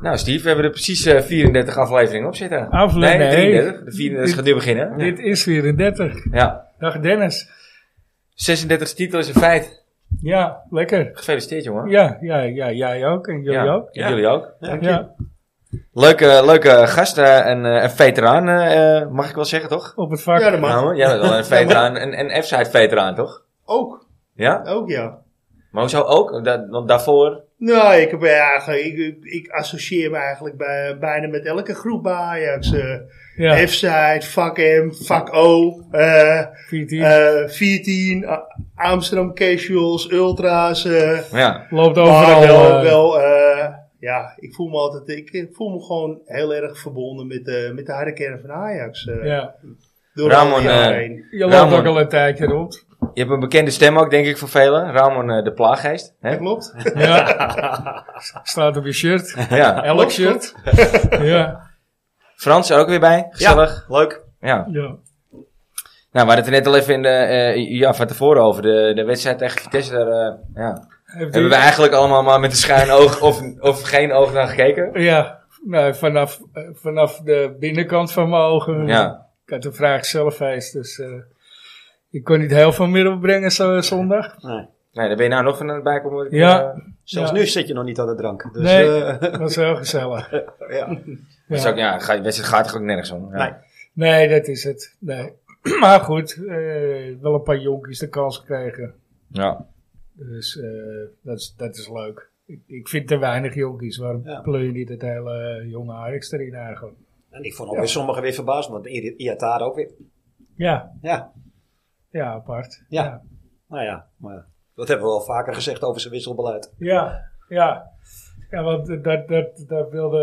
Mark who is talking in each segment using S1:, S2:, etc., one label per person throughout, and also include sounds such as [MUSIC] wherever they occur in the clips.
S1: Nou, Steve, we hebben er precies eh, 34 afleveringen op zitten.
S2: Aflevering-
S1: Nee,
S2: nee.
S1: 33. De 34 gaat nu beginnen.
S2: Dit is 34.
S1: Ja.
S2: Dag Dennis.
S1: 36 titel is een feit.
S2: Ja, lekker.
S1: Gefeliciteerd, jongen.
S2: Ja, ja, ja, jij ook. En jullie
S1: Ja.
S2: ook.
S1: En Jullie ook.
S2: Ja.
S1: Leuke, leuke gast eh, en eh, een veteraan, eh, eh, mag ik wel zeggen, toch?
S2: op het vak.
S3: Ja, dat mag.
S1: Nou, jij bent wel een veteraan, een, een F-side veteraan, toch?
S3: Ook,
S1: Ja?
S3: ook ja.
S1: Maar hoezo ook? Da- want daarvoor?
S3: Nou, ik, heb, ja, ik, ik, ik associeer me eigenlijk bij, bijna met elke groep bij Ajax. eh
S2: Ja,
S3: F-side, vak M, vak O, eh,
S2: 14.
S3: eh, 14, A- Amsterdam Casuals, Ultras. eh
S1: Ja.
S2: Loopt
S3: maar
S2: overal.
S3: wel,
S2: eh,
S3: wel eh, ja, ik voel me altijd, ik, ik voel me gewoon heel erg verbonden met, eh, met de harde kern van Ajax. eh,
S2: ja.
S3: Door
S1: Ramon,
S3: al die jaren
S1: eh,
S3: heen.
S2: Je loopt
S1: Ramon.
S2: ook al een tijdje rond.
S1: Je hebt een bekende stem ook, denk ik, voor velen. Ramon eh, de Plaaggeest.
S3: Dat
S1: Hè?
S3: klopt.
S2: Ja.
S1: [LAUGHS]
S2: Staat op je shirt.
S1: Ja.
S2: Elk
S3: Klopt,
S1: [LAUGHS]
S2: shirt. ja.
S1: Frans er ook weer bij. Gezellig. leuk. Ja.
S2: ja.
S1: Nou, we hadden het er net al even in de, eh, ja, van tevoren over. De, de wedstrijd tegen Vitesse, daar eh, ja.
S2: Heeft
S1: hebben we
S2: u-
S1: eigenlijk allemaal maar met een
S2: [LAUGHS]
S1: schuin oog of, of geen oog naar gekeken.
S2: Ja. Nou, vanaf, eh, vanaf de binnenkant van mijn ogen.
S1: Ja.
S2: Ik had de vraag zelf eens, dus eh, ik kon niet heel veel meer opbrengen zo, zondag.
S4: Nee.
S1: Nee, daar ben je nou nog van aan het bijkomen.
S2: Ja.
S1: Eh,
S4: Zelfs
S2: Ja.
S4: nu zit je nog niet aan de drank. Dus,
S2: nee,
S4: eh, [LAUGHS]
S2: dat was heel gezellig.
S4: ja.
S1: dat is
S2: Ja.
S1: ook, ja, ga- de wedstrijd gaat toch ook nergens om. Ja.
S4: Nee.
S2: Nee, dat is het. Nee. [CLEARS THROAT] Maar goed, eh, wel een paar jonkies de kans gekregen.
S1: Ja.
S2: Dus eh, dat, is, dat is leuk. Ik, ik vind te weinig jonkies. Waarom
S4: Ja.
S2: pleur je niet het hele eh, jonge Ajax erin eigenlijk?
S4: En ik vond ook weer sommigen weer verbaasd, want I- Iatara ook weer.
S2: Ja,
S4: Ja,
S2: ja apart.
S4: Ja.
S2: Ja,
S4: nou ja, maar dat hebben we al vaker gezegd over zijn wisselbeleid.
S2: ja. ja. Ja, want eh, dat, dat, dat wilde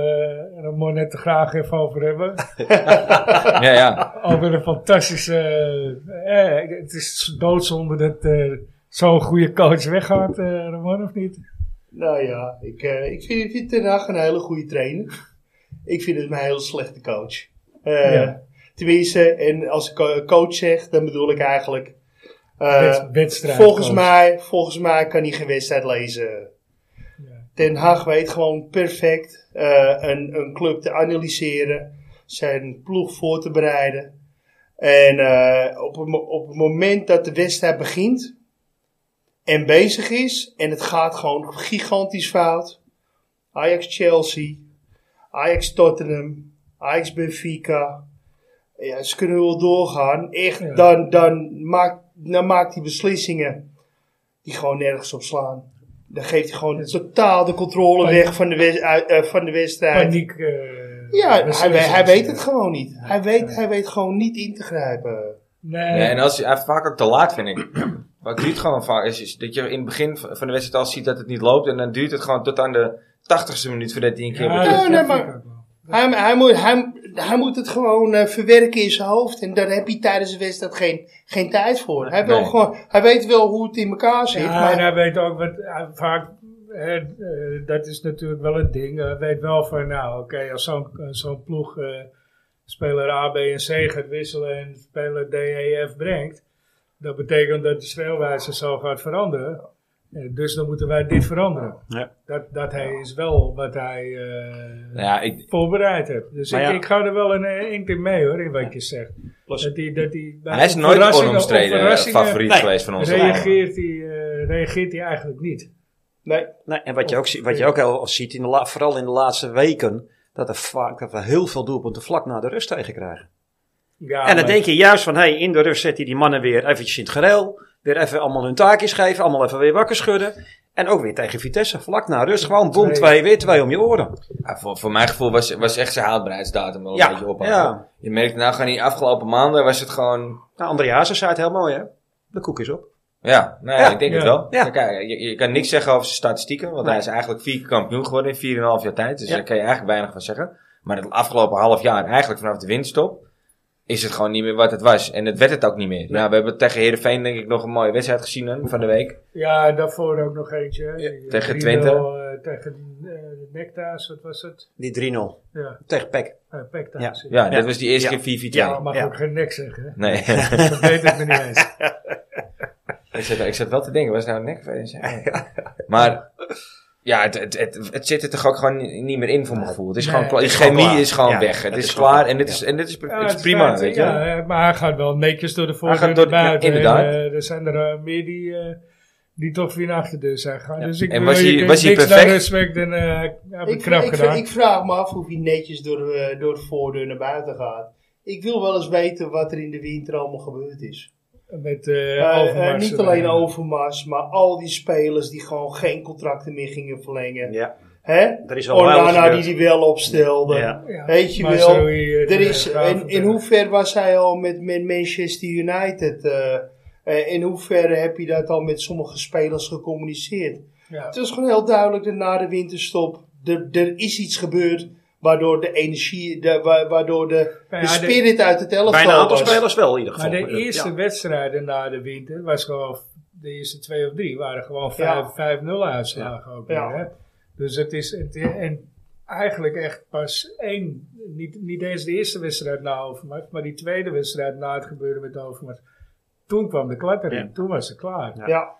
S2: eh, Ramon net graag even over hebben.
S1: Ja,
S2: [LAUGHS]
S1: ja.
S2: Alweer Oh, een fantastische. eh, eh, het is doodzonde dat eh, zo'n goede coach weggaat, eh Ramon, of niet?
S3: Nou ja, ik, eh, ik vind, ik vind Ten Hag een hele goede trainer. Ik vind hem een heel slechte coach. Eh,
S2: Ja.
S3: Tenminste, en als ik co- coach zeg, dan bedoel ik eigenlijk... eh,
S2: Wed- wedstrijd.
S3: volgens,
S2: coach.
S3: mij, volgens mij kan hij geen wedstrijd lezen.
S2: Ja.
S3: Ten Hag weet gewoon perfect eh, een, een club te analyseren. Zijn ploeg voor te bereiden. En eh, op, het, mo- op het moment dat de wedstrijd begint en bezig is en het gaat gewoon gigantisch fout. Ajax Chelsea, Ajax Tottenham, Ajax Benfica. Ja, ze kunnen wel doorgaan. Echt,
S2: Ja.
S3: dan, dan, maakt, dan maakt hij beslissingen die gewoon nergens op slaan. Dan geeft hij gewoon totaal de controle
S2: Paniek.
S3: weg van de, wes- uit- eh, van de wedstrijd.
S2: Paniek. eh,
S3: Ja, hij,
S2: beslissingen.
S3: we- hij weet het gewoon niet. Hij weet, hij weet gewoon niet in te grijpen.
S2: Nee.
S1: Nee, en als, hij vaak ook te laat, vind ik. [CLEARS THROAT] Wat duurt gewoon vaak is, is dat je in het begin van van de wedstrijd al ziet dat het niet loopt. En dan duurt het gewoon tot aan de 80ste minuut voordat hij een keer...
S2: Ja,
S1: weer-
S2: dat
S3: nee,
S2: vind
S3: maar-
S2: ik ook wel.
S3: Hij, hij, moet, hij, hij moet het gewoon eh, verwerken in zijn hoofd. En daar heb hij tijdens de wedstrijd geen, geen tijd voor. Hij, wil
S1: Nee.
S3: gewoon, hij weet wel hoe het in elkaar zit.
S2: Ja,
S3: maar,
S2: en hij weet ook wat. hij vaak, eh, eh, dat is natuurlijk wel een ding. Hij weet wel van, nou, oké, als zo'n eh, zo'n ploeg eh, speler A, B en C gaat wisselen en speler D, E, F brengt, dat betekent dat de speelwijze zo gaat veranderen. Eh, dus dan moeten wij dit veranderen.
S4: Ja.
S2: Dat, dat hij is wel wat hij eh,
S1: Ja, ik,
S2: voorbereid hebt. Dus ik,
S4: Maar ja.
S2: ik ga er wel een eh, één keer mee hoor, in wat je zegt.
S4: Plus-
S2: dat die, dat die, bij
S1: hij is nooit een
S2: verrassingen- op
S1: onomstreden eh,
S2: verrassingen
S1: favoriet
S4: Nee.
S1: geweest van ons.
S2: Reageert hij, eh, reageert hij eigenlijk niet.
S3: nee,
S4: Nee, en wat je ook, zie- wat je ook al ziet, in de la- vooral in de laatste weken, dat, er vaak, dat we heel veel doelpunten vlak na de rust tegenkrijgen.
S2: Ja,
S4: en dan
S2: maar-
S4: denk je juist van, hé, hey, in de rust zet hij die mannen weer eventjes in het gereel. Weer even allemaal hun taakjes geven, allemaal even weer wakker schudden. En ook weer tegen Vitesse, vlak na rust, gewoon boom,
S2: Twee.
S4: twee, weer twee om je oren.
S1: Ja, voor, voor mijn gevoel was, was echt zijn haalbaarheidsdatum wel een
S4: Ja,
S1: beetje op.
S4: ja.
S1: Je merkt nou gewoon die afgelopen maanden was het gewoon...
S4: Nou, André Hazes zei het heel mooi, hè. De koek is op.
S1: Ja, nou ja,
S4: Ja,
S1: ik denk het
S2: ja,
S1: wel.
S4: ja.
S1: Dan kan je, je- je kan niks zeggen over zijn statistieken, want
S4: Nee.
S1: hij is eigenlijk vier keer kampioen geworden in 4,5 jaar tijd. Dus
S4: Ja.
S1: daar kan je eigenlijk weinig van zeggen. Maar het afgelopen half jaar, eigenlijk vanaf de winststop, is het gewoon niet meer wat het was. En het werd het ook niet meer. Nou, we hebben tegen Heerenveen denk ik nog een mooie wedstrijd gezien dan, van de week.
S2: Ja, daarvoor ook nog eentje. hè. Die- die
S1: tegen
S2: 3-0,
S1: Twente.
S2: eh, tegen eh Necta's, wat was het?
S4: Die 3-0
S2: Ja,
S4: tegen E Peck.
S2: uh, Pecta's.
S1: Ja, dat was die eerste
S4: Ja.
S1: keer 4
S4: Ja.
S2: mag ook geen nek zeggen. hè.
S1: Nee,
S4: [LAUGHS]
S2: Dat weet ik me niet
S1: [LAUGHS]
S2: eens.
S1: ik, zat, ik zat wel te denken, was nou een nek? Maar... ja, het, het, het, het zit er toch ook gewoon ni- niet meer in voor mijn gevoel. Het is
S2: Nee,
S1: gewoon, klaar.
S4: het
S1: de
S4: is gewoon
S1: chemie
S4: klaar.
S1: is gewoon
S4: Ja,
S1: weg. Het
S4: het
S1: is,
S4: is gewoon
S1: klaar
S4: klaar.
S1: en dit is,
S4: Ja.
S1: en dit is,
S2: Ja,
S1: het is
S2: het
S1: prima,
S2: feit,
S1: weet je.
S2: ja, eh, maar hij gaat wel netjes door de voordeur
S1: gaat door
S2: naar
S1: de-
S2: buiten.
S1: ja, inderdaad.
S2: En, eh, er zijn er eh, meer die, eh, die toch weer naar achterdeur zijn gegaan.
S1: Ja.
S2: Dus ik
S1: En
S2: wil
S1: was hij-
S2: je
S1: was hij
S2: niks
S1: perfect?
S2: naar respect en eh heb ik
S3: Ik,
S2: knap
S3: ik,
S2: gedaan.
S3: ik vraag me af of hij netjes door, eh, door de voordeur naar buiten gaat. Ik wil wel eens weten wat er in de winter allemaal gebeurd is.
S2: met eh
S3: Eh, eh,
S2: Overmars
S3: niet
S2: erbij.
S3: alleen Overmars, maar al die spelers die gewoon geen contracten meer gingen verlengen.
S4: Ja,
S3: Hè?
S4: er is al wel
S3: Onana
S4: gebeurd.
S3: die die wel opstelde.
S4: Ja.
S2: Oh Ja,
S3: Weet je
S2: maar
S3: wel,
S2: zo hier,
S3: Er
S2: eh,
S3: is, in,
S2: Gravenberg.
S3: in hoeverre was hij al met, met Manchester United? eh, eh, in hoeverre heb je dat al met sommige spelers gecommuniceerd?
S2: Ja.
S3: Het is gewoon heel duidelijk dat na de winterstop er, er is iets gebeurd waardoor de energie, de, wa- waardoor de,
S2: Ja,
S3: de
S2: de-
S3: spirit uit het elftal
S4: Bij een aantal
S3: was.
S4: spelers wel in ieder geval.
S2: Maar de eerste
S4: Ja.
S2: wedstrijden na de winter was gewoon, de eerste twee of drie waren gewoon
S3: Ja.
S2: 5 5-0 uitslagen ook weer,
S3: Ja.
S2: hè. Dus het is, het, en eigenlijk echt pas één, niet, niet eens de eerste wedstrijd na Overmars, maar die tweede wedstrijd na het gebeuren met Overmars. Toen kwam de klap erin,
S4: Ja.
S2: toen was ze klaar. Ja,
S4: Ja.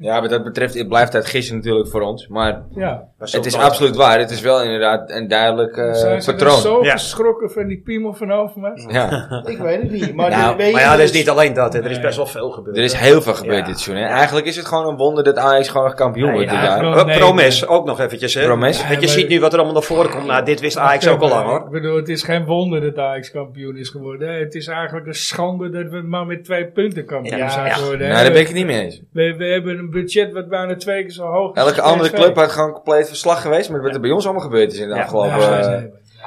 S3: Ja,
S1: Ja, wat dat betreft het blijft het gissen natuurlijk voor ons. Maar
S4: Maar zo
S1: het is
S4: kan
S1: absoluut waar. Het is wel inderdaad een duidelijk eh,
S2: Zijn ze er
S1: patroon.
S2: zo
S4: Ja.
S2: geschrokken van die piemel van Overmars?
S1: Ja.
S3: ik weet het niet.
S4: [LAUGHS]
S3: Maar,
S1: Nou,
S3: dit- weet
S4: Maar
S3: je,
S4: ja, er is
S3: dus-
S4: niet alleen dat. hè. Er is
S2: Nee.
S4: best wel veel gebeurd.
S1: Er is
S4: hè.
S1: heel veel gebeurd
S4: Ja.
S1: dit seizoen. hè. Eigenlijk is het gewoon een wonder dat Ajax gewoon kampioen
S4: Ja,
S1: wordt dit
S4: ja,
S1: jaar.
S2: gewoon-
S4: Eh,
S2: Nee,
S4: Promes, ook nog eventjes. Hè?
S1: Promes.
S4: Want je
S2: Ja, maar-
S4: ziet nu wat er allemaal naar voren komt. Nou, dit wist Ajax ook al lang hoor.
S2: Ik bedoel, het is geen wonder dat Ajax kampioen is geworden. hè. Het is eigenlijk een schande dat we maar met twee punten kampioen
S4: Ja,
S2: zijn
S4: ja.
S2: geworden. hè.
S1: Nou, daar ben ik het niet mee eens.
S2: We, we hebben een budget wat bijna twee keer zo hoog is.
S1: Elke
S2: als
S1: andere
S2: PSV.
S1: club had gewoon compleet verslag geweest met wat er bij ons allemaal gebeurd is in de
S4: Ja.
S2: Ja,
S1: afgelopen... eh,
S2: ja,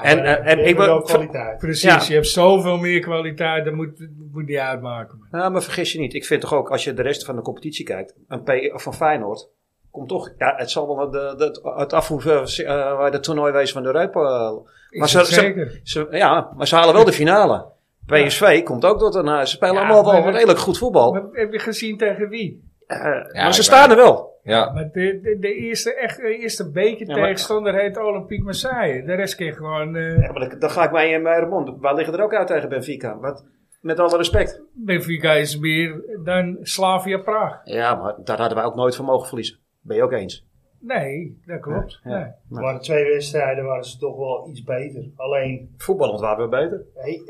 S4: En, eh, en
S3: we
S4: ik
S3: hebben wel
S4: ben.
S3: kwaliteit.
S2: precies,
S4: ja.
S2: je hebt zoveel meer kwaliteit, dat moet, moet die uitmaken. man.
S4: Nou, maar vergis je niet. Ik vind toch ook, als je de rest van de competitie kijkt, een P van Feyenoord komt toch. Ja, het zal wel de, de, het afhoef eh, waar de toernooi wees van de Europa.
S2: Is
S4: Maar
S2: het
S4: ze-
S2: zeker.
S4: Ze, ja, maar ze halen wel de finale. PSV komt ook tot een. eh, Ze spelen
S2: Ja,
S4: allemaal wel
S2: maar-
S4: redelijk goed voetbal.
S2: Maar heb je gezien tegen wie?
S4: Eh,
S1: ik
S4: maar ze
S1: weet-
S4: staan er wel.
S1: ja.
S2: Maar de, de, de eerste, echt, de eerste beker
S4: Ja, maar-
S2: tegenstander heet Olympique Marseille. De rest keer gewoon eh,
S4: Ja, maar dan, dan ga ik mij in mijn mond. Waar liggen er ook uit tegen Benfica? Want, met alle respect.
S2: Benfica is meer dan Slavia Praag.
S4: Ja, maar daar hadden wij ook nooit van mogen verliezen. Ben je ook eens?
S2: Nee, dat klopt.
S4: [LAUGHS] Ja, ja.
S2: Nee.
S3: Er waren twee wedstrijden waren ze toch wel iets beter. Alleen
S4: Voetballend waren we beter.
S3: Hey,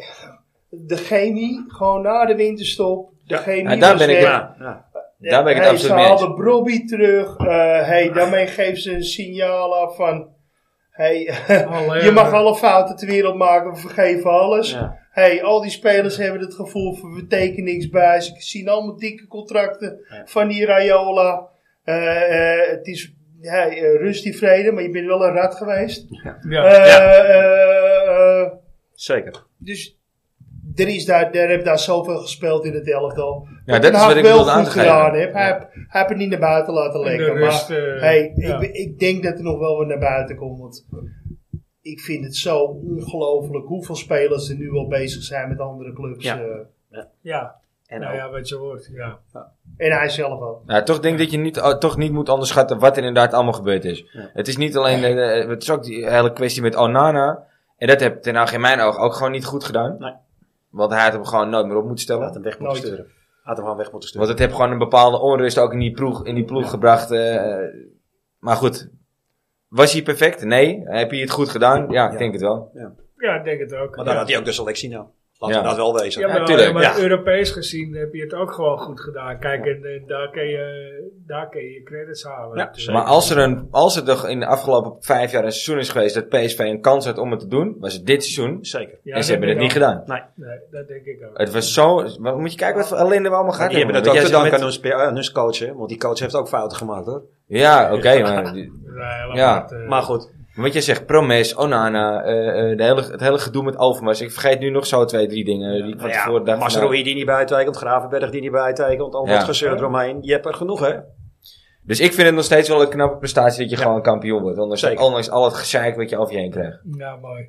S3: de chemie, gewoon na de winterstop. De
S4: Ja.
S3: chemie
S1: Ja, daar
S3: was
S1: ben ik
S3: weg.
S4: Ja, ja.
S1: daar ben ik het
S3: Hey,
S1: absoluut
S3: Ze
S1: mee eens.
S3: haalden Brobby terug. eh hey, daarmee geeft ze een signaal af van... Hey, [LAUGHS]
S2: Allee,
S3: je mag
S2: hoor.
S3: alle fouten ter wereld maken, we vergeven alles.
S4: Ja.
S3: Hey, al die spelers hebben het gevoel van we tekenen niks bij. Ze zien allemaal dikke contracten
S4: Ja.
S3: van die Raiola. Eh, eh, het is hey, eh, rust die vrede, maar je bent wel een rat geweest.
S2: Ja.
S3: Eh,
S4: Ja.
S3: eh, eh,
S4: Zeker.
S3: dus er, is daar, er heeft daar zoveel gespeeld in het elftal.
S1: Ja,
S3: Ten
S1: dat is
S3: Hag
S1: wat ik
S3: wel
S1: bedoelde
S3: goed
S1: aan te geven.
S3: gedaan heeft. Hij heeft- hij heeft het niet naar buiten laten
S2: de
S3: liggen.
S2: rust,
S3: maar
S2: eh,
S3: hey,
S2: ja.
S3: ik, ik denk dat er nog wel wat naar buiten komt. Want ik vind het zo ongelooflijk hoeveel spelers er nu al bezig zijn met andere clubs.
S4: Ja.
S3: eh.
S2: Ja,
S4: En
S2: nou
S4: ook-
S2: ja, wat je hoort. Ja.
S3: en hij zelf ook.
S1: Ja, Nou, toch denk ik dat je niet, oh, toch niet moet onderschatten wat er inderdaad allemaal gebeurd is.
S4: Ja.
S1: Het is niet alleen, eh, eh, het is ook die hele kwestie met Onana. En dat heb Ten Hag in mijn ogen ook gewoon niet goed gedaan.
S4: Nee.
S1: Want hij had hem gewoon nooit meer op moeten
S4: Laat
S1: stellen.
S4: hem weg moeten
S3: Nooit.
S4: sturen. Laat hem gewoon weg moeten
S1: Want
S4: sturen.
S1: het heeft gewoon een bepaalde onrust ook in die ploeg, in die ploeg gebracht. eh, maar goed, was hij perfect? Nee. Heb je het goed gedaan? Ja, ik
S4: Ja.
S1: denk het wel.
S2: Ja, ik denk het ook.
S4: Maar
S2: Ja.
S4: dan had hij ook de selectie nou. Laten
S1: Ja.
S4: we dat wel wezen.
S2: Ja, maar,
S1: tuurlijk,
S2: maar
S4: ja.
S2: Europees gezien heb je het ook gewoon goed gedaan. Kijk, en, en daar, kun je, daar kun je je credits halen.
S4: Ja,
S2: Dus,
S4: zeker.
S1: Maar als er, een, als er toch in de afgelopen vijf jaar een seizoen is geweest dat PSV een kans had om het te doen, was het dit seizoen.
S4: Zeker.
S2: ja,
S1: en
S2: dat
S1: ze hebben
S2: denk
S1: het niet
S2: ik ook.
S1: gedaan.
S2: Nee, dat denk ik ook.
S1: Het was zo... maar Moet je kijken wat voor ellende we allemaal
S4: En
S1: gehad
S4: die hebben
S1: hebben.
S4: dat ook
S1: Want
S4: te
S1: jij
S4: danken aan
S1: zit
S4: hun, spe- aan hun coach, hè? want die coach heeft ook fouten gemaakt hoor.
S1: met- Ja, oké. maar,
S2: Nee,
S1: Ja,
S2: laat eh,
S4: Maar goed,
S1: want jij zegt Promes, Onana, eh, eh, de hele, het hele gedoe met Overmars. Ik vergeet nu nog zo twee, drie dingen die ik van
S4: nou ja,
S1: tevoren dacht. van, nou,
S4: Masrohi die niet bijtekent, Gravenberg die niet bijtekent, al
S1: Ja.
S4: dat gezeur eromheen. Je hebt er genoeg hè?
S1: Dus ik vind het nog steeds wel een knappe prestatie dat je gewoon kampioen wordt. Ondanks,
S4: Zeker.
S1: ondanks al het gezeik wat je over je heen krijgt.
S2: Nou, mooi.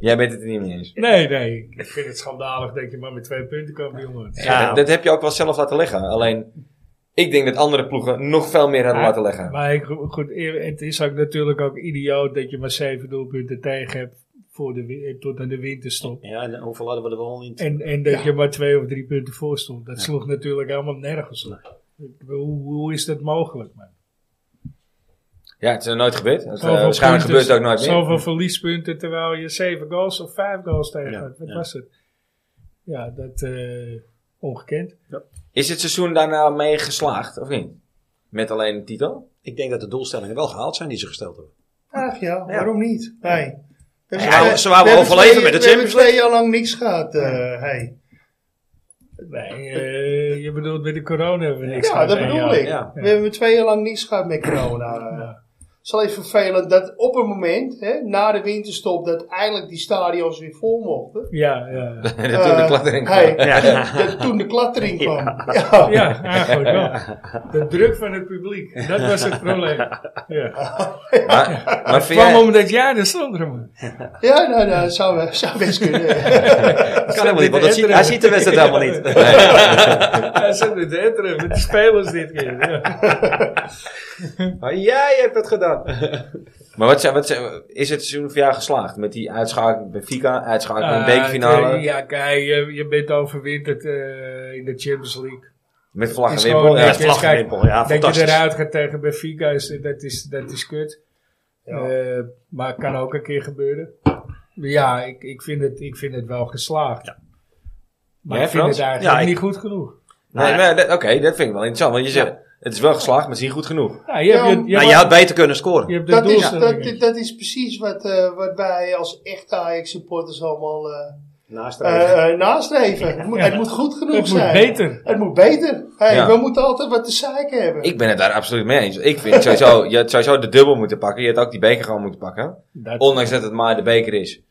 S1: Jij bent het er niet mee eens.
S2: Nee, nee. Ik vind het schandalig dat je maar met twee punten kan, jongen.
S1: Ja, dat, dat heb je ook wel zelf laten liggen. Alleen, ik denk dat andere ploegen nog veel meer hadden
S2: Ja,
S1: laten liggen.
S2: Maar ik, goed, eer- het is ook natuurlijk ook idioot dat je maar zeven doelpunten tegen hebt voor de, wi- eh, tot aan de winterstop.
S4: Ja, en hoeveel hadden we er wel niet?
S2: En, en dat je maar twee of drie punten voor stond. Dat sloeg natuurlijk helemaal nergens op. Ik bedoel, Hoe, hoe is dat mogelijk, man?
S1: Ja, het is nog nooit gebeurd. Het, eh,
S2: Zoveel
S1: waarschijnlijk
S2: punten,
S1: gebeurt het ook nooit meer.
S2: Zoveel verliespunten terwijl je zeven goals of vijf goals tegen
S4: Ja,
S2: had. Wat
S4: ja.
S2: was het? Ja, dat eh, ongekend.
S1: Is het seizoen daarna mee geslaagd, of niet? Met alleen de titel?
S4: Ik denk dat de doelstellingen wel gehaald zijn die ze
S1: [LAUGHS]
S4: gesteld hebben.
S3: Ach ja, waarom niet? Hey. We hebben
S1: Ja,
S3: twee-
S1: ze wouden
S3: we hebben
S1: overleven met
S3: twee-
S1: de
S3: We hebben
S1: Champions
S3: twee jaar lang niks gehad. eh hey.
S2: Nee, eh, je bedoelt met de corona hebben we niks
S3: Ja,
S2: gehad,
S3: dat
S2: hè?
S3: bedoel
S2: Ja.
S3: ik.
S4: ja.
S3: We hebben twee jaar lang niets gehad met corona. eh. Het is alleen vervelend dat op een moment, hè, na de winterstop, dat eindelijk die stadions weer vol mochten.
S2: Ja, ja.
S1: Dat toen de
S3: Eh,
S1: klattering kwam.
S3: hey,
S4: Ja.
S3: toen- dat- toen de klattering kwam. Ja.
S2: Ja, eigenlijk wel. De druk van het publiek, dat was het probleem. Ja.
S1: Maar, maar vind
S2: Kwam
S1: jij,
S2: omdat jij er stond, man.
S3: Ja, nou, nou, zou, zou best kunnen. [LAUGHS]
S4: Dat kan helemaal niet, want dat ziet,
S2: Etteren.
S4: hij ziet de wedstrijd helemaal niet.
S2: [LAUGHS] Ja, ze hebben het etteren met de spelers dit keer. Ja.
S4: Maar jij hebt het [LAUGHS] gedaan.
S1: maar wat, zijn- wat zijn- is het seizoen voor jou geslaagd? Met die uitschakeling bij Fika, uitschakeling in de bekerfinale,
S2: Ah, Ja, kijk, je, je bent overwinterd eh, in de Champions League.
S1: met vlag en
S2: is
S1: wimpel.
S2: gewoon
S1: Ja,
S2: netjes.
S1: vlag.
S2: kijk,
S4: vlaggenwimpel, ja,
S2: dat je
S4: fantastisch.
S2: eruit gaat tegen Benfica, is, dat, is, dat is kut. Eh, maar kan ook een keer gebeuren. Ja, ik, ik, vind, het, ik vind het wel geslaagd.
S1: Jij,
S2: Maar ik vind
S1: Frans?
S2: het eigenlijk
S4: Ja, ik-
S2: niet goed genoeg.
S1: Nee,
S4: Nou,
S1: maar dat- Oké, dat vind ik wel interessant. Want je zegt, het is wel geslaagd, maar het is niet goed genoeg.
S2: Nou, je, hebt, je, je,
S4: Nou, je
S2: hebt-
S4: had beter kunnen
S2: je
S4: scoren.
S2: hebt de
S3: dat, is,
S2: doelstellingen.
S3: dat, dat is precies wat, eh, wat wij als echte Ajax-supporters allemaal eh,
S4: Naast
S3: eh, eh, nastreven. Het, moet,
S2: Ja.
S3: het moet goed genoeg
S2: Het moet
S3: zijn.
S2: beter.
S3: Het moet beter. Hey,
S1: Ja.
S3: We moeten altijd wat te zeiken hebben.
S1: Ik ben het daar absoluut mee eens. Ik vind sowieso, je had sowieso de dubbel moeten pakken. Je had ook die beker gewoon moeten pakken.
S2: Dat-
S1: Ondanks dat het maar de beker is.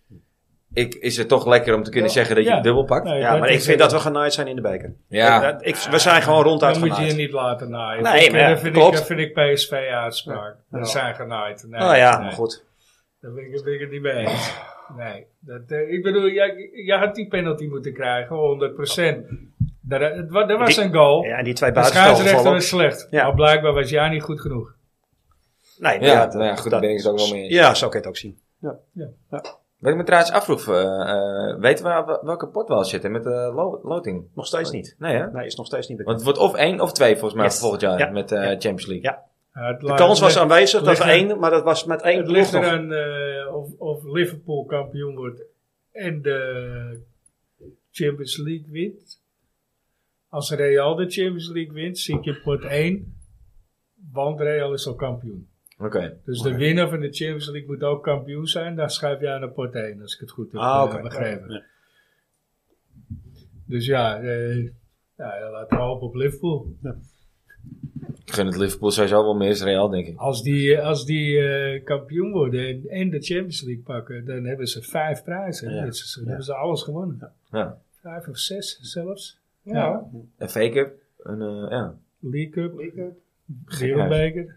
S1: Ik, is het toch lekker om te kunnen
S3: Ja.
S1: zeggen dat je
S2: Ja.
S1: de dubbel pakt?
S2: Nee,
S4: Ja, maar ik
S2: is-
S4: vind dat we genaaid zijn in de beker.
S1: Ja.
S4: Dat- ik- we zijn gewoon ronduit
S2: Dan moet je
S4: genaaid.
S2: je niet laten naaien.
S4: Nee,
S2: Ik-
S4: maar ja,
S2: dat, vind ik,
S4: klopt.
S2: dat vind ik PSV uitspraak.
S3: Ja.
S2: Dat zijn genaaid.
S1: Oh
S2: Nee,
S4: Nou ja,
S2: nee.
S4: maar goed.
S2: Daar ben ik, daar ben ik het niet mee eens. Nee. Dat, eh, ik bedoel, jij, jij had die penalty moeten krijgen, 100%. Daar, het, wa- daar was
S4: Die-
S2: een goal.
S4: Ja, en die twee
S2: de
S4: buitenspelgevallen.
S2: scheidsrechter was slecht.
S4: Ja.
S2: Maar blijkbaar was jij niet goed genoeg.
S4: Nee,
S1: Ja, nou ja, goed,
S4: dat-
S1: ben ik het ook wel mee eens.
S4: Ja, zo kan je het ook zien.
S1: Wat ik me trouwens afvroeg, eh, eh, weten we wel- welke pot we al zitten met de lo- loting?
S4: Nog steeds niet.
S1: Nee hè?
S4: Nee, is nog steeds niet bekend.
S1: Want het wordt of één of twee volgens mij
S4: Yes.
S1: voor volgend jaar
S4: Ja.
S1: met de Champions League.
S4: Ja.
S2: Ja, het
S4: De
S2: laat-
S4: kans was
S2: het-
S4: aanwezig dat we
S2: ligt er-
S4: één, maar dat was met één
S2: Het ligt
S4: ploeg nog.
S2: eraan eh, of, of Liverpool kampioen wordt en de Champions League wint. Als Real de Champions League wint, zie ik je pot 1. Want Real is al kampioen.
S1: Oké.
S2: Dus de winnaar van de Champions League moet ook kampioen zijn. Dan schuif jij naar pot 1, als ik het goed heb
S4: Ah,
S2: eh,
S4: oké.
S2: begrepen.
S4: Ja.
S2: Dus ja, eh, ja, laten we hopen op Liverpool.
S1: Ik gun het Liverpool sowieso wel meer is Real denk ik.
S2: Als die, als die eh, kampioen worden en, en de Champions League pakken, dan hebben ze vijf prijzen.
S4: Ja.
S2: Dit seizoen. Dan hebben ze alles gewonnen.
S1: Ja.
S2: Vijf of zes zelfs.
S3: ja.
S1: Een fake-up. Een, eh, ja.
S2: League Cup, Wereldbeker.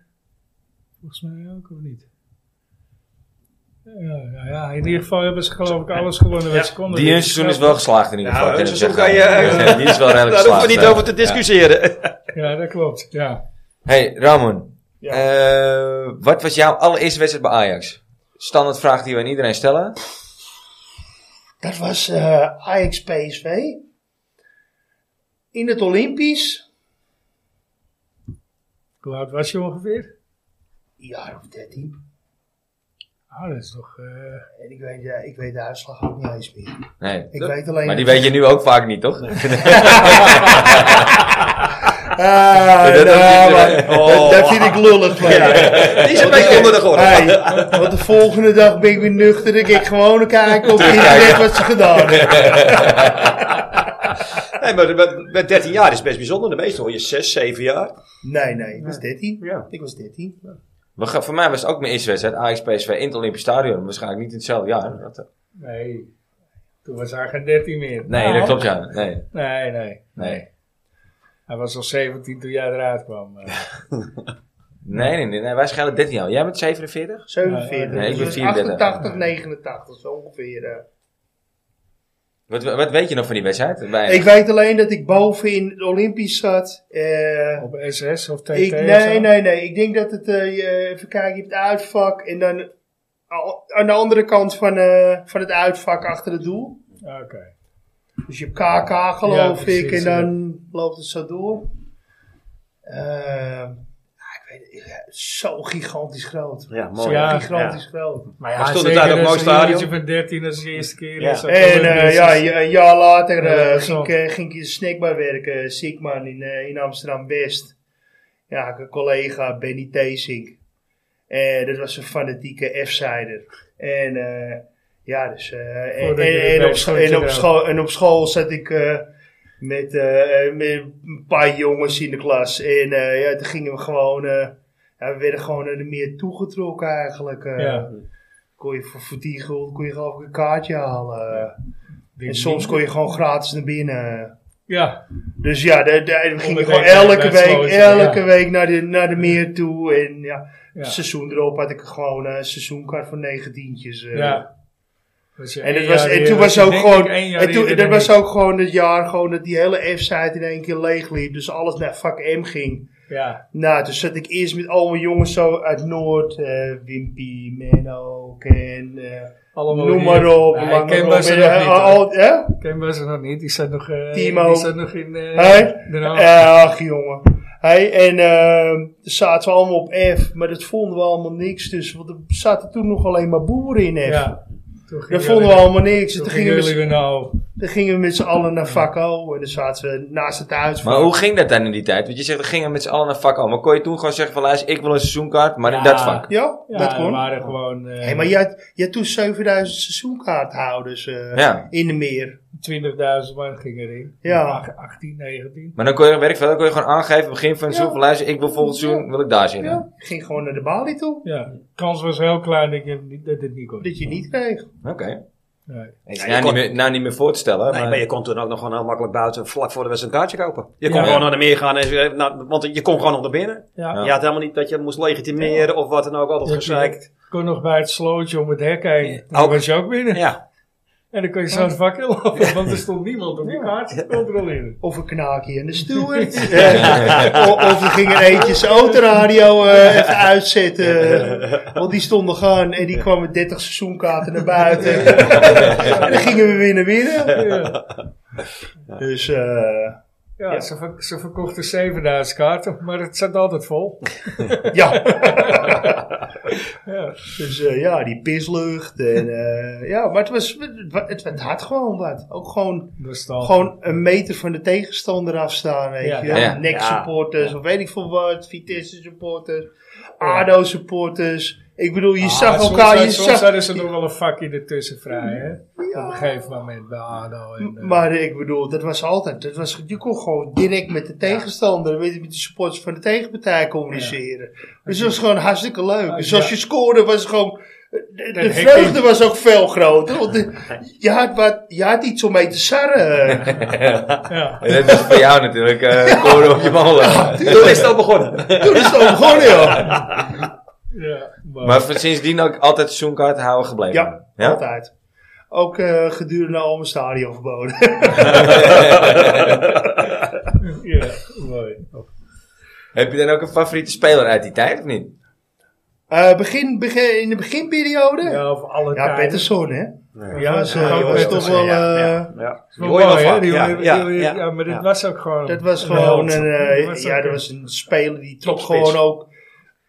S2: Volgens mij ook, of niet? Ja, ja, ja, in ieder geval hebben ze geloof ik alles gewonnen. wat
S4: Ja.
S2: ze konden.
S1: Die hun seizoen is wel geslaagd in ieder
S4: Ja,
S1: geval.
S4: hun
S1: kunnen we
S4: seizoen
S1: zeggen. [LAUGHS]
S4: kan je-
S1: Die
S4: [LAUGHS]
S1: is wel redelijk
S4: eh, Nou, Daar hoeven
S1: geslaagd.
S4: we niet
S1: eh.
S4: over te discussiëren. [LAUGHS]
S2: Ja, dat klopt. Ja.
S1: Hey Ramon.
S3: Ja.
S1: Eh, wat was jouw allereerste wedstrijd bij Ajax? Standaard vraag die we aan iedereen stellen.
S3: Dat was eh Ajax PSV. In het Olympisch.
S2: Hoe oud was je ongeveer?
S3: Een jaar of dertien.
S2: Ah, dat is toch... eh,
S3: En ik weet, eh, ik weet de uitslag ook niet eens meer.
S1: Nee.
S3: Ik weet alleen...
S1: Maar die weet je nu ook vaak niet, toch?
S3: [LAUGHS] Ah,
S1: Dat
S3: nou,
S1: is niet
S3: maar-
S1: zo-
S3: dat, dat vind ik lullig. van je.
S4: Die is een beetje onder de gordel.
S3: Hey, want de volgende dag ben ik weer nuchter. Ik kijk gewoon kijken op internet wat ze gedaan hebben.
S1: [LAUGHS]
S4: Nee, maar met, met 13 jaar is het best bijzonder. De meeste hoor je 6, 7 jaar.
S3: Nee, nee, ik was 13.
S4: Ja.
S3: Ik was 13.
S1: We gaan- voor mij was het ook mijn eerste wedstrijd. Ajax PSV in het Olympisch Stadion. Waarschijnlijk niet in hetzelfde jaar. Dat, eh,
S2: nee, toen was hij geen 13 meer.
S1: nee,
S2: Nou,
S1: dat klopt ja. Nee.
S2: Nee, nee.
S1: Nee.
S2: Hij was al 17 toen jij eruit kwam. eh.
S1: Nee, nee, nee, nee, wij schelen 13 jaar. Jij bent 47?
S3: 47.
S1: Nee, ik ben
S3: Dus
S1: 34.
S3: 88, 89, zo ongeveer. eh.
S1: Wat, wat weet je nog van die wedstrijd? Bij
S3: Ik weet alleen dat ik boven in het Olympisch zat. Eh,
S2: Op SS of TT?
S3: ik,
S2: of
S3: nee,
S2: zo?
S3: nee, nee. Ik denk dat het, eh, je- even kijken, je hebt het uitvak en dan al- aan de andere kant van, eh, van het uitvak achter het doel.
S2: Oké.
S3: Dus je hebt KK geloof
S2: Ja, precies,
S3: ik en
S2: ja.
S3: dan loopt het zo door. Eh, ja, ik weet het, ja, zo gigantisch groot.
S4: Ja, mooi.
S2: Ja.
S4: Ja.
S3: gigantisch groot.
S2: Maar ja,
S1: Maar stond het
S2: zeker
S1: daar ook
S2: als
S1: mooi
S2: een
S1: stadion?
S2: jongetje van 13 als de eerste keer
S4: Ja.
S2: is. dat
S3: En
S2: wel een
S3: eh,
S2: beetje-
S3: ja, ja, een jaar later
S2: Ja,
S3: eh,
S2: dat is
S3: ging,
S2: wel.
S3: ik, eh, ging ik in Snackbar werken, Sigman in, eh, in Amsterdam-West. Ja, ik had een collega, Benny Teesink. En dat was een fanatieke F-sider. En eh, ja, dus... eh, en,
S2: Voordat je
S3: en-
S2: erbij
S3: en op,
S2: stond,
S3: en, op
S2: ja.
S3: school, en op school zat ik eh, met, eh, eh, met een paar jongens in de klas. En eh, ja, toen gingen we gewoon... eh, ja, we werden gewoon er meer toegetrokken eigenlijk. eh.
S2: Ja.
S3: Kon je voor, voor 10 gulden kon je geloof ik een kaartje halen. eh. En
S2: Ding,
S3: soms
S2: ding.
S3: kon je gewoon gratis naar binnen.
S2: Ja,
S3: Dus ja, daar, daar ging je
S2: Onderweg
S3: gewoon
S2: naar de
S3: elke week,
S2: wedstrijd,
S3: elke
S2: ja.
S3: week naar de, naar de meer toe. En ja,
S2: Ja.
S3: het seizoen erop had ik gewoon eh, een seizoenkaart voor negentientjes. eh.
S2: ja. Was je
S3: En, dat
S2: één
S3: was,
S2: jaar
S3: en
S2: eerder,
S3: toen was
S2: je
S3: ook
S2: denk
S3: gewoon,
S2: ik één jaar
S3: en toen,
S2: eerder
S3: dat
S2: dan
S3: was
S2: ik.
S3: ook gewoon het jaar gewoon dat die hele F-site in één keer leeg liep. Dus alles naar vak M ging.
S2: Ja,
S3: Nou, toen zat ik eerst met al mijn jongens zo uit Noord. eh, Wimpy, Menno, Ken, eh,
S2: allemaal
S3: noem
S2: hier.
S3: maar op.
S2: Ja,
S3: Lange
S2: ik ken
S3: Rob,
S2: Bas er
S3: eh,
S2: nog niet.
S3: al-
S2: hoor.
S3: al- hè?
S2: Ik ken Bas er nog niet. Die zat nog, eh,
S3: Timo.
S2: Die zat nog in eh
S3: Hey?
S2: Den Haag.
S3: Ja, ach jongen. Hey, en ehm, toen zaten we allemaal op F, maar dat vonden we allemaal niks. Dus want er zaten toen nog alleen maar boeren in F.
S2: Ja. Toen
S3: Dat
S2: gingen
S3: vonden we
S2: jullie-
S3: allemaal niks. En
S2: Toen
S3: Toen
S2: gingen
S3: gingen, we,
S2: jullie
S3: met-
S2: weer nou.
S3: toen gingen we met z'n allen naar Vakko en dan zaten we naast het huis.
S1: Maar hoe ging dat dan in die tijd? Want je zegt, we gingen met z'n allen naar vak al. Maar kon je toen gewoon zeggen van, luister, ik wil een seizoenkaart, maar in
S2: Ja.
S1: dat vak.
S3: Ja,
S2: Ja,
S3: dat
S2: we
S3: kon.
S2: waren gewoon eh,
S3: Hey, maar je had, je had toen 7000 seizoenkaarthouders eh,
S1: Ja.
S3: in de meer.
S2: 20.000 man ging erin.
S3: Ja.
S2: Ach- 18, 19.
S1: Maar dan kon je, werk veel, dan kon je gewoon aangeven, begin van het seizoen, van luister, ik wil volgend seizoen, wil ik daar zitten.
S3: Ja. Ging gewoon naar de balie toe,
S2: Ja, de kans was heel klein dat, je, hem niet- dat het niet kon.
S3: dat je het niet kreeg.
S1: Oké.
S2: Nee.
S1: Ik
S4: Ja,
S1: ja,
S4: je
S1: nou,
S4: kon-
S1: niet meer, nou niet meer voor te stellen.
S4: Nee,
S1: maar-
S4: maar je kon toen ook nog gewoon heel makkelijk buiten vlak voor de wedstrijd een kaartje kopen. Je kon
S2: Ja.
S4: gewoon naar de meer gaan. En, zo- nou, want je kon gewoon nog naar binnen.
S2: Ja.
S1: Ja.
S4: Je had helemaal niet dat je moest legitimeren of wat dan ook. Altijd
S2: Ja,
S4: gezeikt.
S2: kon nog bij het slootje om het hek heen.
S4: Ja.
S2: Dan
S4: Oh.
S2: was je ook binnen.
S4: Ja.
S2: En dan kon je zo het vak inlopen, want er stond niemand om die kaart te controleren.
S3: Of een knaakje en een steward. Eh, [LAUGHS] o- of we gingen eentje zijn autoradio eh, even uitzetten. Want die stonden gaan en die kwamen 30 seizoenkaarten naar buiten. [LAUGHS] en dan gingen we weer naar binnen.
S2: Ja,
S3: Dus eh,
S2: ja, Ze, ver- ze verkochten 7000 kaarten, maar het zat altijd vol.
S3: ja.
S2: Ja,
S3: Dus eh, ja, die pislucht. En, eh, ja, maar het, was, het, wa- het, het had gewoon wat. Ook gewoon,
S2: dat is dan.
S3: gewoon een meter van de tegenstander afstaan. Weet
S2: Ja.
S3: je.
S1: Ja.
S3: Neck
S4: Ja.
S3: supporters of weet ik veel wat. Vitesse supporters. ADO supporters. Ik bedoel, je zag
S2: Ah,
S3: elkaar.
S2: Soms,
S3: je
S2: soms
S3: zag,
S2: hadden ze nog wel een vakje ertussen vrij, hè? Op een gegeven moment bij ADO. En, eh,
S3: Maar ik bedoel, dat was altijd. Dat was, je kon gewoon direct met de tegenstander, weet je, met de supporters van de tegenpartij communiceren. Dus dat was gewoon hartstikke leuk. Dus
S2: ja.
S3: als je scoorde, was het gewoon. De, de
S2: hekking.
S3: vreugde was ook veel groter. Want de- je, had wat, je had iets om mee te
S2: [LAUGHS]
S3: sarren.
S2: ja.
S1: [LAUGHS] Ja, dat is voor jou natuurlijk, eh koren op je molen.
S4: [LAUGHS] Toen is het al begonnen.
S3: Toen is het al begonnen, joh.
S2: Ja, maar,
S1: Maar voor- sindsdien ook altijd seizoenkaart houden gebleven.
S3: Ja, altijd. Ook eh, gedurende al mijn stadion verboden.
S2: ja, mooi.
S1: Heb je dan ook een favoriete speler uit die tijd of niet?
S3: [LAUGHS] Eh, begin, begin, in de beginperiode. Ja,
S2: Ja, of alle
S3: ja
S2: tijden.
S3: Pettersson, hè.
S2: Ja,
S3: was, eh,
S2: ja,
S3: dat was
S2: Pettersson,
S3: toch wel.
S4: ja,
S3: eh,
S4: Ja.
S2: Wel
S4: Die hoor je wel
S2: mooi, hè?
S4: vaak.
S2: Die
S4: Ja,
S2: hoorde-
S4: ja,
S2: die hoorde-
S4: ja,
S2: ja, maar dit
S4: ja.
S2: was ook gewoon...
S3: Dat was
S2: een
S3: gewoon
S2: held.
S3: een, eh,
S2: Dat was
S3: ja,
S2: ook
S3: dat
S2: een-
S3: was een speler die trok
S4: Topspits.
S3: gewoon ook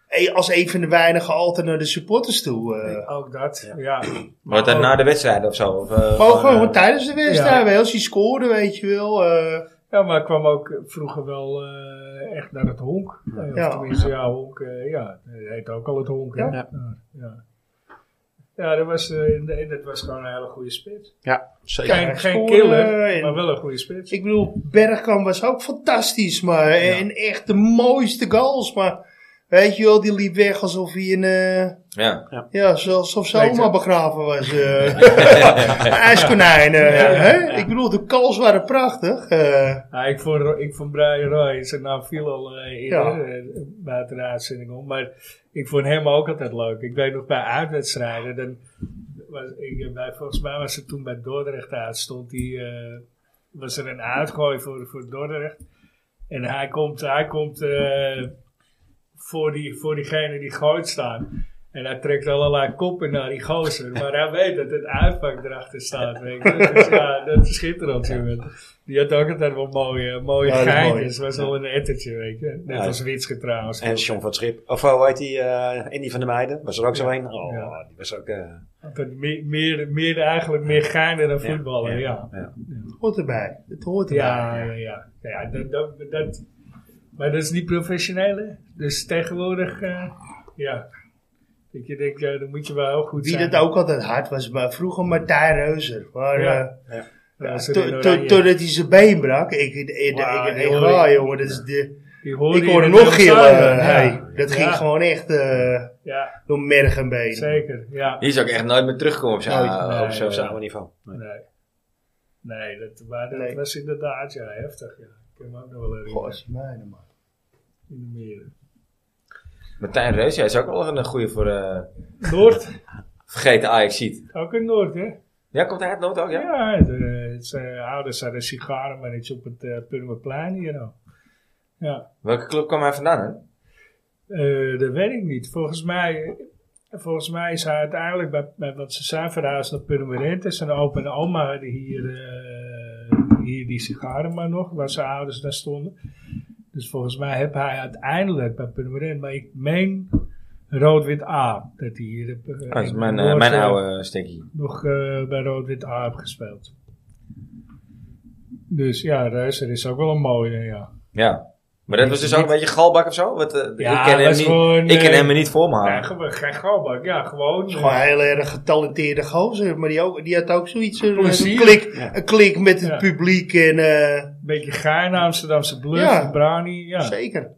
S3: eh, als een van de weinigen altijd naar de supporters toe. eh.
S2: Ook dat, ja.
S1: Wat dan
S2: ook-
S1: na de wedstrijd of zo? Of, eh,
S3: Maar ook
S1: gewoon,
S3: gewoon
S1: eh,
S3: tijdens de
S2: ja.
S3: wedstrijd, wel, als hij scoorde, weet je wel. eh,
S2: Ja, maar ik kwam ook vroeger wel eh, echt naar het honk. Eh, Of
S3: Ja.
S2: tenminste, ja, honk. eh, ja, het heet ook al het honk. hè?
S3: Ja.
S2: Ja. ja. Ja, dat was, eh, nee, dat was gewoon een hele goede spits.
S4: Ja, zeker.
S2: Geen, geen
S3: scoorde
S2: killer,
S3: en-
S2: maar wel een goede spits.
S3: ik bedoel, Bergkamp was ook fantastisch, maar en echt de mooiste goals, maar weet je wel, die liep weg alsof hij een, eh,
S1: Ja.
S3: ja, zo- alsof ze
S2: Beter.
S3: oma begraven was. eh [LAUGHS] ijskonijn, eh,
S2: Ja, ja,
S3: hè?
S2: ja.
S3: Ik bedoel, de calls waren prachtig. eh.
S2: Ja, ik, vond, Ro- ik vond Brian Roy, zijn naam viel al eh,
S3: Ja.
S2: eerder eh, buiten de uitzending om. Maar ik vond hem ook altijd leuk. Ik weet nog bij uitwedstrijden, dan was, ik, eh, bij, volgens mij was het toen bij Dordrecht uit, stond hij, eh, was er een uitgooi voor, voor Dordrecht. En hij komt, hij komt eh, voor, die, voor diegene die gooit staan. En hij trekt allerlei koppen naar die gozer. Maar hij weet dat het uitpak erachter staat. Weet je. Dus ja, dat is schitterend. jongen. Die had ook altijd wel mooie, mooie
S3: Ja, dat is mooi.
S2: geintjes. was wel een ettertje, weet je. Net
S4: Ja.
S2: als Witske trouwens.
S4: En John van het Schip. Of eh, hoe heet die? eh Andy van der Meijden. Was er ook zo een? Oh,
S2: Ja.
S4: die was ook... eh,
S2: Dat meer, meer, meer eigenlijk meer geinen dan voetballen, ja.
S4: ja.
S3: Het hoort erbij. Het hoort erbij.
S2: Ja, ja, ja. ja dat, dat, dat, maar dat is niet professioneel, hè? Dus tegenwoordig, eh, ja. Dat je denkt, ja, dan moet je wel heel goed
S3: Wie
S2: zijn.
S3: dat ook altijd hard was, maar vroeger Martijn Reuzer. Maar,
S2: Ja.
S3: eh,
S2: Ja, ze
S3: to-
S2: doen
S3: to-
S2: oranje.
S3: totdat hij zijn been brak, ik, ik, ik,
S2: Wauw,
S3: ik, ik-
S2: heel
S3: ah,
S2: leuk.
S3: jongen, dat is de,
S2: Die hoorde
S3: ik
S2: je
S3: hoorde
S2: in
S3: nog
S2: het
S3: gillen. eh,
S2: zuiden, ja.
S3: hey. dat ging
S2: Ja,
S3: gewoon echt eh,
S2: Ja,
S3: door merg en been.
S2: zeker. Ja.
S1: Die zou ik echt nooit meer terugkomen op zo'n
S3: Nooit,
S1: eh,
S2: Nou, nee.
S1: op zo'n-
S4: Op samen niveau. Nee.
S2: Nee, nee dat, maar dat
S3: Nee.
S2: was inderdaad ja, heftig. Ja. Ik kan me ook nog wel
S3: Goh,
S2: herinneren.
S3: is mij nou maar.
S2: In de meren.
S1: Martijn Reus, hij is ook wel een goede voor eh
S2: Noord,
S1: vergeten ajax ziet.
S2: ook in Noord, hè?
S1: Ja, komt hij uit Noord ook,
S3: Oh,
S1: ja?
S2: Ja, de, zijn ouders hadden sigarenmannetje op het eh Purmerplein hier nou. Ja,
S1: Welke club kwam hij vandaan, hè?
S2: eh, dat weet ik niet. Volgens mij, volgens mij is hij uiteindelijk, bij, bij wat ze zijn verhuisd naar Purmerend. En zijn opa en oma hadden hier, eh, hier die sigarenman nog, waar zijn ouders daar stonden. Dus volgens mij heb hij uiteindelijk bij Purmerend, maar ik meen rood-wit A. Dat hij hier eh,
S1: Dat is
S2: in
S1: mijn, eh,
S2: Noord,
S1: mijn
S2: eh,
S1: oude stinkie.
S2: nog eh, bij Rood-Wit A heb gespeeld. Dus ja, Reiser is ook wel een mooie, ja.
S1: Ja. Maar dat was dus ook een beetje galbak of zo? Want, eh,
S2: Ja,
S1: ik ken,
S2: dat
S1: hem
S2: is
S1: niet,
S2: gewoon,
S1: ik ken
S2: eh,
S1: hem er niet voor me
S2: ja
S1: halen.
S2: gewoon, geen galbak, ja, gewoon.
S3: Dat
S2: eh,
S3: is gewoon een heel erg getalenteerde gozer, maar die, ook, die had ook zoiets, een, een
S2: Plezier.
S3: klik,
S4: Ja.
S3: een klik met het
S2: Ja.
S3: publiek en eh,
S2: Een beetje gein, Amsterdamse bluff,
S3: Ja.
S2: brani, ja.
S3: zeker.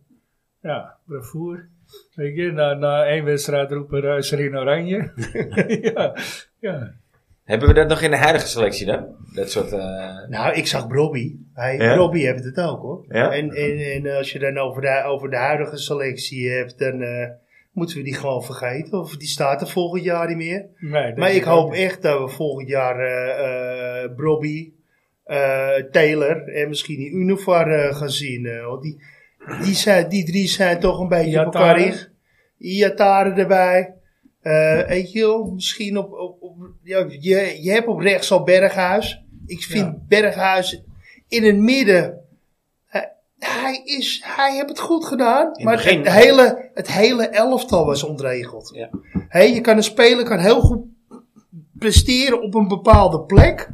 S2: Ja, bravoer. Weet je, na, na één wedstrijd roepen eh, Reiser in oranje.
S3: [LAUGHS]
S2: [LAUGHS] ja, ja.
S1: Hebben we dat nog in de huidige selectie dan? Dat soort... eh,
S3: Nou, ik zag Robbie. Hij,
S1: Ja?
S3: Robbie heeft het ook hoor.
S1: Ja?
S3: En, en, en als je dan over de, over de huidige selectie hebt, dan eh, moeten we die gewoon vergeten. Of die staat er volgend jaar niet meer.
S2: Nee, dat
S3: Maar
S2: is ook-
S3: ik hoop echt dat we volgend jaar eh eh Robbie, eh, Taylor en misschien die Univar eh, gaan zien. eh, want die, die, zijn, die drie zijn toch een beetje op elkaar
S2: Iataren.
S3: in. Iataren erbij. Eh weet je wel, misschien op... op, op- ja, je, je hebt op rechts al Berghuis. Ik vind
S2: Ja.
S3: Berghuis in het midden... Hij- Hij, is, hij heeft het goed gedaan,
S4: het
S3: maar
S4: begin-
S3: het, hele, het hele elftal was ontregeld.
S4: Ja.
S3: Hè, je kan een speler kan heel goed presteren op een bepaalde plek.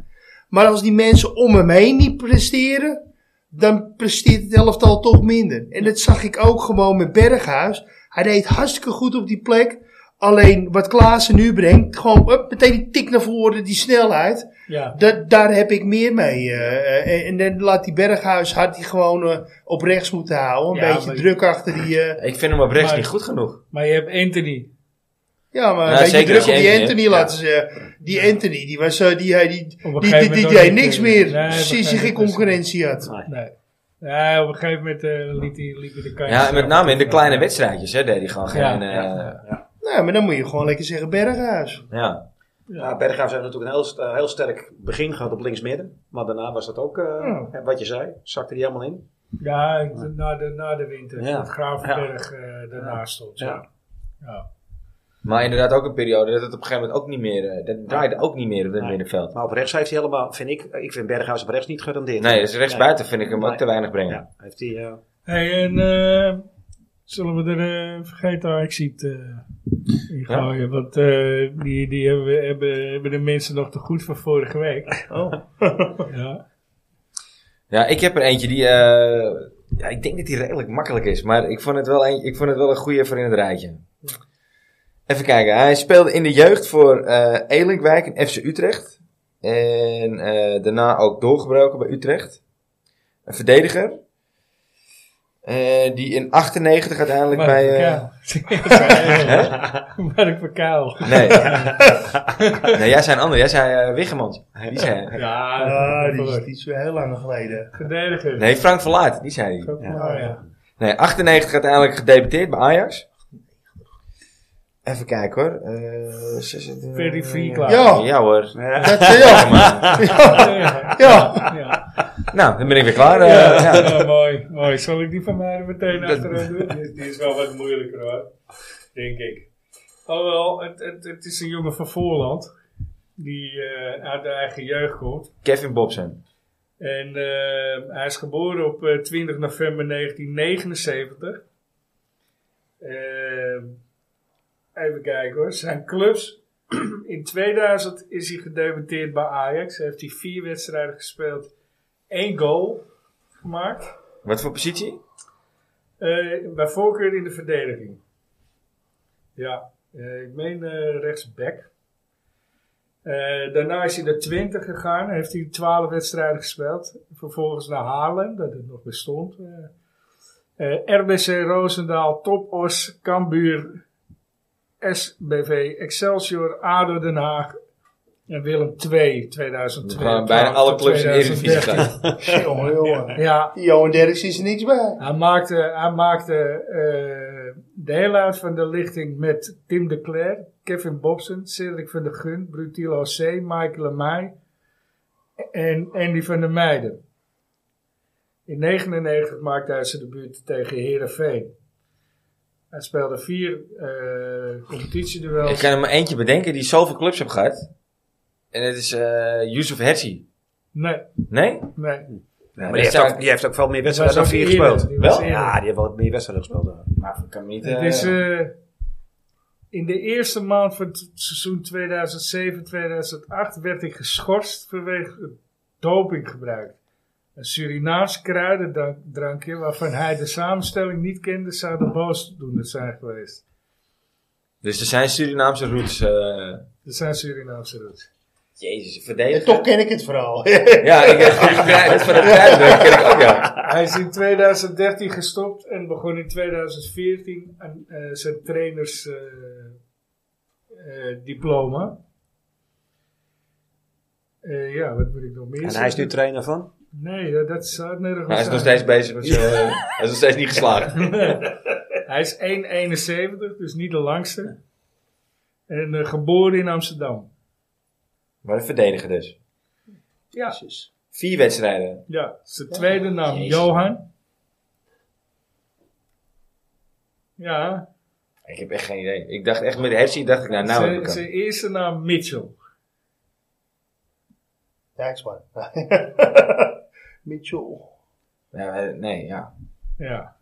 S3: Maar als die mensen om hem heen niet presteren, dan presteert het elftal toch minder. En dat zag ik ook gewoon met Berghuis. Hij deed hartstikke goed op die plek. Alleen wat Klaassen nu brengt, gewoon hup, meteen die tik naar voren, die snelheid.
S2: Ja,
S3: Dat, daar heb ik meer mee. eh, eh, en, dan laat die Berghuis, had hij gewoon eh, op rechts moeten houden. Een
S2: Ja,
S3: beetje
S2: maar-
S3: druk achter die... eh,
S1: ik vind hem op rechts
S2: Maar-
S1: niet goed genoeg.
S2: maar je hebt Anthony.
S3: Ja, maar
S1: Nou,
S3: een beetje
S1: zeker
S3: druk
S1: als je
S3: op die
S1: Anthony
S3: Anthony
S1: hebt.
S3: laten ze. Die Anthony, die was eh, die, hij- die,
S2: Op een gegeven
S3: die, die, die
S2: moment
S3: deed
S2: ook niet
S3: niks
S2: meer.
S3: meer
S2: Nee, op een
S3: sinds
S2: gegeven
S3: hij geen
S2: moment is-
S3: concurrentie had.
S4: Nee.
S2: Nee. Ja, op een gegeven moment eh, liet hij liet hij de kans.
S1: Ja, en met name in de kleine wedstrijdjes hè, deed hij gewoon geen...
S2: Ja,
S1: eh, ja.
S3: Nou, maar dan moet je gewoon lekker zeggen Berghuis.
S4: Ja, Berghuis heeft natuurlijk een heel, eh, heel sterk begin gehad op linksmidden. Maar daarna was dat ook, eh,
S2: Ja.
S4: wat je zei, zakte die helemaal in.
S2: Ja, ik- na de, na de winter.
S4: Ja.
S2: Dat Gravenberg eh, daarnaast stond. Ja.
S4: Ja.
S2: Ja.
S1: Maar inderdaad ook een periode dat het op een gegeven moment ook niet meer... eh, dat draaide ook niet meer op het
S4: Nee.
S1: middenveld.
S4: Maar op rechts heeft hij helemaal, vind ik, ik vind Berghuis op rechts niet gerendeerd.
S1: Nee, dus rechtsbuiten vind ik hem ook
S4: Nee.
S1: te weinig brengen.
S4: Ja, heeft hij, eh,
S2: Hey, en eh, zullen we er eh vergeten Ajaxiet eh in gooien? Want eh, die, die hebben, we- hebben, hebben de mensen nog te goed van vorige week.
S3: Oh.
S2: [LAUGHS] ja.
S1: Ja, ik heb er eentje die. eh, ja, ik denk dat die redelijk makkelijk is. Maar ik vond het wel een, ik vond het wel een goede voor in het rijtje. Even kijken. Hij speelde in de jeugd voor eh Elinkwijk en FC Utrecht. En eh, daarna ook doorgebroken bij Utrecht. Een verdediger. Eh, die in 98 uiteindelijk
S2: Mark
S1: bij. eh,
S2: [LAUGHS] Verkuil. Mark Verkuil.
S1: nee. nee, jij zei een ander. Jij zei eh Wiggemans. Die zei.
S2: Ja,
S3: Ah, die, is-
S2: die
S3: die is weer heel lang geleden.
S2: verdediger.
S1: Nee, Frank Verlaat. Die zei. hij.
S2: Ook
S4: Ja.
S2: maar, ja.
S1: Nee, 98 uiteindelijk gedebuteerd bij Ajax. Even kijken hoor. Eh, zes- eh,
S2: Very free klaar.
S3: Ja.
S1: Ja hoor.
S4: ja.
S3: Dat
S1: [LAUGHS]
S3: zei ja.
S2: Ja.
S3: Ja.
S2: Ja.
S1: Nou, dan ben ik weer klaar. eh,
S2: Ja.
S1: ja.
S2: Ja, mooi, mooi. Zal ik die van mij er meteen achteraan doen? Die, die is wel wat moeilijker hoor, denk ik. Alhoewel, het, het, het is een jongen van Voorland. Die eh, uit de eigen jeugd komt.
S1: Kevin Bobsen.
S2: En eh, hij is geboren op eh, 20 november 1979. Ehm, even kijken hoor. Zijn clubs. [CLEARS THROAT] In 2000 is hij gedebuteerd bij Ajax. Heeft hij vier wedstrijden gespeeld. één goal gemaakt.
S1: Wat voor positie?
S2: Eh, bij voorkeur in de verdediging. Ja, eh, ik meen eh rechtsback. Eh, daarna is hij naar 20 gegaan. Heeft hij 12 wedstrijden gespeeld. Vervolgens naar Haarlem, dat het nog bestond. Eh, eh, RBC Roosendaal, Topos, Cambuur, SBV, Excelsior, ADO Den Haag en Willem II 2002.
S1: We gaan bijna alle clubs in de Eredivisie gaan.
S2: Jongen, jongen. Ja,
S3: Johan Derks is er niks bij.
S2: hij maakte, hij maakte eh, deel uit van de lichting met Tim de Cler, Kevin Bobsen, Cedric van der Gun, Brutilo C, Michael Lemay en Andy van der Meijden. In 1999 maakte hij zijn debuut tegen Herenveen. Hij speelde vier eh competitieduels.
S1: Ik kan er maar eentje bedenken die zoveel clubs heeft gehad. En dat is eh Yusuf Hersi.
S2: Nee,
S1: Nee?
S2: nee.
S1: Ja,
S4: Maar die heeft,
S1: zou-
S4: ook, die heeft ook veel meer
S2: was
S4: wedstrijden dan
S2: ook
S4: vier
S2: eerder,
S4: gespeeld.
S2: die was
S1: Wel?
S2: eerder.
S4: Ja, die heeft wel meer wedstrijden gespeeld. dan.
S1: Maar ik kan niet... eh,
S2: Het is eh, in de eerste maand van het seizoen 2007-2008 werd hij geschorst vanwege dopinggebruik. Een Surinaams kruidendrankje waarvan hij de samenstelling niet kende, zou de boosdoener zijn geweest.
S1: Dus er zijn Surinaamse roots. eh,
S2: Dat zijn Surinaamse roots.
S1: Jezus,
S3: En
S1: verdedigen.
S3: toch ken ik het [LAUGHS] verhaal.
S1: Ja, ik heb het van het kruidwerk ken ik ook, ja.
S2: Hij is in 2013 gestopt en begon in 2014 aan eh, zijn trainersdiploma. diploma. Eh, ja, wat moet ik nog meer
S4: En hij is
S2: zeggen?
S4: nu trainer van?
S2: Nee, dat, dat zou het nergens
S1: Maar hij is
S2: zijn.
S1: nog steeds bezig met zijn... eh, hij is nog steeds niet geslaagd.
S2: Hij is 1,71, dus niet de langste. En eh, geboren in Amsterdam.
S1: Maar een verdediger dus.
S2: Ja,
S1: Vier wedstrijden.
S2: ja. zijn tweede naam
S1: Jezus.
S2: Johan. Ja,
S1: Ik heb echt geen idee. Ik dacht echt met Hersi, dacht ik, nou, nou heb ik
S2: zijn,
S1: hem.
S2: zijn eerste naam Mitchell.
S3: Dijksman. [LAUGHS] Mitchell.
S2: Oh.
S1: Ja, eh, nee, ja.
S2: Ja.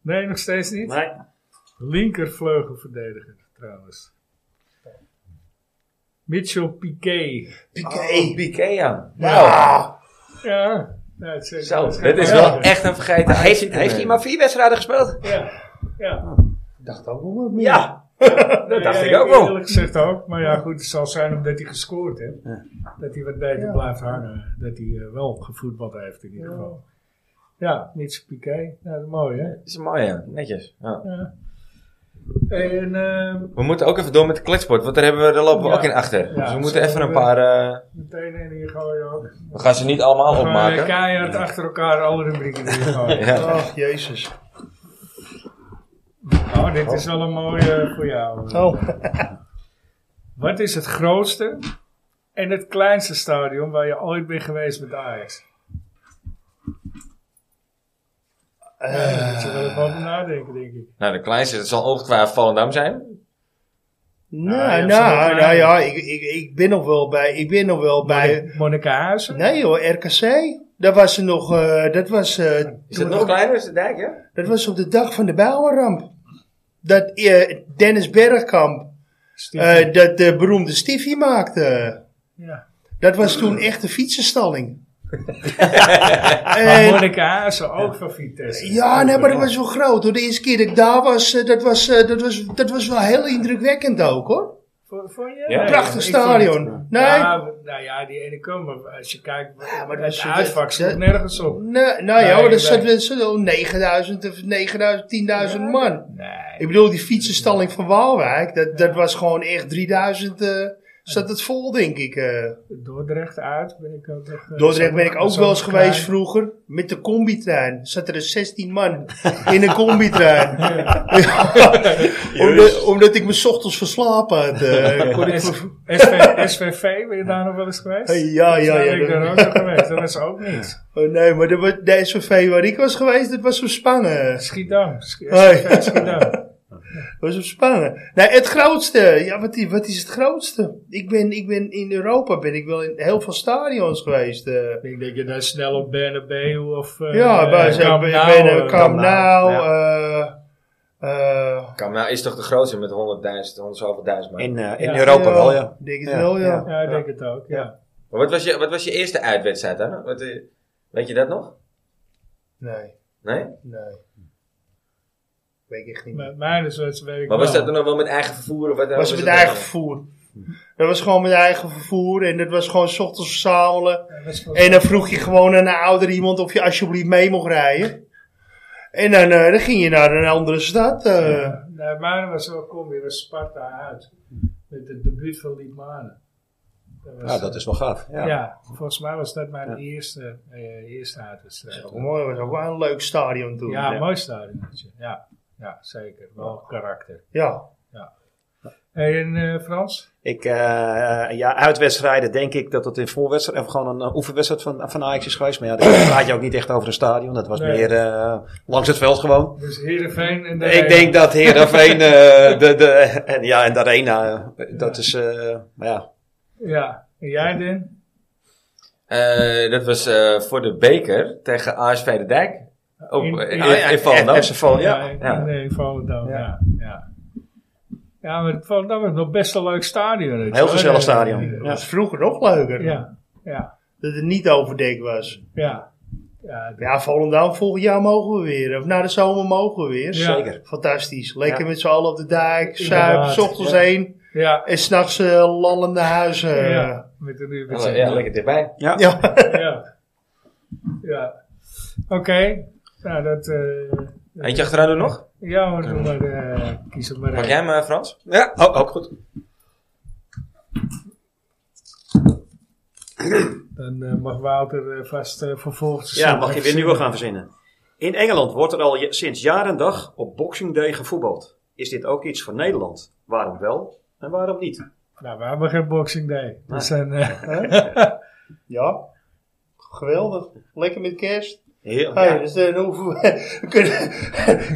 S2: Nee, nog steeds niet.
S4: Nee.
S2: Linkervleugelverdediger trouwens. Mitchell Piquet.
S1: Piqué. Piqué, ja. Nou,
S3: Ja.
S2: Ja, nou, het is
S1: zo.
S2: het is-
S1: Dat is
S2: ja.
S1: wel echt een vergeten.
S4: Heeft, heeft hij maar vier wedstrijden gespeeld?
S2: Ja, ja.
S3: Ik dacht ook nog wat meer.
S4: Ja.
S2: Dat
S4: dacht ik ook wel.
S2: Eerlijk gezegd ook. Maar ja, goed, het zal zijn omdat hij gescoord heeft. Dat hij wat beter blijft hangen. Dat hij eh, wel gevoetbald heeft in ieder geval. Ja, niets Piqué. Ja, dat is mooi hè.
S1: Dat is mooi, ja. Netjes. Ja.
S2: Ja. En ehm,
S1: We moeten ook even door met de kletsport, want daar, hebben we, daar lopen we
S2: Ja.
S1: ook in achter.
S2: Ja,
S1: dus we
S2: zo
S1: moeten even
S2: doen
S1: een
S2: we.
S1: paar... eh,
S2: meteen in hier gooien ook.
S1: we gaan ze niet allemaal
S2: Gewoon, eh,
S1: opmaken.
S2: Keihard achter elkaar alle rubrieken
S1: [LAUGHS]
S2: erin gooien.
S1: Ja.
S3: Ach, jezus.
S2: Oh, dit is wel een mooie eh, voor jou.
S3: [LAUGHS] Oh.
S2: Wat is het grootste en het kleinste stadion waar je ooit bent geweest met Ajax? Ja, daar moet je wel even over nadenken, denk ik.
S1: Nou, de kleinste, dat zal ongetwijfeld Volendam zijn.
S2: Ja, ja,
S3: Nou,
S2: zomaar.
S3: nou, nou ja, ik, ik, ik ben nog wel bij, ik ben nog wel bij,
S2: Monnikenhuizen?
S3: nee hoor, RKC. Dat was er nog, eh, dat was, eh,
S1: Is
S3: toen-
S1: dat nog kleiner? Is de dijk, hè?
S3: dat was op de dag van de Bouwenramp. Dat eh, Dennis Bergkamp,
S2: Stichting.
S3: eh, dat de beroemde Stiffy maakte.
S2: ja.
S3: Dat was toen echt een fietsenstalling.
S2: Maar
S3: En-
S2: Monnikenhuizen ook van Vitesse.
S3: eh, ja, nee, maar dat was wel groot hoor. De eerste keer dat ik daar was, eh, dat was, eh, dat was, dat was wel heel indrukwekkend ook hoor.
S2: Vond- vond je?
S1: Ja.
S2: Nee, ik
S3: Prachtig
S2: vond het-
S3: stadion. Nee,
S2: Ja, nou ja, die ene kan, maar als je kijkt,
S3: maar
S2: het
S3: dat is-
S2: uitvak
S3: dat-
S2: sloeg nergens op.
S3: Nee, nou
S2: Nee,
S3: ja, maar
S2: nee.
S3: dat zat wel zo 9000 of 9000, 10.000 man.
S2: Nee.
S3: Ik bedoel, die fietsenstalling van Waalwijk, dat, dat was gewoon echt 3000, eh, zat het vol, denk ik. eh.
S2: Dordrecht uit ben ik ook nog... eh,
S3: Dordrecht
S2: zo-
S3: ben ik ook
S2: zo
S3: wel eens
S2: klein.
S3: geweest vroeger, met de combitrein. Zat er 16 man in een combitrein.
S2: [LAUGHS]
S3: omdat, omdat ik me 's ochtends verslapen
S2: [LAUGHS]
S3: had. eh, kon ik
S2: S-
S3: voor-
S2: SV, SVV, ben je daar nog wel eens geweest?
S3: Ja, ja,
S2: Daar
S3: ja.
S2: ben ik daar
S3: dat-
S2: ook nog geweest, dat is ook niks.
S3: oh, nee, maar dat was- de SVV waar ik was geweest, dat was voor Spangen.
S2: Schiedam, Sch-
S3: Hoi.
S2: SVV Schiedam.
S3: was op Spanje. Nee, het grootste. Ja, wat, i- wat is het grootste? Ik ben, ik ben in Europa ben ik wel in heel veel stadions geweest. eh.
S2: [LAUGHS] Ik denk dat je daar snel op Bernabeu of eh,
S3: ja, bij zijn
S2: Camp
S3: ik
S2: Nou,
S3: ben
S2: eh,
S3: eh, Camp
S4: Nou,
S3: Nou.
S4: ja.
S3: eh, eh,
S1: Kam nou is toch de grootste met 100.000, 100 zoveel duizend man.
S4: In, eh, in
S2: Ja.
S4: Europa wel, ja.
S3: Denk het
S4: Ja,
S3: wel, ja.
S4: ja.
S2: Ja, ik denk het ook. Ja.
S1: Maar wat was, je, wat was je eerste uitwedstrijd dan? Wat, eh, weet je dat nog?
S3: Nee,
S1: Nee?
S3: nee. Weet ik echt niet. meer.
S2: Met mijn weet ik
S1: Maar was
S2: wel.
S1: dat dan nog wel met eigen vervoer? Of wat,
S3: was met eigen vervoer. Dat was gewoon met eigen vervoer en dat was gewoon 's ochtends verzamelen.
S2: Ja, dat is wel-
S3: En dan vroeg je gewoon aan een ouder iemand of je alsjeblieft mee mocht rijden. En dan, eh, dan ging je naar een andere stad. eh.
S2: Ja. Nee, Manen was wel kom weer was Sparta uit. Met het debuut van Liep Manen. was,
S1: Ah,
S4: Ja, dat is wel gaaf. Ja.
S2: ja. volgens mij was dat mijn eerste, eh, eerste
S3: Dat
S2: uitwedstrijd.
S3: was ook mooi, dat was ook wel een leuk stadion toen.
S2: Ja,
S3: ja.
S2: mooi stadion. Ja. ja, zeker. Wel karakter.
S3: Ja.
S2: Hey, en eh, Frans?
S4: Ik, eh, ja, uitwedstrijden denk ik dat het in voorwedstrijd of gewoon een eh, oefenwedstrijd van, van Ajax is geweest. Maar ja, daar praat je ook niet echt over een stadion. Dat was
S2: Nee.
S4: meer eh, langs het veld gewoon.
S2: Dus Heerenveen en de
S4: Ik denk dat [LAUGHS] Heerenveen eh de, de, en, ja, en de Arena, eh, dat
S2: Ja.
S4: is, eh, maar ja.
S2: Ja, en jij Den?
S1: Eh, dat was eh, voor de beker tegen ASV de Dijk. Op,
S2: In-
S1: in, in,
S2: in-
S4: oh
S2: Ah, ja,
S1: in Volendam.
S4: FC Volendam, ja.
S2: in-
S1: ja.
S2: Nee, eh, Volendam,
S4: Ja.
S2: ja. ja. Ja, maar Volendam is nog best een leuk stadion. weet je
S4: Heel
S2: wel.
S4: gezellig
S2: Eh,
S4: stadion.
S2: eh,
S3: Dat was vroeger nog leuker.
S2: Ja, ja,
S3: Dat het niet overdekt was.
S2: ja. Ja,
S3: Ja, Volendam volgend jaar mogen we weer. Of na de zomer mogen we weer.
S2: Ja.
S4: Zeker.
S3: Fantastisch. Lekker
S4: Ja.
S3: met z'n allen op de dijk. Zuip,
S2: Inderdaad,
S3: s ochtends
S2: ja.
S3: heen.
S2: ja,
S3: En s'nachts eh lallende huizen. eh.
S2: ja, met een uur.
S1: Ja, ja, lekker dichtbij.
S4: Ja.
S3: Ja. [LAUGHS]
S2: Ja. ja. Oké. Nou, dat... eh
S1: Eentje achteraan doen nog?
S2: ja, maar doe maar... eh kies het maar
S1: Pak
S2: uit.
S1: jij hem, eh, Frans?
S4: Ja, ook, ook goed.
S2: Dan eh, mag Wouter eh, vast eh vervolgens...
S4: Ja, mag je weer nieuwe gaan verzinnen. In Engeland wordt er al je- sinds jaar en dag op Boxing Day gevoetbald. Is dit ook iets voor Nederland? Waarom wel en waarom niet?
S2: Nou, we hebben geen Boxing Day. Dus dan...
S4: [LAUGHS]
S2: eh,
S3: Ja. Geweldig. Lekker met kerst.
S4: Heel,
S3: Hey,
S4: ja.
S3: dus eh, dan hoeven [LAUGHS] we... we
S4: [LAUGHS]
S3: kunnen,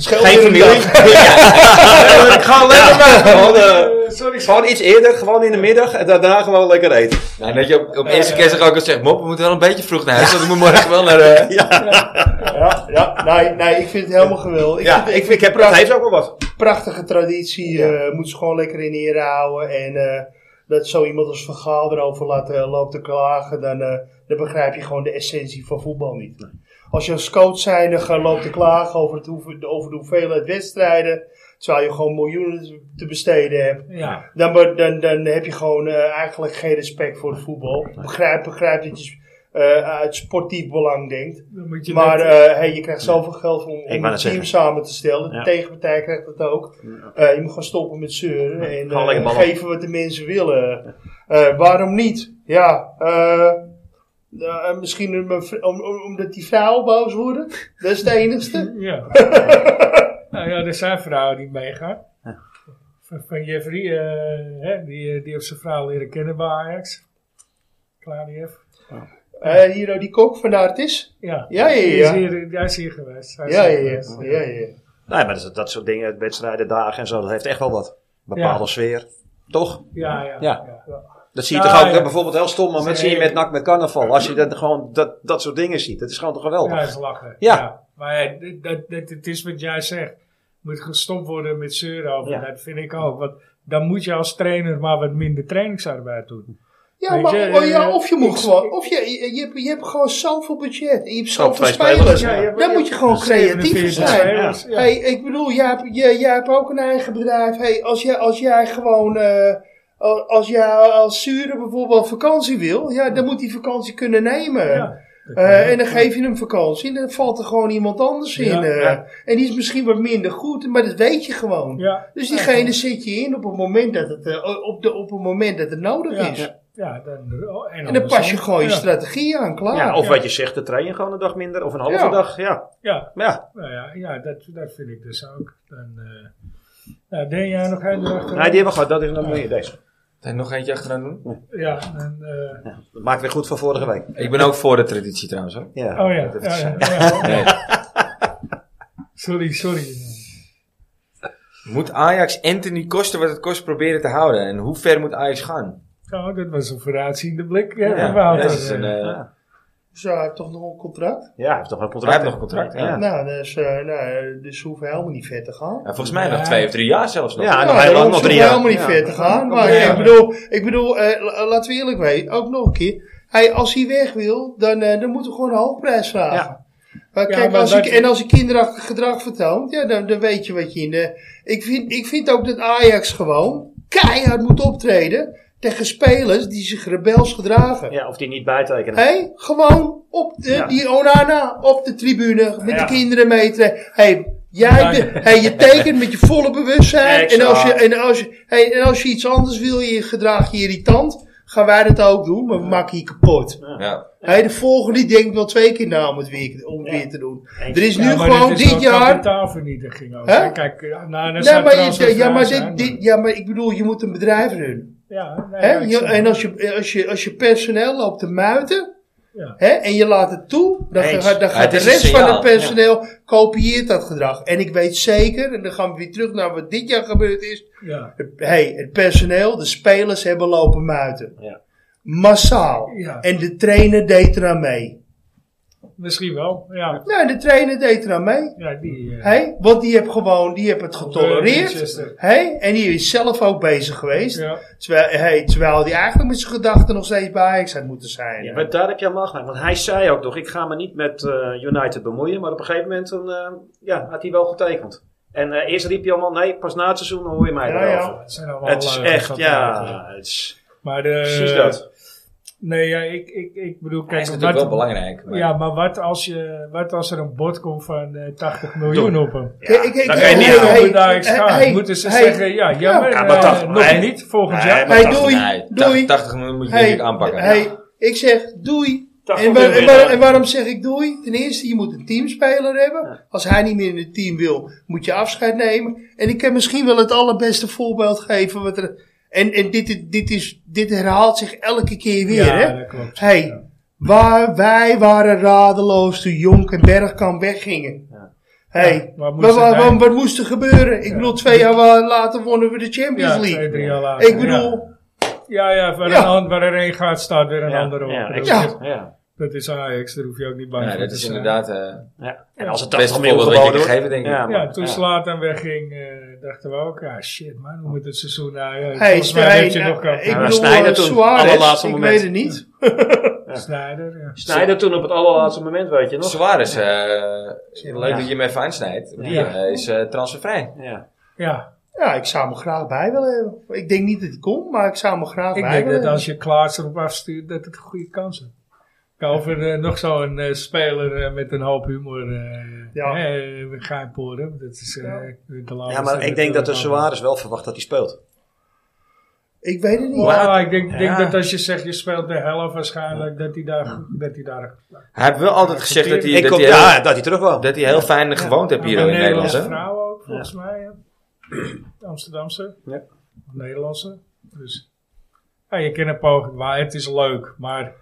S3: Scheelt
S4: Geen
S3: weer [LAUGHS] een
S4: familie.
S3: dag.
S4: Ik ga lekker Gewoon, eh,
S2: eh, sorry.
S4: gewoon iets eerder, gewoon in de middag en daarna gewoon lekker eten.
S1: Nou, en dat je op, op
S2: Ja,
S1: eerste
S2: ja.
S1: kerstdag ook al zegt, mop, we moeten wel een beetje vroeg naar huis, want ik moet morgen wel naar... eh,
S3: Ja, ja. Nee, nee, ik vind het helemaal geweldig. Ik
S4: Ja,
S3: vind-
S4: ik, ik heb, dat heeft ook wel wat.
S3: prachtige traditie. eh moet ze gewoon lekker in ere houden. En eh, dat zo iemand als Van Gaal erover laat, eh, loopt te klagen, dan, eh, dan begrijp je gewoon de essentie van voetbal niet. Als je als coach zijnde gaat loopt te klagen over, het hoeve- over de hoeveelheid wedstrijden, terwijl je gewoon miljoenen te besteden hebt,
S2: Ja,
S3: dan, be- dan, dan heb je gewoon eh, eigenlijk geen respect voor het voetbal. Begrijp, begrijp dat je eh, uit sportief belang denkt.
S2: dan moet je...
S3: Maar
S2: net-
S3: eh, hey, je krijgt zoveel geld om, om
S4: wou
S3: een
S4: net
S3: team
S4: zeggen.
S3: samen te stellen. De
S4: Ja.
S3: tegenpartij krijgt dat ook. Eh, je moet gewoon stoppen met zeuren en
S4: Gewoon
S3: eh,
S4: lekker ballen.
S3: geven wat de mensen willen. Eh, waarom niet? Ja, eh, eh, misschien om- om- om- omdat die vrouwen boos worden. Dat is het
S4: [LAUGHS]
S3: enigste. [LAUGHS]
S2: Ja. nou ja, er zijn vrouwen die meegaan. Van, van Jeffrey, eh, hè, die, eh, die heeft zijn vrouw leren kennen bij Ajax. Klaar,
S3: Eh hier, oh, die kok van de artis.
S2: Ja.
S3: Ja, ja,
S2: Die is
S3: ja.
S2: hier, hij is hier geweest. Hij is
S3: Ja,
S2: hier
S3: ja, ja.
S2: geweest.
S3: ja, ja.
S4: Nee, maar dat, dat soort dingen, wedstrijden, dagen en zo, dat heeft echt wel wat. Bepaalde sfeer. Toch?
S2: Ja, ja,
S4: Ja.
S2: ja.
S4: Dat zie je
S2: Ja,
S4: toch ook
S2: ja.
S4: hè, bijvoorbeeld heel stom, maar dat zie je met NAC met carnaval. Als je dat, gewoon dat, dat soort dingen ziet, dat is gewoon toch geweldig.
S2: Ja, is lachen.
S4: Ja.
S2: Maar ja, dit- dat, dat, het is wat jij zegt. Moet gestopt worden met zeuren over.
S4: Ja.
S2: Dat vind ik ook. Want dan moet je als trainer maar wat minder trainingsarbeid doen.
S3: Ja,
S2: Weet
S3: maar,
S2: je,
S3: oh ja,
S2: eh,
S3: of je moet
S2: ik-
S3: gewoon, of je, je, je, hebt, je hebt gewoon zoveel budget. En je hebt
S4: Zoveel
S3: zoveel
S4: spelers,
S3: spelers.
S4: ja.
S2: je hebt-
S3: Dan moet je gewoon creatief
S2: 47
S3: zijn.
S2: spelers, ja.
S3: Hey, ik bedoel, jij, hebt- jij, jij hebt ook een eigen bedrijf. Hey, als, jij, als jij gewoon, eh, al- als jij als Zure bijvoorbeeld vakantie wil, ja, dan moet die vakantie kunnen nemen.
S2: Ja.
S3: Eh, en dan geef je hem vakantie en dan valt er gewoon iemand anders in.
S2: Ja,
S3: eh.
S2: ja.
S3: En die is misschien wat minder goed, maar dat weet je gewoon.
S2: Ja.
S3: Dus diegene zit je in op het moment dat het, eh, op de, op het, moment dat het nodig
S2: Ja.
S3: is.
S2: Ja. Ja, dan, oh,
S3: En dan pas je
S2: andersom.
S3: gewoon je
S2: Ja.
S3: strategie aan, klaar.
S4: Ja,
S3: of
S4: of wat je zegt, de train gewoon een dag minder of een halve
S3: Ah, Ja.
S4: dag. Ja,
S2: Ja,
S4: maar ja.
S2: nou ja, ja dat, dat vind ik dus ook. Dan, eh nou, denk jij nog even erachter?
S4: Nee, die hebben we gehad, dat is nog meer deze.
S1: En nog eentje achteraan doen?
S2: Ja, en, eh,
S4: Ja, dat maakt weer goed van vorige week.
S1: Ik ben ook voor de traditie trouwens hoor.
S4: Ja.
S2: oh ja,
S1: dat
S2: ja,
S4: [LAUGHS]
S1: is-
S2: ja, ja.
S1: Nee.
S2: Sorry, sorry.
S1: Moet Ajax Anthony kosten wat het kost proberen te houden? En hoe ver moet Ajax gaan?
S2: Nou, dat was een vooruitziende blik. Ja,
S1: Ja,
S2: van
S1: dat
S2: Wouter.
S1: is een, eh,
S4: Ja.
S3: Dus hij heeft toch nog een contract?
S4: Ja, hij heeft toch een
S1: hij
S4: contract.
S1: heeft nog een contract. Ja.
S4: Ja.
S3: Nou, dus, eh nou, dus hoeft hij helemaal niet ver te gaan.
S1: Ja, volgens mij
S2: Ja.
S1: nog twee of drie jaar zelfs nog.
S4: Ja, en
S3: Ja,
S4: nog heel lang,
S3: daarom
S4: nog
S3: hoeft
S4: drie
S3: hij
S4: jaar.
S3: helemaal niet
S4: Ja.
S3: ver te gaan. Maar
S1: Ja.
S3: ik bedoel, ik bedoel eh, la- laten we eerlijk zijn, ook nog een keer. Hij, als hij weg wil, dan, eh, dan moeten we gewoon een hoofdprijs vragen.
S4: Ja.
S3: Maar
S2: Ja,
S3: kijk,
S2: maar
S3: als
S2: dat-
S3: ik, en als hij kinderachtig gedrag vertoont, ja, dan, dan weet je wat je in de... Ik vind, ik vind ook dat Ajax gewoon keihard moet optreden tegen spelers die zich rebels gedragen.
S4: Ja, of die niet bijtekenen.
S3: Hé, gewoon op de,
S4: Ja.
S3: die Onana op de tribune met
S2: Ja.
S3: de kinderen meetreden. Hé, jij
S2: Ja.
S3: be- hey, je tekent met je volle bewustzijn. En
S4: Exact.
S3: als, je, en, als je, hey, en als je iets anders wil, je gedraag je irritant. Gaan wij dat ook doen, maar we maken je kapot.
S1: Ja.
S3: Hé, de volgende die denkt wel twee keer na om het weer, om het weer te doen.
S4: Eens.
S3: Er is nu
S2: Ja, maar
S3: gewoon
S2: dit,
S3: dit,
S2: is wel
S3: jaar...
S2: kapitaalvernietiging ook.
S3: Hè?
S2: hè. Kijk, ja, nou, dat
S3: Nee,
S2: zou
S3: maar,
S2: trouwens
S3: je-
S2: een
S3: ja,
S2: vraag
S3: maar,
S2: zijn,
S3: dit, dit, ja, maar ik bedoel, je moet een bedrijf runnen.
S2: Ja, nee,
S3: Hè?
S2: ja, ik
S3: Je-
S2: snap
S3: en
S2: het.
S3: als je, als, je, als je personeel loopt te muiten
S2: Ja.
S3: hè, en je laat het toe, dan,
S4: Eens.
S3: gaat- dan
S1: Ja,
S3: gaat
S1: het
S3: de
S1: is een
S3: rest van
S1: signaal,
S3: het personeel kopieert dat gedrag. En ik weet zeker, en dan gaan we weer terug naar wat dit jaar gebeurd is.
S2: Ja.
S3: Hey, het personeel, de spelers hebben lopen muiten.
S4: Ja.
S3: Massaal.
S2: Ja.
S3: En de trainer deed eraan mee.
S2: Misschien wel, ja.
S3: Nou, de trainer deed eraan mee.
S2: ja die, eh
S3: hè, want die heeft gewoon, die heeft het getolereerd.
S2: Manchester.
S3: hè, en die is zelf ook bezig geweest.
S2: Ja.
S3: Terwijl, hey, terwijl die eigenlijk met zijn gedachten nog steeds bij Ajax had moeten zijn.
S4: Ja, maar daar heb je hem gelijk. Want hij zei ook nog, ik ga me niet met eh, United bemoeien. Maar op een gegeven moment dan, eh, ja, had hij wel getekend. En eh, eerst riep hij allemaal, nee, pas na het seizoen dan hoor je mij
S3: Ja,
S4: erover.
S3: ja.
S2: Het zijn allemaal
S4: Het is
S2: leugens
S4: echt,
S2: dat
S4: ja,
S2: eigenlijk.
S4: het is
S2: Maar de,
S4: precies dat.
S2: Nee, ja, ik, ik, ik bedoel,
S1: Hij
S2: kijk,
S1: is natuurlijk wel
S2: wat,
S1: belangrijk. maar-
S2: ja, maar wat als, je, wat als er een bod komt van eh 80 miljoen op hem?
S3: Ja, ik- ik-
S4: dan kan je
S3: ik-
S4: niet
S3: hey,
S4: aan.
S3: hey,
S2: Hey, daar ik schaam.
S3: hey,
S2: Moeten ze
S3: hey,
S2: zeggen, ja, jammer,
S3: ja,
S2: ja,
S4: maar dat-
S2: eh, nog
S4: nee.
S2: niet, volgend
S4: Nee,
S2: jaar.
S4: maar
S3: Hey,
S4: dat-
S3: doei,
S1: Nee, ta-
S3: doei.
S1: 80 miljoen moet je
S3: Hey,
S1: natuurlijk aanpakken.
S3: hey, ik zeg doei.
S4: Dag,
S3: En, waar-
S4: goed,
S3: en, waar-
S4: Willem.
S3: en waarom zeg ik doei? Ten eerste, je moet een teamspeler hebben. Als hij niet meer in het team wil, moet je afscheid nemen. En ik kan misschien wel het allerbeste voorbeeld geven. Wat er, en en dit, is- dit, is, dit herhaalt zich elke keer weer.
S2: Ja,
S3: hè?
S2: dat klopt.
S3: Hey,
S2: Ja.
S3: waar, wij waren radeloos toen Jonk en Bergkamp weggingen.
S4: Ja.
S3: Hey,
S2: Ja, wat
S3: wa- wa- wa-
S2: moest er
S3: wat,
S2: zijn?
S3: moest er gebeuren? Ik bedoel, twee jaar wa- later wonnen we de Champions
S2: Ja, twee,
S3: League.
S2: drie jaar later.
S3: Ik bedoel,
S2: Ja, ja, ja, waar,
S3: Ja.
S2: Een, hand- waar er een gaat, staat weer een
S4: Ja,
S2: ander op.
S4: ja,
S2: Ik bedoel,
S4: exact, ja.
S2: Dat is Ajax, daar hoef je ook niet bang
S1: Ja,
S2: voor
S1: dat
S2: te
S1: is
S2: zijn.
S1: inderdaad eh
S4: Ja. En als het
S1: Het beste
S4: 80 miljoen
S1: voorbeeld
S4: geboden
S1: dat je
S4: wordt.
S1: gegeven, denk ik.
S4: Ja,
S2: Ja,
S4: maar-
S2: toen slaat en wegging, eh, dachten we ook, ah shit man, hoe moet het seizoen nou? Ja,
S3: Hij
S2: volgens
S3: is
S2: mij heb je
S3: hij-
S2: nog
S3: ik
S2: een
S4: maar
S3: bedoel,
S4: Sneijder
S3: eh,
S4: toen,
S3: Suarez,
S4: allerlaatste
S3: ik
S4: moment.
S3: weet het niet.
S2: Snijder. Ja.
S4: Snijder toen op het allerlaatste moment, weet je nog?
S1: Suarez, eh, leuk
S4: Ja.
S1: dat je hem even aansnijdt. Die
S4: Ja.
S1: eh, is eh, transfervrij.
S4: Ja.
S2: ja,
S3: Ja, ik zou hem graag bij willen hebben. Ik denk niet dat hij komt, maar ik zou hem graag
S2: ik
S3: bij
S2: denk
S3: willen
S2: dat als je Klaas erop afstuurt, dat het een goede kans is. Over eh, nog zo'n eh, speler eh, met een hoop humor. eh
S3: Ja.
S2: ja. Gein Poren, dat is eh,
S3: Ja.
S2: de laatste. eh, nou,
S4: ja, maar ik denk dat de Suarez wel verwacht dat hij speelt.
S3: Ik weet het niet.
S2: Ja, Nou, ik denk, denk
S4: Ja.
S2: dat als je zegt, je speelt de helft waarschijnlijk, dat hij daar... Dat hij daar
S1: Hij heeft wel altijd gezegd dat hij,
S4: Ik
S1: dat
S4: hoop
S1: hij, heel,
S4: ja, dat hij terug wil.
S1: dat hij heel fijn gewoond heeft hier
S2: Ja, maar
S1: in Nederland.
S2: Nederlandse
S1: hè?
S2: vrouw ook, volgens mij. hè. [CLEARS THROAT] Amsterdamse.
S4: Ja.
S2: Nederlandse. Dus... Ja, je kent een poging, maar het is leuk. Maar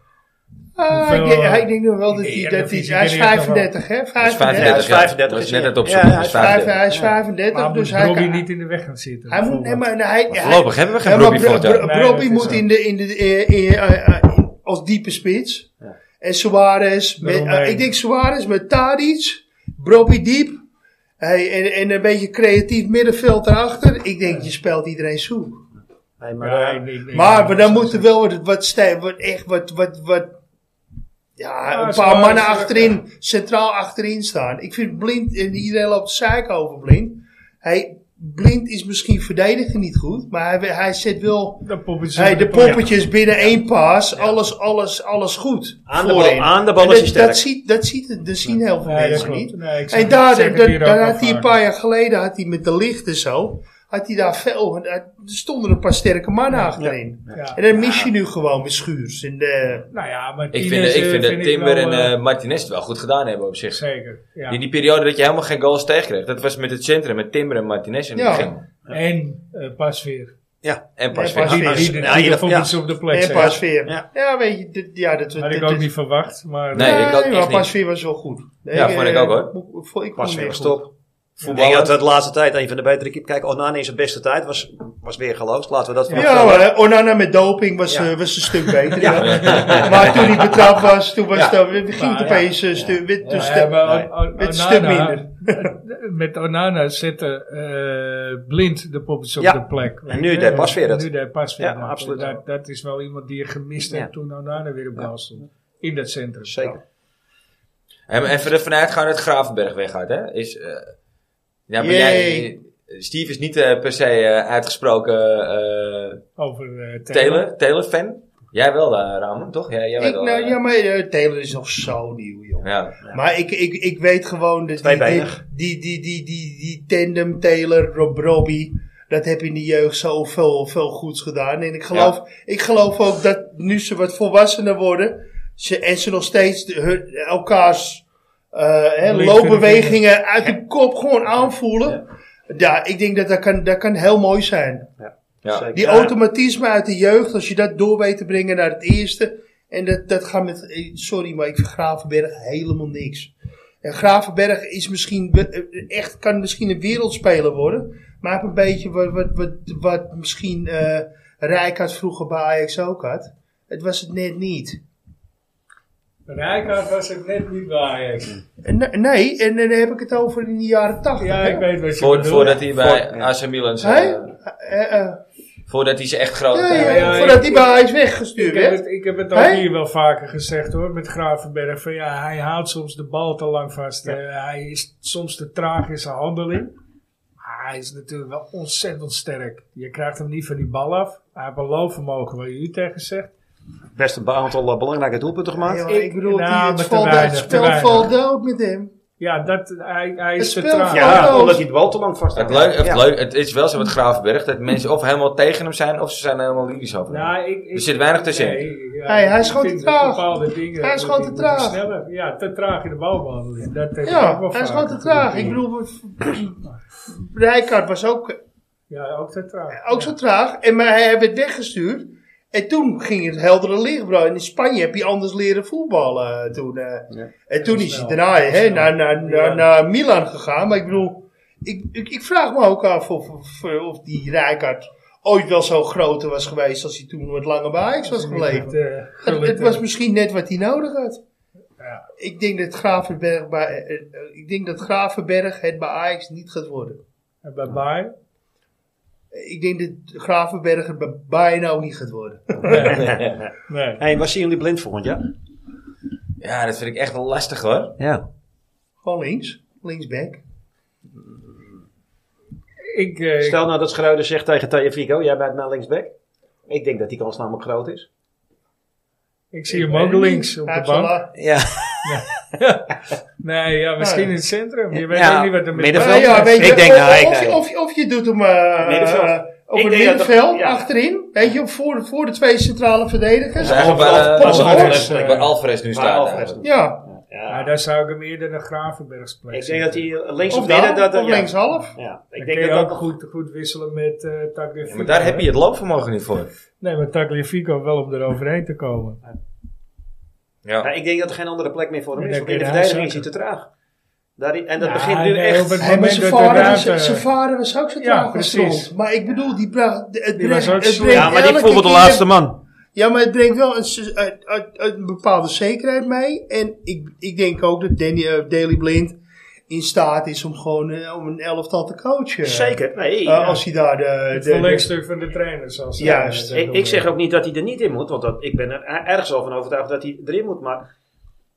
S3: Ah, ik,
S2: hoeveel,
S3: denk,
S2: eh,
S3: ik denk nog wel dat hij...
S2: Ja,
S3: Dat
S2: dat
S3: hij,
S2: is-
S3: hij is
S2: ik denk dat wel.
S3: 35, hè?
S1: Hij is
S3: 35.
S4: hij is 35,
S1: Dat is net
S4: ja.
S1: het op
S4: Ja,
S1: zijn.
S4: hij
S1: hij is
S4: is
S3: Vijf-
S1: 35.
S3: hij is 35,
S2: maar
S3: dus
S2: moet
S3: hij
S2: Robbie
S3: kan...
S2: niet in de weg gaan zitten.
S3: Hij moet... Nee, maar hij,
S1: Maar
S3: hij-
S1: voorlopig hebben we geen
S3: Ja, maar
S1: Robbie
S3: Bro-
S1: volgend jaar.
S3: Bro-
S2: Nee, dat is
S3: Robbie moet
S2: zo.
S3: in de, in de, eh, eh, eh, eh, in- als diepe spits.
S4: Ja.
S3: En Suarez. Met,
S2: Daarom
S3: eh,
S2: mee.
S3: ik denk Suarez met Tadic. Robbie diep. Hey, en, en een beetje creatief middenveld erachter. Ik denk, je speelt iedereen zoek.
S4: Nee, maar,
S2: Ja,
S4: eh,
S2: ik denk- ik
S3: Maar,
S2: denk
S3: maar
S2: dat
S3: dan
S2: zo
S3: moet er
S2: zijn.
S3: wel wat, wat, stij- wat, echt wat, wat, wat ja,
S2: Ja,
S3: een paar
S2: Suarez,
S3: mannen
S2: eh,
S3: achterin, centraal achterin staan. Ik vind Blind, en iedereen loopt de zeik over Blind. Hij, Blind is misschien verdediger niet goed, maar hij, hij zet wel
S2: De poppetjes.
S3: hij, de poppetjes binnen één paas, alles, alles, alles goed.
S4: Aan de
S3: voorin.
S4: bal- aan de bal
S3: En
S4: is
S3: dat,
S4: hij sterk.
S3: dat, ziet, dat, ziet, dat zien heel veel
S2: Nee, dat
S3: mensen
S2: klopt.
S3: niet.
S2: Nee, ik zeg-
S3: En
S2: ik
S3: daar,
S2: zeg het
S3: dat-
S2: hier ook
S3: daar
S2: al
S3: had hij een
S2: vaak.
S3: paar jaar geleden, had hij met de lichten zo, had hij daar veel, er stonden een paar sterke mannen achterin.
S2: Ja.
S3: En dan mis je nu gewoon weer schuurs. En de,
S2: Nou ja, maar
S1: Ik vind,
S2: Tines,
S1: ik
S2: eh,
S1: vind dat
S2: ik
S1: Timber en
S2: wel, eh,
S1: eh, Martinez het wel goed gedaan hebben op zich.
S2: Zeker, ja.
S1: In die periode dat je helemaal geen goals tegenkreeg. Dat was met het centrum, met Timber en Martinez in het
S3: Ja.
S1: begin.
S2: En eh Pasveer.
S4: ja.
S1: En pas
S3: Ja,
S1: weer.
S3: pas
S1: [LAUGHS]
S2: Die,
S3: Pasveer.
S2: die, die,
S4: Ja,
S2: die
S4: ja.
S2: poppetjes op de plek
S3: en
S2: zetten.
S3: pas weer. Ja.
S4: Ja.
S3: weet je, dit- ja, dat
S2: Had ik
S3: dat-
S2: ook niet verwacht. Maar,
S1: Nee, ik ook echt
S3: maar
S1: niet.
S3: pas weer was wel goed.
S1: Ja, vond ik
S3: eh,
S1: ook, hoor.
S3: mo- vo- Ik vond
S4: Pas
S3: hem
S4: weer
S3: echt
S4: stop.
S1: voetballen.
S4: had de laatste tijd een van de betere keepers. Kijk, Onana in zijn beste tijd was, was weer geloofd. Laten we dat
S3: Ja,
S4: voorop stellen.
S3: maar eh, Onana met doping was,
S4: Ja.
S3: eh, was een stuk beter. ja.
S1: [LAUGHS]
S3: [LAUGHS] Maar toen hij betrapt was, toen was
S4: Ja.
S3: dat, het ging het
S2: Maar,
S3: opeens een stu- weer-
S2: Ja,
S3: een stuk-
S2: maar On-
S4: Nee.
S2: On-
S3: Met een
S2: Onana-
S3: stuk minder.
S2: [LAUGHS] met Onana zette eh, blind de poppetjes op
S4: Ja.
S2: de plek.
S4: En nu deed Pasveer het.
S2: Nu deed Pasveer
S4: Ja,
S2: dat.
S4: absoluut.
S2: Dat, dat is wel iemand die je gemist hebt
S4: Ja.
S2: toen Onana weer op de bal stond. In dat centrum.
S4: Zeker.
S1: En even ervan uitgaan dat Gravenberg weggaat, hè? Is, eh, ja, maar
S3: Yay.
S1: jij, Steve is niet eh, per se eh, uitgesproken eh
S2: Over eh
S1: Taylor, Taylor-fan. Jij wel, eh Ramon, toch? Ja, jij
S3: Ik,
S1: weet wel.
S3: nou,
S1: eh,
S3: ja, maar eh, Taylor is nog zo nieuw, joh.
S1: ja.
S3: Maar ik, ik, ik weet gewoon dat die, die,
S4: Tweebeinig.
S3: die, die, die, die, die tandem Taylor, Rob Robbie, dat heb in de jeugd zoveel veel goeds gedaan. En ik geloof, ik geloof ook dat nu ze wat volwassener worden ze, en ze nog steeds de- hun- elkaars eh, hè,
S2: Liefde
S3: loopbewegingen uit de kop gewoon aanvoelen. Ja. ik denk dat dat kan, dat kan heel mooi zijn.
S1: Ja.
S4: Zeker.
S3: Die
S4: Ja.
S3: automatisme uit de jeugd, als je dat door weet te brengen naar het eerste. En dat, dat gaat met, eh, sorry, maar ik vind Gravenberg helemaal niks. En Gravenberg is misschien, be- eh, echt, kan misschien een wereldspeler worden. Maar hij heeft een beetje wat, wat, wat, wat misschien eh Rijkaard vroeger bij Ajax ook had. Het was het net niet.
S2: Rijkaard was het net niet bij Ajax.
S3: En ne- Nee, en dan heb ik het over in de jaren tachtig.
S2: Ja, ik weet wat je
S1: Voor,
S2: bedoelt.
S1: voordat hij bij
S4: Voor- ja.
S1: AC Milan
S3: Hè?
S1: zijn, eh,
S3: Eh, eh,
S1: Voordat hij ze echt groot...
S3: ja, ja,
S1: eh,
S2: ja,
S3: voordat
S2: ik-
S3: hij bij Ajax
S2: Ik
S3: weggestuurd
S2: heb,
S3: werd.
S2: het, ik heb het ook
S3: Hè?
S2: hier wel vaker gezegd hoor, met Gravenberg. Van, ja, hij houdt soms de bal te lang vast. Eh, hij is soms te traag in zijn handeling. Maar hij is natuurlijk wel ontzettend sterk. Je krijgt hem niet van die bal af. Hij heeft een loopvermogen, wat je u tegen zegt.
S4: Best een aantal eh, belangrijke doelpunten gemaakt.
S3: Ja,
S2: ik-
S3: ik bedoel,
S2: nou,
S3: die-
S2: maar
S3: het
S2: te
S3: valt-
S2: weinig,
S3: het
S2: te
S3: spel
S2: weinig.
S3: valt dood met hem.
S2: Ja, dat, hij, hij is te
S3: Het spel
S2: traag.
S3: van-
S4: Ja,
S3: Ja,
S4: omdat hij de bal te lang vast
S1: Het,
S4: had.
S1: leuk, het,
S4: Ja.
S1: leuk, het is wel zo met Gravenberg dat mensen of helemaal tegen hem zijn of ze zijn er helemaal lyrisch over. hem.
S2: Nou, ik, ik-
S1: Er zit weinig tussenin.
S2: Nee, ja,
S3: Hey, hij is
S2: ik
S3: gewoon
S2: vind
S3: te traag.
S2: bepaalde dingen
S3: Hij is gewoon
S2: moet-
S3: te
S2: moet
S3: traag.
S2: sneller. Ja, te traag in de balbehandeling. Dat heb ik ook
S3: Ja,
S2: wel
S3: hij is
S2: vaker
S3: gewoon te traag.
S2: gezien.
S3: Ik bedoel, [CLEARS THROAT] Rijkaard was ook,
S2: Ja, ook te traag.
S3: ook zo traag. En, maar hij werd weggestuurd. En toen ging het heldere licht branden. In Spanje heb je anders leren voetballen eh, toen. eh.
S4: Ja.
S3: En toen is hij
S2: Snel.
S3: daarna hè,
S2: Snel.
S3: naar, naar, naar,
S2: Milan.
S3: naar Milan gegaan. Maar ik bedoel, ik, ik, ik vraag me ook af of, of, of die Rijkaard ooit wel zo groot was geweest als hij toen wat langer bij Ajax was gebleven.
S2: eh,
S3: Het, het was misschien net wat hij nodig had.
S2: Ja.
S3: Ik denk dat Gravenberg, bij, eh, eh, ik denk dat Gravenberg het bij Ajax niet gaat worden.
S2: En bij Bayern?
S3: Ik denk dat Gravenberg het bij Bayern ook niet gaat worden.
S1: [LAUGHS]
S2: Nee.
S4: Hey, waar zien jullie blind volgend jaar?
S1: Ja, dat vind ik echt wel lastig hoor.
S4: Ja.
S3: Gewoon links. Linksback.
S2: Ik, eh,
S4: Stel nou dat Schreuder zegt tegen Tajafico, jij bent mijn linksback. Ik denk dat die kans namelijk groot is.
S2: ik zie hem ook links op de bank.
S3: bal.
S4: Ja.
S2: Nee, ja, misschien
S3: Nee.
S2: in het centrum. Je weet
S4: Ja,
S2: ook niet wat er met
S4: middenveld.
S2: Bayern
S3: Ah, ja,
S2: is.
S3: weet je,
S4: Ik denk,
S3: of,
S4: nou, ik-
S3: of, je- of, je- of je doet hem eh
S4: Middenveld.
S3: eh, op
S4: Ik
S3: het
S4: denk dat dat-
S3: middenveld,
S4: ja.
S3: achterin. Weet je, voor, voor de twee centrale verdedigers.
S1: Dus eigenlijk
S4: Alvarez-
S1: waar, eh,
S3: Alvarez-
S1: waar
S3: Alvarez,
S1: Alvarez-
S2: eh,
S1: waar Alvarez nu
S4: waar
S1: staat.
S4: Alvarez
S1: eigenlijk.
S3: Ja,
S2: Maar daar zou ik hem eerder naar Gravenberg
S4: Ik
S2: spelen.
S4: denk dat hij eh, links
S3: of
S4: of midden...
S3: daar,
S4: Dat,
S3: of
S4: ja.
S3: linkshalf.
S4: Ja, ik
S2: Ik
S4: denk
S2: denk
S4: dat
S2: ook
S4: dat...
S2: goed, goed wisselen met eh Tagliafico.
S1: Ja, maar daar heb je het loopvermogen niet voor.
S2: Nee, maar Tagliafico wel om er overheen te komen.
S4: Ja,
S1: Ja.
S4: ik denk dat er geen andere plek meer voor hem
S2: Ja,
S4: is.
S2: dat
S4: Want in de
S2: kun je
S4: verdediging is hij
S2: zeker.
S4: te traag. Daarin, en dat
S2: Ja,
S4: begint nu
S2: nee,
S4: echt...
S2: op het
S3: Hey, maar
S2: moment
S3: zijn
S2: dat de
S3: vader, was,
S2: ruimte-
S3: zijn vader was ook zo
S2: Ja,
S3: traag als
S2: precies.
S3: stront. Maar ik bedoel, die bra- de- het
S2: Die
S3: brengt-
S2: was ook
S3: het
S2: zo-
S3: brengt
S2: Ja,
S3: elke keer-
S4: man.
S3: Ja, maar het brengt wel een, s- uit- uit- uit een bepaalde zekerheid mee. En ik, ik denk ook dat Danny, eh, Daley Blind in staat is om gewoon eh, om een elftal te coachen.
S4: Zeker, nee.
S3: Eh, Als hij daar de...
S2: Het
S3: de-
S2: verlengstuk van de trainer, zoals ze
S3: Juist.
S2: dat
S4: Ik,
S2: noemen.
S4: ik zeg ook niet dat hij er niet in moet, want dat, ik ben er ergens al van overtuigd dat hij erin moet. Maar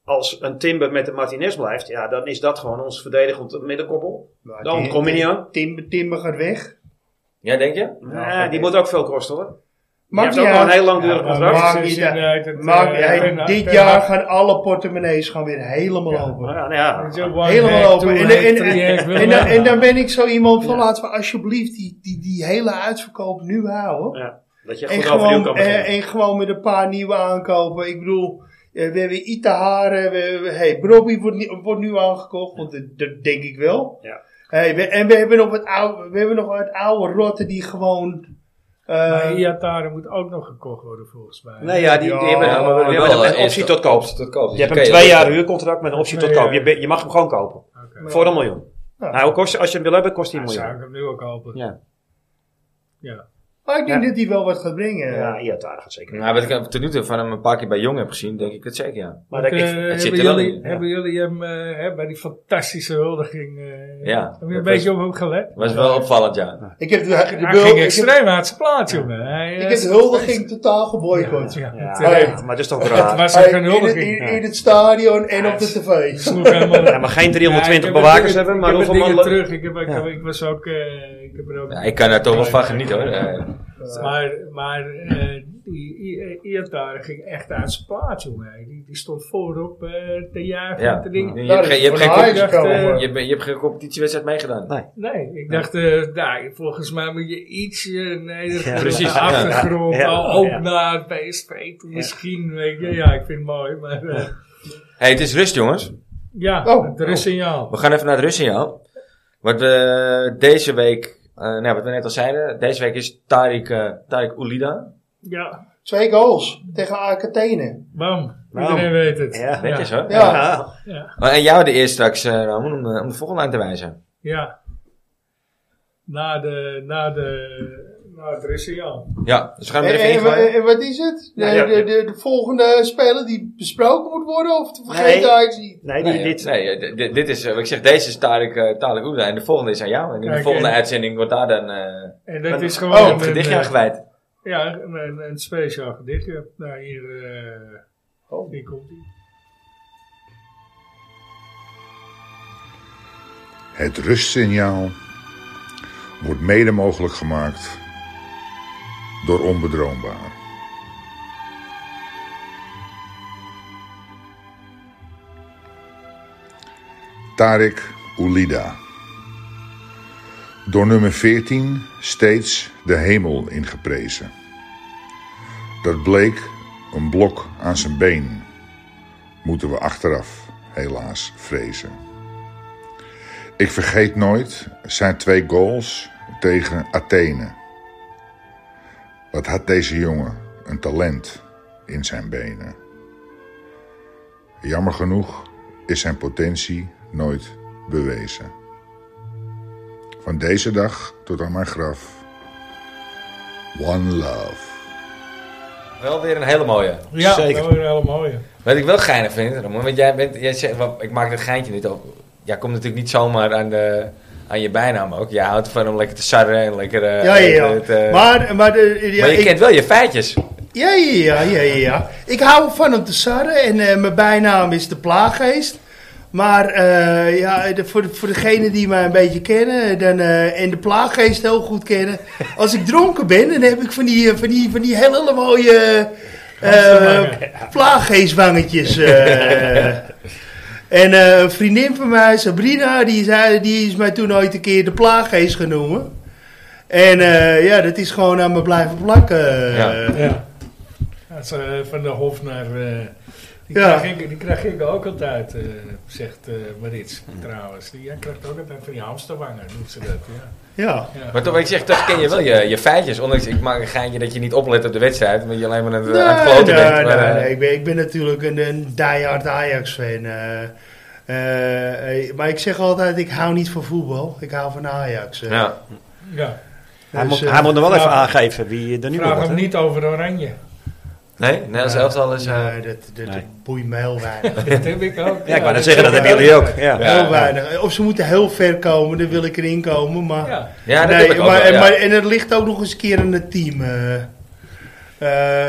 S4: als een Timber met de Martinez blijft, ja, dan is dat gewoon ons verdedigend middenkoppel.
S3: de-
S4: Dan kom je niet aan.
S3: Timber, Timber gaat weg.
S1: ja, denk je?
S4: Ja, die moet ook veel kosten hoor. Maar
S3: Maakt
S4: heeft
S3: niet
S4: ook al een
S3: uit.
S4: heel lang
S2: Ja,
S4: duur
S2: maar
S4: contract.
S3: Maakt
S2: Max is
S3: niet uit.
S2: inderdaad het,
S3: Maakt,
S2: eh,
S3: hij-
S2: Ten-
S3: dit
S2: Ten
S3: jaar
S2: Hag.
S3: gaan alle portemonnees gaan weer helemaal open.
S4: Maar ja, nou ja.
S3: Helemaal open. En, en, en, en dan, en
S2: ben
S3: dan ben ik zo iemand van
S4: Ja.
S3: laten we alsjeblieft die, die, die hele uitverkoop nu houden.
S4: Ja, dat je
S3: En
S4: goed overnieuw
S3: gewoon, eh,
S4: kan beginnen.
S3: en gewoon met een paar nieuwe aankopen. Ik bedoel, eh, we hebben Itaharen. We, we, hey, Brobby wordt, ni- wordt nu aangekocht. Want dat, dat denk ik wel.
S4: Ja.
S3: Hey, we- en we hebben, nog wat oude, we hebben nog wat oude rotten die gewoon... eh,
S2: Iatare moet ook nog gekocht worden, volgens mij.
S4: Nee, ja, die, die
S3: Ja,
S4: hebben,
S3: maar
S4: we hebben
S1: wel,
S4: een
S1: eh,
S4: optie
S1: eerst-
S4: tot koop.
S1: Tot koop.
S4: Je hebt
S1: Oké,
S4: een twee
S1: dat-
S4: jaar huurcontract met een optie
S2: Twee
S4: tot koop.
S2: jaar.
S4: Je, be- je mag hem gewoon kopen.
S2: Oké.
S4: Voor een miljoen.
S3: Nou,
S4: Nou, kost, als je hem wil hebben, kost hij
S2: Dan
S4: een
S2: zou
S4: miljoen.
S2: ik hem nu ook kopen.
S4: Ja,
S2: Ja.
S3: Maar oh, ik denk
S4: Ja.
S3: dat hij wel wat gaat brengen.
S4: ja, ja daar gaat zeker.
S1: Nou, wat ik tot nu toe van hem een paar keer bij Jong heb gezien, denk ik dat zeker, ja.
S4: Maar dat,
S2: Eh,
S4: ik,
S1: het
S2: hebben,
S1: zit er wel
S2: jullie,
S1: in, ja.
S2: hebben jullie hem eh, hè, bij die fantastische huldiging... eh,
S1: Ja,
S2: Heb
S1: dat
S2: je
S1: was-
S2: een beetje op hem gelet?
S1: Was wel opvallend, ja.
S3: Ik heb de, de,
S2: Hij
S3: bul-
S2: ging
S3: ik heb,
S2: extreem uit zijn plaat, jongen. Hij,
S3: ik
S2: eh,
S3: heb de huldiging totaal geboycott.
S2: Ja,
S4: ja,
S2: terecht.
S4: maar dat is
S2: [LAUGHS]
S4: toch
S2: Het
S4: raar.
S2: was
S3: Hey,
S2: ook een
S3: in, het, in,
S2: huldiging.
S4: ja.
S3: in het stadion en op de tv.
S2: Sloeg helemaal-
S4: Ja, maar geen
S2: Ja,
S4: 320
S2: ik heb
S4: bewakers
S2: het-
S4: hebben,
S2: ik
S4: maar
S2: heb
S4: hoeveel
S2: het dingen
S4: man...
S2: terug. Ik, heb, ik, heb- ik was ook... eh, ik heb er ook
S1: Ja, Ik kan daar toch wel van genieten, hoor. Eh,
S2: Maar, maar eh, die I- I- Iataren ging echt uit zijn plaat, jongen. Die, die stond voorop eh te jagen en
S1: ja.
S2: te
S1: Je
S2: dingen.
S1: hebt,
S3: Daar is
S1: geen- je hebt
S3: Van
S1: geen,
S3: Haaien
S1: competitie-
S2: gekomen,
S1: je
S3: hoor.
S1: hebt, je hebt geen competitiewedstrijd meegedaan.
S4: Nee.
S2: Nee, ik dacht, eh, nou, volgens mij moet je ietsje nederig
S4: Ja,
S2: naar de
S1: precies.
S2: achtergrond,
S4: Ja, ja,
S2: al- ook
S4: ja.
S2: naar PSV toe misschien. Weet je. Ja, ik vind het mooi, maar eh,
S1: hey, het is rust, jongens.
S2: ja,
S3: Oh.
S2: er is signaal.
S1: We gaan even naar het rustsignaal. Wat we deze week, eh, nou, wat we net al zeiden, deze week is Tariq, eh Tariq Oulida.
S2: Ja,
S3: Twee goals tegen Arcatene.
S2: bam,
S4: Bam.
S2: iedereen weet het.
S4: Ja.
S1: Netjes hoor.
S3: Ja.
S2: ja.
S1: Oh, en jou de eerste straks, eh, Ramon, om, de- om de volgende aan te wijzen.
S2: ja. Na, de, na, de, na het rustsignaal.
S1: Ja, dus we gaan
S3: En,
S1: hem er even
S3: en-
S1: ingooien.
S3: en wat is het? De,
S4: Ja, ja.
S3: de, de, de volgende speler die besproken moet worden of de vergeten
S4: Nee.
S3: actie?
S4: Nee, die,
S1: Nee,
S4: dit,
S1: nee, eh, dit, dit is, eh, wat ik zeg, deze is Tarek, eh Tarek Oela en de volgende is aan jou. En in de
S2: Kijk,
S1: volgende
S2: en-
S1: uitzending wordt daar dan eh
S2: En dat
S4: Een-
S2: is gewoon
S1: oh,
S2: een,
S1: een gedichtje
S2: eh,
S1: aan gewijd.
S2: Ja, een, een, een speciaal gedichtje. Nou, hier, eh, hier komt ie.
S5: Het rustsignaal wordt mede mogelijk gemaakt door onbedroombaar. Tarek Oulida. Door nummer 14 steeds de hemel ingeprezen. Dat bleek een blok aan zijn been. Moeten we achteraf helaas vrezen. Ik vergeet nooit zijn twee goals tegen Athene. Wat had deze jongen een talent in zijn benen. Jammer genoeg is zijn potentie nooit bewezen. Van deze dag tot aan mijn graf. One love.
S1: Wel weer een hele mooie.
S2: Ja,
S4: Zeker.
S2: dat was een hele mooie.
S1: Wat ik wel geinig vind, Ramon, want jij bent, jij zegt, wel, ik maak dit geintje niet op. Jij komt natuurlijk niet zomaar aan, de, aan je bijnaam ook. Jij houdt van om lekker te sarren en lekker... eh,
S3: Ja, ja,
S1: het,
S3: ja.
S1: eh, maar,
S3: Maar, maar, de, ja,
S1: je
S3: ik-
S1: kent wel je feitjes.
S3: Ja, ja, ja, ja, ja, ja. Ik hou van om te sarren en eh, mijn bijnaam is de plaaggeest. Maar eh, ja, de- voor, voor degenen die mij een beetje kennen dan, eh, en de plaaggeest heel goed kennen. Als ik dronken ben, dan heb ik van die, eh, van die, van die hele mooie eh, eh, plaaggeestwangetjes. eh. en eh, een vriendin van mij, Sabrina, die, zei, die is mij toen ooit een keer de plaaggeest genoemd. En eh, ja, dat is gewoon aan me blijven plakken.
S1: Ja.
S2: Ja. Dat is, eh, van de Hof naar... eh, die,
S3: Ja.
S2: krijg ik, die krijg ik ook altijd, eh, zegt eh Marits trouwens. Die, jij krijgt ook altijd van die hamsterwangen, noemt ze dat. Ja.
S3: Ja.
S1: Maar toch, wat ik zeg, toch ken je wel je, je feitjes. Ondanks, ik maak een geintje dat je niet oplet op de wedstrijd, omdat je alleen maar aan het, aan het kloten bent.
S3: nee,
S1: Maar, eh,
S3: nee, nee. Ik, ben, ik ben natuurlijk een, een diehard Ajax-fan. eh. Eh, eh, maar ik zeg altijd, ik hou niet van voetbal. Ik hou van Ajax. eh.
S1: Ja.
S2: ja.
S4: hij,
S3: Dus,
S4: moet,
S3: eh,
S4: hij moet nog wel
S2: vraag-
S4: even aangeven wie er nu
S2: Vraag
S4: wordt.
S2: hem
S4: hè?
S2: niet over Oranje.
S1: Nee, Nederlands
S2: Ja.
S1: elftal is... eh,
S3: Nee, dat, dat
S4: Nee.
S3: boeit me heel weinig.
S1: [LAUGHS]
S2: Dat heb ik ook.
S4: Ja, ik wou net
S2: dat
S4: zeggen, dat
S2: heb
S4: hebben
S2: ik
S4: jullie ook. Ja.
S1: Ja.
S3: heel weinig. Of ze moeten heel ver komen, dan wil ik erin komen. Maar,
S2: Ja.
S1: ja, dat
S3: nee,
S1: heb ik ook
S3: maar,
S1: wel, ja.
S3: maar, en het ligt ook nog eens een keer aan het team. eh.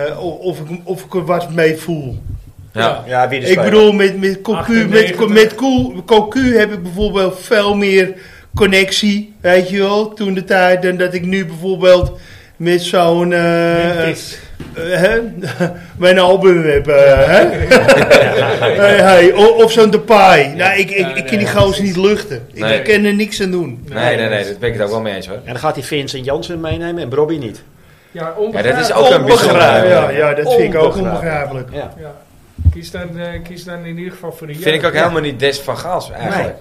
S3: Eh, of, of, ik, of ik er wat mee voel.
S1: Ja.
S4: Ja, wie de
S3: Ik
S4: speler.
S3: bedoel, met, met, Cocu, met,
S2: 98.
S3: met Cocu- Cocu heb ik bijvoorbeeld veel meer connectie, weet je wel, toen de tijd. Dan dat ik nu bijvoorbeeld met zo'n... eh, eh, hè, [LAUGHS] mijn album heb, eh, hè? [LAUGHS] Hey, hey, o- of zo'n Depay. Nou, ik, ik,
S2: Ja,
S3: ik
S2: nee,
S3: kan die gozer niet luchten. Ik
S1: Nee.
S3: kan er niks aan doen.
S1: Nee, nee, nee, dat ben ik het ook wel mee eens hoor.
S4: En dan gaat hij Vincent Jansen meenemen en Robbie niet.
S2: Ja,
S1: Ja,
S2: onbegrijpelijk.
S1: dat is ook een bijzonder.
S3: Onbegrijpelijk. Ja,
S1: eh,
S3: ja, dat vind ik ook
S4: Onbegrijpelijk.
S3: onbegrijpelijk.
S4: Ja.
S2: Ja. Kies, dan, eh, kies dan in ieder geval voor de
S1: Vind ik ook
S2: jeugd.
S1: helemaal niet des van Gaals eigenlijk.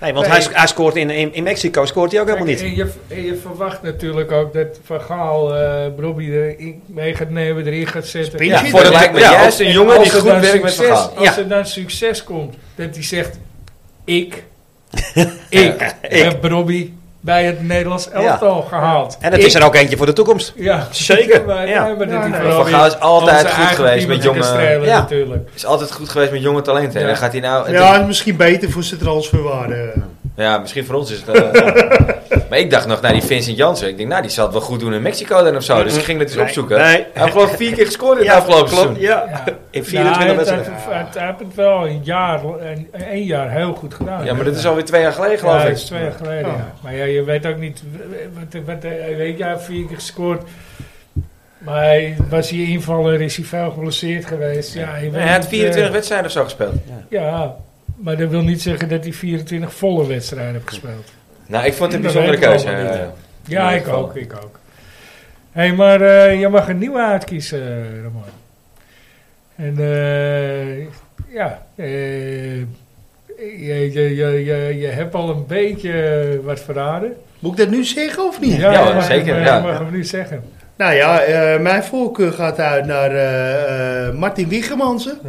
S4: Nee, want
S2: Nee.
S4: Hij, sc- hij scoort in, in, in Mexico scoort hij ook helemaal
S2: Kijk,
S4: niet.
S2: En je, en je verwacht natuurlijk ook dat Van Gaal eh Robbie erin mee gaat nemen, erin gaat zetten.
S3: Spin- Ja,
S1: voor de lijkt me
S4: Ja,
S1: juist een jongen
S2: Als
S1: die
S2: er
S1: goed
S2: dan
S1: werkt met Van
S2: succes-
S1: Gaal.
S2: Als
S4: Ja.
S1: [LAUGHS]
S2: er dan succes komt, dat hij zegt, ik ik heb Robbie bij het Nederlands elftal gehaald.
S4: En het
S2: Ik-
S4: is er ook eentje voor de toekomst.
S2: Ja, [LAUGHS]
S4: Zeker,
S2: Wij-
S4: ja.
S2: wij hebben dit
S3: Ja,
S2: niet
S3: nee.
S2: voor
S1: Van
S2: Robbie.
S1: Gaal is altijd
S2: Onze
S1: goed
S2: eigen
S1: geweest
S2: team
S1: met jonge-
S2: strelen
S4: Ja.
S1: [LAUGHS]
S2: natuurlijk.
S1: Is altijd goed geweest met jonge talenten. En
S2: Ja.
S1: dan gaat hij nou...
S3: Ja, en misschien beter voor zijn transferwaarde.
S1: Ja, misschien voor ons is het.
S2: [LAUGHS]
S1: eh, ja. maar ik dacht nog naar die Vincent Janssen. Ik denk, nou, die zal het wel goed doen in Mexico dan of zo. Dus ik ging het eens opzoeken.
S4: nee.
S1: Hij heeft gewoon vier keer gescoord in het afgelopen seizoen.
S4: Ja.
S2: Ja.
S4: In
S2: Nou,
S4: 24
S2: hij heeft-
S4: wedstrijden.
S2: hij heeft- Hij heeft het wel een jaar, een, een jaar heel goed gedaan.
S1: Ja, maar dat is alweer twee jaar geleden, geloof
S2: Ja, dat
S1: ik.
S2: is twee jaar geleden,
S3: Ja.
S2: ja. Maar ja, je weet ook niet... Wat, wat, hij weet, ja, vier keer gescoord. Maar hij was hier invaller, is hij veel geblesseerd geweest. Ja, je
S1: Nee,
S2: weet
S1: hij had
S2: niet,
S1: 24
S2: eh,
S1: wedstrijden of zo gespeeld.
S2: Ja, maar dat wil niet zeggen dat hij 24 volle wedstrijden heeft gespeeld.
S1: Nou, ik vond het een
S2: Dat
S1: bijzondere
S2: weet ik
S1: keuze.
S2: allemaal
S1: eh.
S2: niet, Ja,
S1: Nee,
S2: ik
S1: volle.
S2: ook, ik ook. Hé, hey, maar eh, je mag een nieuwe uitkiezen, eh, Ramon. En eh, ja, eh, je, je, je, je, je hebt al een beetje eh, wat verraden.
S3: Moet ik dat nu zeggen of niet?
S1: Ja,
S2: je mag
S1: zeker,
S2: Hem, eh,
S1: ja.
S2: je mag hem nu zeggen.
S3: Nou ja, eh, mijn voorkeur gaat uit naar eh, eh, Martin Wiegemansen.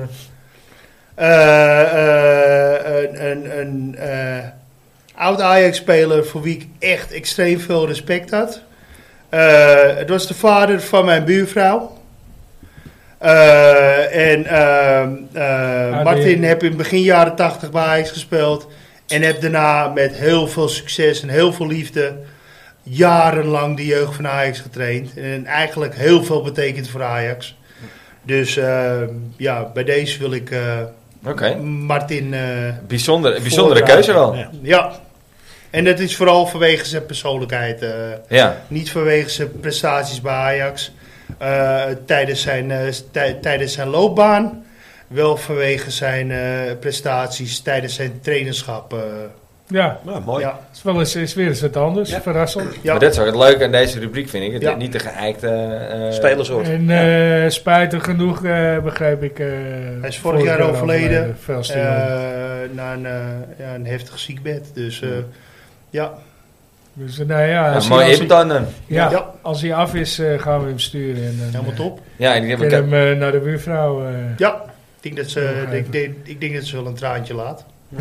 S3: Eh, eh, een een, een eh, oud Ajax-speler voor wie ik echt extreem veel respect had. Eh, het was de vader van mijn buurvrouw. Eh, en ehm, eh,
S2: die-
S3: Martin heb in begin jaren 80 bij Ajax gespeeld. En heb daarna met heel veel succes en heel veel liefde jarenlang de jeugd van Ajax getraind. En eigenlijk heel veel betekent voor Ajax. Dus eh, ja, bij deze wil ik eh,
S1: Oké.
S3: Martin. eh,
S1: Bijzonder, bijzondere
S2: Voorjaar.
S1: keuze wel.
S4: Ja.
S3: ja. En dat is vooral vanwege zijn persoonlijkheid. eh,
S1: Ja.
S3: niet vanwege zijn prestaties bij Ajax eh, tijdens, zijn, eh, tij- tijdens zijn loopbaan. Wel vanwege zijn eh, prestaties tijdens zijn trainerschap. eh.
S2: Ja,
S4: Nou, mooi.
S3: ja,
S2: het is, wel eens, is weer eens wat anders,
S4: Ja.
S2: verrassend.
S3: ja.
S1: Maar dat is ook het leuke aan deze rubriek, vind ik. Het
S3: Ja.
S1: Niet de geëikte... eh,
S4: Spelersoort.
S2: En eh, spijtig genoeg eh, begrijp ik... eh,
S3: Hij is vorig jaar overleden.
S2: Veel
S3: Eh,
S2: stimulant.
S3: na een, eh, ja, een heftig ziekbed. Dus eh,
S1: Hmm.
S3: ja.
S2: Dus eh, nou ja,
S1: Ja,
S2: als,
S1: mooi
S2: hij, als,
S1: input
S2: hij,
S1: dan. eh.
S2: ja,
S3: Ja.
S2: als hij af is, eh, gaan we hem sturen. En, dan,
S3: helemaal top.
S1: Ja, en die
S2: Ik
S1: heb ik...
S2: ken hem eh, naar de buurvrouw. eh,
S3: Ja, ik denk dat ze,
S2: Nog even.
S3: ik denk- ik denk dat ze wel een traantje laat.
S2: ja.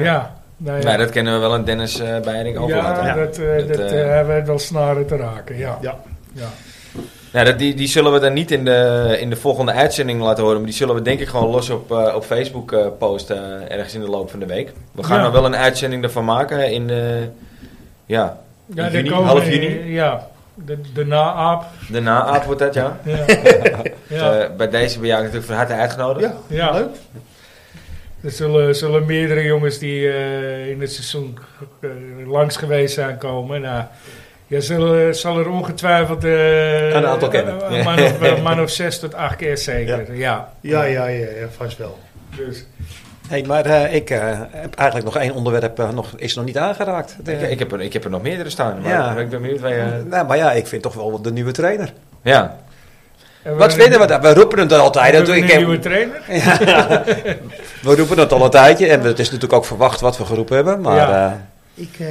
S2: nou ja.
S1: Nou, dat kennen we wel aan Dennis eh Beiring
S2: Ja,
S1: overlaten. Ja.
S2: dat, eh,
S1: Dat,
S2: dat,
S1: eh,
S2: eh, hij weet wel snaren te raken. Ja.
S3: Ja.
S2: Ja.
S1: Nou, dat, die, die zullen we dan niet in de, in de volgende uitzending laten horen. Maar die zullen we denk ik gewoon los op, eh, op Facebook eh, posten. eh, ergens in de loop van de week. We gaan
S2: Ja.
S1: er wel een uitzending ervan maken. In, eh, ja,
S2: Ja,
S1: In
S2: daar
S1: juni,
S2: komen-
S1: half juni?
S2: Ja, de, de na-aap.
S1: de na-aap wordt dat, ja. [LAUGHS]
S2: Ja. ja.
S1: Eh, bij deze ben jij natuurlijk van harte uitgenodigd.
S3: Ja,
S2: Ja.
S3: leuk.
S2: Er zullen, zullen meerdere jongens die eh, in het seizoen eh, langs geweest zijn komen. Nou, je zal, zal er ongetwijfeld eh,
S4: Een aantal kennen.
S2: Een, man
S4: [LAUGHS]
S2: of, een man of zes tot acht keer zeker. Ja.
S3: Ja, ja, ja, ja, vast wel.
S2: Dus,
S4: Hey, maar eh, ik eh, heb eigenlijk nog één onderwerp eh, nog, is nog niet aangeraakt.
S1: Ik, ik, heb er, ik heb er nog meerdere staan. Maar
S4: Ja.
S1: ik ben benieuwd waar je...
S4: nou, maar ja, ik vind toch wel de nieuwe trainer.
S1: Ja.
S2: en
S4: Wat
S2: hebben
S4: vinden we daar? We roepen het altijd.
S2: Hebben
S4: Dat
S2: we
S4: ik
S2: een
S4: heb-
S2: nieuwe trainer?
S4: we roepen het al een tijdje. En het is natuurlijk ook verwacht wat we geroepen hebben. Maar
S2: Ja.
S4: eh,
S3: Ik, eh,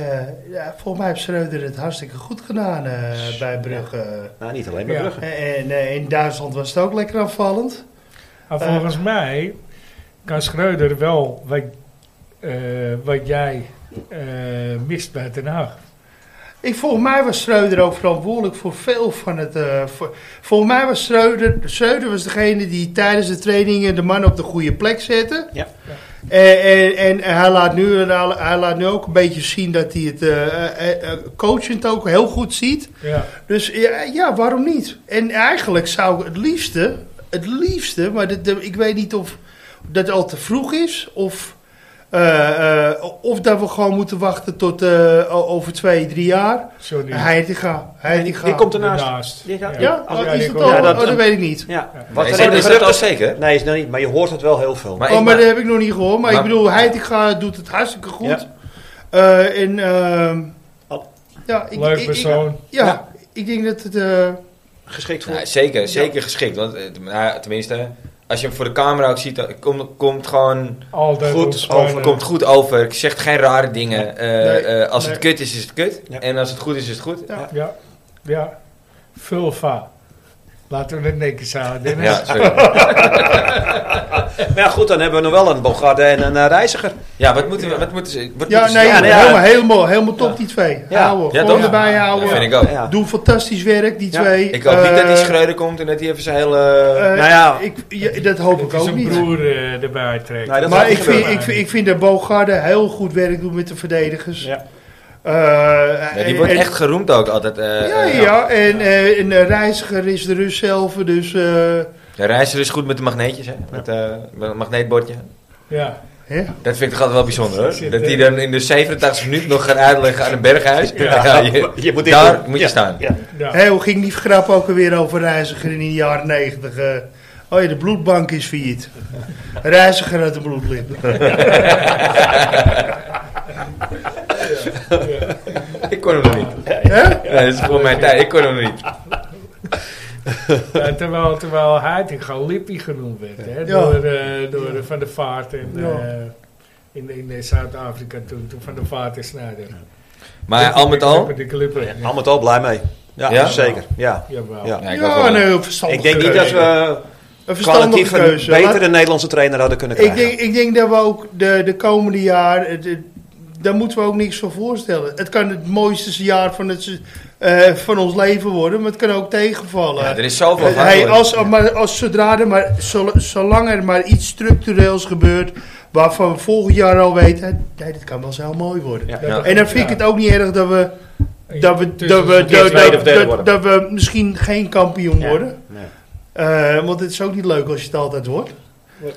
S3: ja, volgens mij heeft Schreuder het hartstikke goed gedaan eh, bij Brugge.
S4: nou, niet alleen maar
S2: Ja.
S4: Brugge.
S3: En eh, in Duitsland was het ook lekker aanvallend.
S2: Maar Nou, volgens mij kan Schreuder wel wat, eh, wat jij eh, mist bij Den Haag.
S3: Ik, volgens mij was Schreuder ook verantwoordelijk voor veel van het... eh, voor- volgens mij was Schreuder... Schreuder was degene die tijdens de trainingen de man op de goede plek zette.
S4: Ja.
S3: En, en, en hij, laat nu, hij laat nu ook een beetje zien dat hij het eh, eh, eh, coachend ook heel goed ziet.
S2: Ja.
S3: Dus ja, ja, waarom niet? En eigenlijk zou ik het liefste, het liefste, maar dit- de- ik weet niet of dat al te vroeg is of, eh, eh, of dat we gewoon moeten wachten tot eh, o- over twee, drie jaar.
S2: Sorry.
S3: Heitinga, Heitinga.
S4: Die komt ernaast.
S2: Daarnaast.
S4: Die gaat-
S3: Ja, oh,
S2: Ja,
S3: is
S2: die
S3: dat
S2: komt-
S3: al?
S4: Ja, dat-
S3: oh, dat weet ik niet.
S4: Ja.
S2: Ja.
S1: Wat
S4: Wat
S1: is,
S4: er
S1: is dat al zeker?
S4: Nee, is nog niet. Maar je hoort het wel heel veel.
S1: Maar
S3: oh,
S1: ik-
S3: maar dat heb ik nog niet gehoord. Maar,
S1: Maar-
S3: ik bedoel, Heitinga doet het hartstikke goed.
S4: Ja.
S3: Eh, en, ehm,
S4: Al-
S3: ja, ik, ik-
S2: Leuk
S3: ik-
S2: persoon.
S3: ja,
S4: Ja.
S3: ik denk dat het... eh,
S4: geschikt voor.
S1: Nou, zeker, zeker geschikt. Want eh, nou, tenminste, als je hem voor de camera ook ziet, dan komt, komt gewoon
S2: Altijd
S1: goed
S2: ontspannen.
S1: over. Komt goed over. Zegt geen rare dingen. Eh,
S3: Nee,
S1: eh, als het
S3: nee.
S1: kut is, is het kut.
S4: Ja.
S1: En als het goed is, is het goed.
S3: Ja.
S2: Ja, ja. Vulva. Laten we het netjes houden, Dennis.
S1: Ja, sorry.
S4: Maar ja, goed, dan hebben we nog wel een Bogarde en een eh, reiziger.
S1: ja wat moeten we... Wat moeten ze, wat
S3: Ja,
S1: moeten ze
S3: nee,
S1: doen?
S4: ja, ja.
S3: helemaal, helemaal, helemaal top die twee.
S4: Ja.
S3: Houden,
S1: Ja,
S3: gewoon
S1: toch?
S3: erbij
S1: Ja,
S3: houden.
S1: vind ik ook.
S4: Ja.
S3: Doen fantastisch werk, die
S4: Ja.
S3: twee.
S1: Ik hoop niet dat die
S3: nou, Eh,
S1: Schreuder komt en dat hij even zijn hele...
S3: eh,
S4: Nou ja.
S3: ik, ja, dat hoop ik
S2: Dat
S3: ook
S2: zijn
S3: niet.
S2: broer eh, erbij trekt.
S4: Nee, dat
S3: maar
S4: gaat
S3: ik
S4: niet
S3: vind,
S2: gebeuren.
S3: ik, vind- ik vind dat Bogarde heel goed werk doet met de verdedigers.
S4: Ja.
S3: Eh,
S1: ja, die
S3: en-
S1: wordt
S3: en-
S1: echt geroemd ook altijd. eh,
S3: Ja,
S1: eh,
S3: ja. En, eh, en de reiziger is de Rus zelf. Dus eh,
S1: Ja, Reiziger is goed met de magneetjes, hè? Met, eh, met een magneetbordje.
S2: Ja.
S3: hè?
S1: Dat vind ik toch altijd wel bijzonder,
S2: Zit,
S1: hoor.
S2: eh,
S1: Dat hij dan in de 87 minuut nog gaat uitleggen aan een berghuis. Ja, je,
S4: [LAUGHS] Je moet dit
S1: daar
S4: doen.
S1: moet je
S4: Ja.
S1: staan.
S4: Ja.
S3: [LAUGHS]
S2: ja.
S3: Hé, hoe ging die grap ook alweer over reiziger in de jaren negentig? oh ja, de bloedbank is failliet. reiziger uit de bloedlip.
S1: Ik kon hem nog niet.
S3: Hè?
S1: Ja, dat is voor mijn tijd. Ik kon hem nog niet.
S2: Ja, Eh, terwijl, terwijl Heitinga Lippi genoemd werd hè, door, eh, door eh, Van der Vaart en, eh,
S3: Ja.
S2: in, in eh, Zuid-Afrika toen, toen Van der Vaart en Snijder.
S1: Maar al met al...
S2: De clipper, de
S4: Al met al blij mee. Ja,
S1: Ja?
S4: zeker. Ja.
S2: Jawel.
S4: Ja.
S1: Ja, ik was
S3: Ja,
S1: wel-
S3: nee, een verstandige
S4: Ik denk niet dat
S3: keuze.
S4: we
S3: een
S4: kwalitatief
S3: verstandige
S4: een
S3: keuze.
S4: betere Nederlandse trainer hadden kunnen
S3: Laat- ik,
S4: krijgen.
S3: denk, ik denk dat we ook de, de komende jaar... het- het- daar moeten we ook niks van voorstellen. Het kan het mooiste jaar van, het, se- eh, van ons leven worden, maar het kan ook tegenvallen.
S1: Ja, er is zoveel
S3: Eh,
S1: van.
S3: hey,
S1: hoor.
S3: als, maar als zodra er maar, zol- zolang er maar iets structureels gebeurt waarvan we volgend jaar al weten, nee, dit kan wel zo mooi worden.
S4: Ja.
S1: Ja.
S3: En dan vind ik het ook niet erg dat we, dat we, dat we,
S2: Tussen-
S3: dat,
S4: tweede
S3: dat-
S4: of derde
S3: dat-
S4: worden.
S3: dat we misschien geen kampioen
S4: Ja.
S3: worden.
S4: Nee.
S3: Eh, want het is ook niet leuk als je het altijd wordt.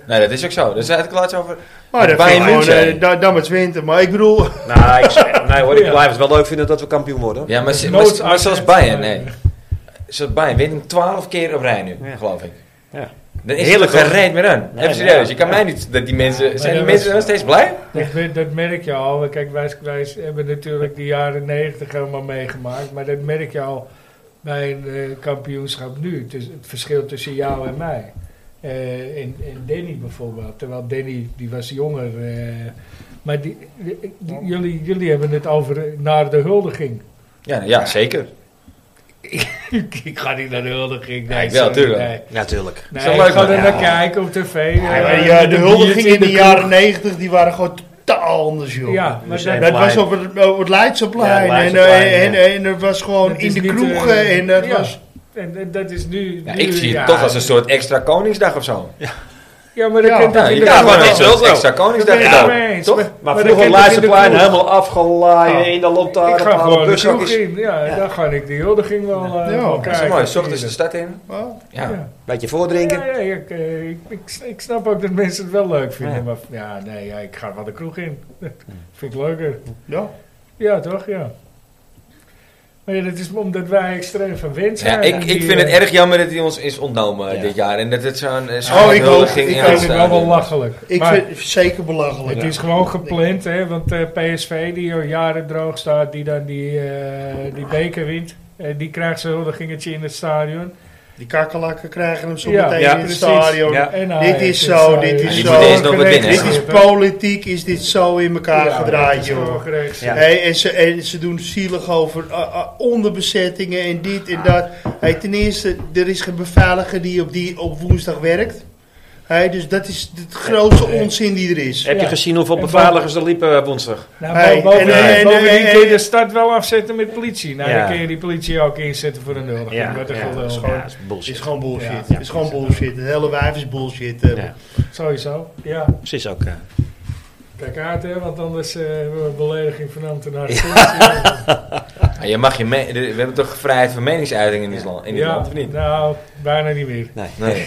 S1: Nee, dat is ook zo. Dus Daar zei ik laatst over.
S3: Maar dat
S1: Bayern
S3: vind ik gewoon,
S1: München.
S3: eh, da- dan met winter. Maar ik bedoel,
S4: Nou, ik, zeg- nee hoor, ik
S2: Ja.
S4: blijf het wel leuk vinden dat we kampioen worden.
S1: Ja, maar, maar,
S2: Noods-
S1: maar, zoals Bayern, nee. Zoals Bayern wint hem 12 keer op rij nu,
S4: Ja.
S1: geloof ik.
S4: Ja.
S1: Dan is
S4: Heerlijk,
S1: Heerlijk, er toch geen reet
S4: hoor.
S1: meer aan.
S4: Nee,
S1: Even serieus,
S4: nee.
S1: je kan mij niet... Dat die mensen, zijn die
S2: dat
S1: mensen
S2: was-
S1: dan steeds blij?
S2: Dat, mer- dat merk je al. Kijk, wij, wij hebben natuurlijk de jaren negentig helemaal meegemaakt. Maar dat merk je al bij een eh, kampioenschap nu. Het, is het verschil tussen jou en mij. Eh, en, en Danny bijvoorbeeld. Terwijl Danny, die was jonger. eh, maar die, die- die- jullie, jullie hebben het over eh, naar de huldiging.
S1: Ja, ja zeker.
S2: [LAUGHS] ik ga niet naar de huldiging.
S1: Ja,
S2: Nee,
S1: ik wel,
S2: sorry,
S1: tuurlijk.
S2: Nee,
S4: Natuurlijk.
S2: Nee,
S1: Zo
S2: ik
S1: leuk,
S2: ga er
S1: man.
S2: naar kijken op tv. eh,
S3: ja,
S2: met
S3: de
S2: een
S3: huldiging
S2: biertje
S3: in de
S2: kroeg.
S3: jaren 90 die waren gewoon totaal anders, joh.
S2: Ja,
S4: We
S2: maar
S4: zijn
S2: dat-
S3: Dat was op het, op het Leidseplein.
S4: Ja,
S3: en,
S4: Leidseplein,
S3: eh, en,
S4: ja.
S3: en, dat was gewoon
S2: Dat
S3: in
S2: is
S3: de
S2: niet,
S3: kroegen.
S2: eh,
S3: en dat
S2: ja.
S3: was...
S2: En, en dat is nu.
S1: Ja,
S2: nu-
S1: ik zie het
S2: ja.
S1: toch als een soort extra Koningsdag of zo.
S2: Ja, maar dat
S3: Ja.
S2: kan
S1: Ja,
S2: toch
S1: je
S2: in de
S1: kan gewoon
S2: kamer-
S1: een soort
S4: wel.
S1: extra Koningsdag
S2: Ja,
S1: doen.
S2: mee eens.
S1: toch?
S2: Maar,
S4: Maar
S2: dat
S4: vroeger
S2: kan toch in de
S4: Leidseplein
S2: kroeg?
S4: helemaal afgelaaien
S2: Ja.
S4: in eh, de
S2: Ik
S4: lantaarn.
S2: ga
S4: op alle
S2: gewoon de kroeg
S4: bushokjes.
S2: in. Ja, daar ga ik de huldiging wel eh,
S3: Ja,
S2: wel
S3: dat
S1: Dat is
S2: kijken.
S1: mooi, s ochtends de stad in.
S3: Oh,
S1: Ja.
S2: Ja.
S4: Beetje
S2: Ja,
S4: voordrinken.
S2: ja, ik, eh, ik, ik, ik snap ook dat mensen het wel leuk vinden. Maar ja, nee, ja, ik ga wel de kroeg in. [LAUGHS] Dat vind ik leuker.
S3: ja.
S2: Ja, toch? Ja. Maar ja, dat is omdat wij extreem van wens
S1: Ja,
S2: zijn. eh,
S1: ik, ik vind het erg jammer dat hij ons is ontnomen dit jaar. En dat het zo'n eh, zo'n
S3: Oh, ik ook.
S1: huldiging
S3: Ik
S1: in
S3: ook.
S1: het
S2: vind het wel wel
S1: stadion is.
S2: lachelijk.
S3: Ik
S2: Maar-
S3: vind het zeker belachelijk.
S2: Het is gewoon gepland, hè? Want eh, PSV, die al jaren droog staat, die dan die, eh, die beker wint, eh, die krijgt zijn huldigingetje in het stadion.
S3: Die kakkelakken krijgen hem zo
S2: Ja,
S3: meteen
S4: ja,
S3: in het
S2: precies.
S3: stadion.
S4: Ja.
S2: En
S3: Dit
S2: Ajax eh,
S3: is zo, dit is
S1: Ja, die
S3: zo.
S1: moeten eerst nog wat winnen,
S3: Dit is politiek, is dit zo in elkaar gedraaid, joh.
S4: Ja.
S2: joh.
S3: Hey, en, ze, en ze doen zielig over ah, ah, onderbezettingen en dit en dat. Hey, ten eerste, er is geen beveiliger die op, die op woensdag werkt. Hey, dus dat is het grootste onzin die er is.
S4: Heb je
S2: Ja.
S4: gezien hoeveel
S2: En
S4: beveiligers er liepen eh, woensdag?
S2: Nou,
S3: Hey,
S2: bo- bovendien
S3: en- en-
S2: bovendien
S3: en-
S2: kun je
S3: en-
S2: de stad wel afzetten met politie. Nou,
S4: Ja.
S2: dan kun je die politie ook inzetten voor een huldiging. Wat een
S4: dat is
S2: gelul.
S4: gewoon
S3: is
S4: bullshit.
S3: gewoon bullshit.
S2: Ja,
S3: is gewoon bullshit. Het hele wijf is bullshit. eh.
S4: Ja.
S2: Sowieso, ja.
S4: Precies ook. eh,
S2: Kijk uit, hè, want anders eh, hebben we een belediging van ambtenaren.
S1: Ja, je mag je me- we hebben toch vrijheid van meningsuiting in dit land, in dit
S2: Ja,
S1: land of niet?
S2: nou, bijna niet meer.
S1: Nee.
S3: Nee.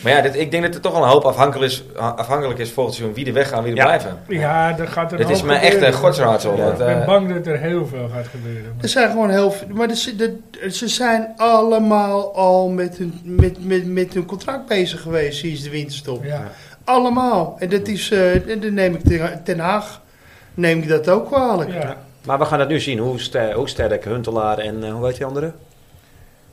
S1: Maar ja, dit- ik denk dat er toch al een hoop afhankelijk is, afhankelijk is volgens seizoen wie er weggaan, wie er
S4: Ja.
S1: blijven.
S2: Ja, dat gaat er
S1: Dit is
S2: ook
S1: mijn echte
S2: gebeuren.
S1: godsraadsel. want,
S2: Ik ben
S1: eh,
S2: bang dat er heel veel gaat gebeuren.
S3: Er zijn gewoon heel veel. Maar er zi- er- ze zijn allemaal al met hun, met, met, met hun contract bezig geweest sinds de winterstop.
S2: Ja.
S3: Allemaal. En dat is. eh, en dan neem ik ten, ten Haag. Neem ik dat ook kwalijk.
S2: Ja.
S4: Maar we gaan het nu zien. Hoe, ster- hoe sterk Huntelaar en eh, hoe heet die andere?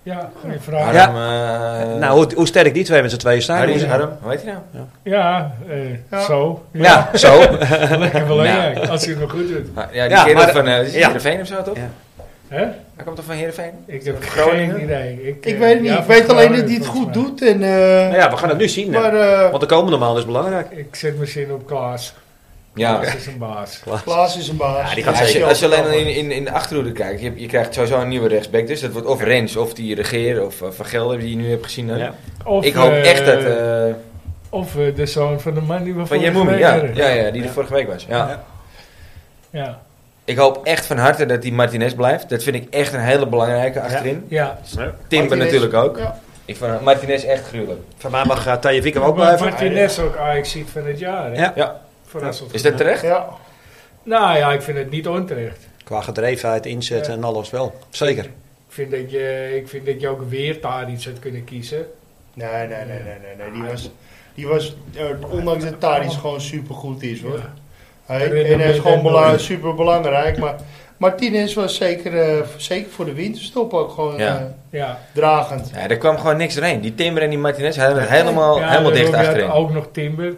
S2: ja, geen
S1: Harm,
S2: vraag. Ja,
S1: ja.
S4: nou, hoe, hoe sterk die twee met z'n tweeën staan.
S1: Harry,
S4: Hoe-
S1: Harm, eh, hoe heet hij nou?
S2: eh,
S3: Ja.
S2: zo.
S4: Ja, zo.
S2: [LAUGHS] Lekker belangrijk,
S1: Nou.
S2: als hij het nog goed doet.
S1: Ah, Ja, die
S4: Ja,
S1: kerel
S4: maar-
S1: van eh, is het
S4: ja.
S1: Heerenveen of zo, toch?
S4: Ja.
S2: Hè?
S1: Hij komt toch van Heerenveen?
S2: Ik heb
S1: Groningen?
S2: geen idee. Ik,
S3: Ik
S2: eh,
S3: weet het niet.
S2: ja,
S3: ik weet alleen dat hij
S2: Groningen
S3: het goed
S2: volgens
S3: doet. En, eh,
S4: Nou ja, we gaan het nu zien. hè.
S3: maar eh,
S4: Want de komende maal is belangrijk.
S2: mij. Ik zet mijn zin op Klaas.
S1: Ja.
S2: Klaas is een baas.
S3: Klaas is een baas.
S4: Ja, die gaat
S1: Als je,
S4: zeker.
S1: als je alleen al in, in, in de achterhoede kijkt, je, hebt- je krijgt sowieso een nieuwe rechtsback. Dus dat wordt of Rens, of die regeer, of eh, Van Gelder, die je nu hebt gezien. hè.
S4: Ja.
S2: Of,
S1: Ik hoop
S2: eh,
S1: echt dat... eh,
S2: Of eh, de zoon van de man die we
S1: van
S2: vorige
S1: Jemoemi,
S2: week
S1: ja,
S2: hadden.
S1: ja, ja, die er
S4: Ja.
S1: vorige week was. Ja.
S4: Ja.
S2: Ja.
S1: Ik hoop echt van harte dat die Martinez blijft. Dat vind ik echt een hele belangrijke achterin.
S2: ja.
S1: Timber
S3: Martinez.
S1: natuurlijk ook.
S3: Ja.
S1: Ik vond Martinez echt gruwelijk.
S4: Van mij mag uh, Taya Wiekem ook
S2: Maar
S4: blijven.
S2: Martinez ook ajax ziet van het jaar. hè?
S4: Ja.
S2: Verrassend.
S1: Is dat terecht?
S3: Ja.
S2: Nou ja, ik vind het niet onterecht.
S4: Qua gedrevenheid, inzet
S2: Ja.
S4: en alles wel. Zeker.
S2: Ik vind, dat je, ik vind dat je ook weer daar iets had kunnen kiezen.
S3: Nee, nee, nee, nee, nee, nee. Die was, die was eh, ondanks dat Tadic gewoon supergoed is hoor.
S2: Ja.
S3: Hij,
S2: En-
S3: en hij is
S2: en-
S3: gewoon
S2: en-
S3: bela- super belangrijk. Maar Martinez was zeker, eh, zeker voor de winterstop ook gewoon
S1: Ja.
S3: eh,
S2: Ja.
S3: dragend.
S1: Ja, er kwam gewoon niks doorheen. Die Timber en die Martinez hadden het helemaal,
S2: Ja,
S1: helemaal
S2: dan
S1: dicht
S2: ook- ja,
S1: achterin.
S2: Ook nog Timber.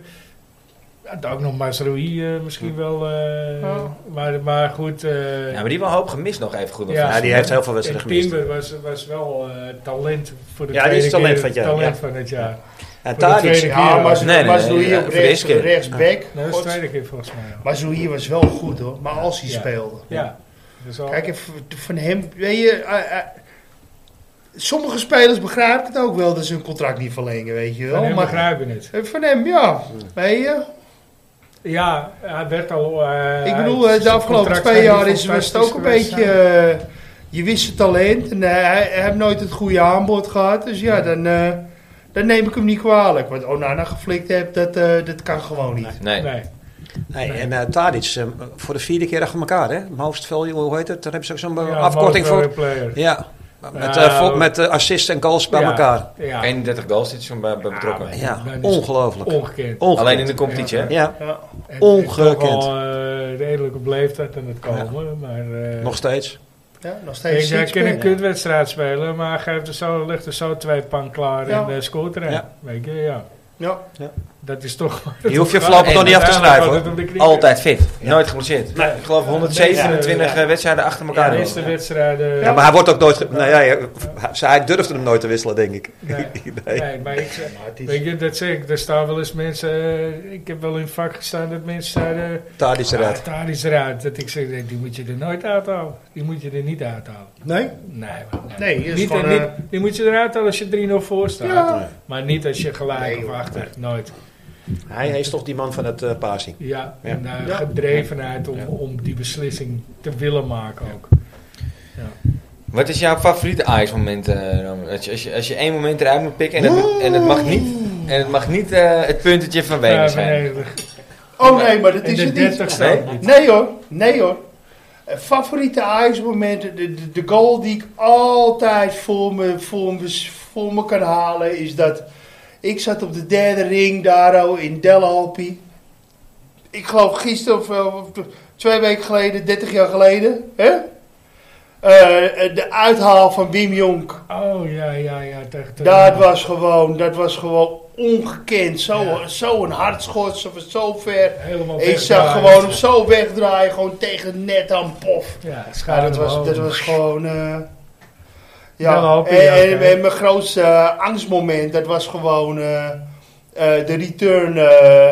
S2: Ja, ook nog Masrohi eh,
S3: Hm.
S2: misschien wel. eh,
S3: Ja.
S2: maar, maar goed. eh,
S1: Ja, maar die wel een hoop gemist nog even goed.
S2: Ja.
S4: Ja, die heeft heel veel wedstrijden
S2: en
S4: gemist.
S2: Timber was, was wel eh, talent voor de
S4: Ja, die is
S2: tweede
S4: talent
S2: keer-
S4: van het jaar,
S2: talent
S4: ja.
S2: van het jaar.
S4: En
S2: Voor de
S4: Tadic,
S2: tweede
S3: Ja,
S2: keer.
S3: maar
S1: Nee, nee,
S3: Mazoui
S1: nee,
S3: op
S1: voor de
S3: rechts,
S1: eerste keer.
S3: rechtsback.
S2: Dat is de
S3: God.
S2: tweede keer volgens mij. ja.
S3: Mazoui was wel goed hoor, maar als hij
S2: Ja.
S3: speelde.
S2: Ja. Dus al,
S3: Kijk, en v- van hem, weet je, eh, eh, sommige spelers begrijpen het ook wel dat ze hun contract niet verlengen, weet je wel.
S2: van hem
S3: oh, maar
S2: begrijpen het.
S3: eh, van hem, ja. Weet je?
S2: Ja, hij werd al... eh,
S3: Ik
S2: hij-
S3: bedoel, eh, de
S2: zijn
S3: afgelopen
S2: contract
S3: twee
S2: zou
S3: jaar
S2: niet
S3: is, was het ook
S2: fantastisch
S3: een
S2: geweest
S3: beetje.
S2: zijn.
S3: eh, je wist het talent en eh, hij, hij heeft nooit het goede aanbod gehad. Dus ja, dan, eh, dan neem ik hem niet kwalijk. Wat Onana geflikt heeft, dat, eh, dat kan gewoon niet.
S1: Nee.
S2: Nee.
S4: nee, en eh, Tadic eh, voor de vierde keer achter elkaar, hè? Most value, hoe heet het? Daar hebben ze ook zo'n
S2: Ja,
S4: afkorting
S2: Mobile
S4: voor.
S2: Player.
S4: Ja, met,
S2: Nou,
S4: eh, vol- met eh, assist en goals bij
S2: Ja.
S4: elkaar.
S2: Ja,
S1: 31 goals zit zo'n bij, bij betrokken.
S2: maar-
S4: Ja,
S2: Dat is
S4: ongelooflijk.
S2: ongekend.
S4: Ongekend.
S1: Alleen in de competitie, hè?
S4: Ja,
S3: Ja.
S2: En
S4: ongekend.
S2: toch Al eh, redelijk op leeftijd aan het komen, maar... eh,
S4: nog steeds.
S3: Ja, nog
S2: Ik
S3: steeds.
S2: denk, hij
S3: six
S2: kan een
S3: pack.
S2: kutwedstrijd spelen, maar geeft er zo, legt er zo twee pan klaar
S3: Ja.
S2: en eh, scoort er een.
S4: Ja.
S2: Weet je, ja.
S3: Ja.
S2: Dat is toch...
S4: [LAUGHS] Je hoeft je voorlopig nog niet af te schrijven, hoor.
S1: Altijd fit. Nooit geblesseerd.
S4: Nee.
S1: Ik geloof 127
S2: Ja.
S1: wedstrijden achter
S2: Ja,
S1: elkaar.
S2: de eerste wedstrijden... eh,
S4: Ja, maar hij wordt ook nooit... ge- Nou ja, ja, ze- hij durfde hem nooit te wisselen, denk ik.
S2: Nee.
S4: [LAUGHS] Nee.
S2: Nee, maar ik zeg...
S3: Maar het is-
S2: Weet je, dat zeg ik. Er staan wel eens mensen... eh, ik heb wel in het vak gestaan dat mensen zeiden...
S4: Tadic eruit.
S2: "Ah, Daar is eruit. Dat ik zeg, nee, die moet je er nooit uithalen. Die moet je er niet uithalen.
S3: Nee?
S2: Nee, maar-
S3: Nee, is
S2: niet,
S3: gewoon,
S2: niet-
S3: eh,
S2: die moet je eruit halen als je 3-0 voor staat.
S3: Ja.
S2: Maar niet als je gelijk
S3: Nee,
S2: of
S3: hoor.
S2: achter. Nooit.
S4: Hij is toch die man van het eh passing.
S2: Ja,
S4: Ja.
S2: en eh,
S3: Ja.
S2: gedrevenheid om, om die beslissing te willen maken ook.
S1: Wat is jouw favoriete Ajax-moment, eh, Roman? Als je, als, je, als je één moment eruit moet pikken en het, en het mag niet, en het, mag niet eh, het puntetje van Wenen zijn.
S2: 95.
S3: Oh nee, maar dat
S2: En
S3: is
S2: de
S3: het niet.
S2: 30 staat
S1: Nee.
S2: niet.
S3: Nee hoor, nee hoor. Eh, Favoriete Ajax-momenten, de, de, de goal die ik altijd voor me, voor, me, voor me kan halen, is dat ik zat op de derde ring daar oh, in Delhalpi. Ik geloof gisteren of, eh, of twee weken geleden, 30 jaar geleden, hè? Eh, eh, de uithaal van Wim Jonk.
S2: Oh ja, ja, ja. Tegen
S3: Dat was gewoon, dat was gewoon ongekend. Zo'n
S2: Ja.
S3: zo een hardschot, ze was zo ver.
S2: helemaal
S3: Ik zag
S2: wegdraaien.
S3: gewoon hem zo wegdraaien, gewoon tegen net aan pof.
S2: Ja,
S3: Ja,
S2: schade
S3: dat was, dat was gewoon. eh, ja,
S2: Nou, hoop je
S3: en, en-
S2: dat, hè?
S3: en mijn grootste eh, angstmoment, dat was gewoon eh, eh, de return. eh,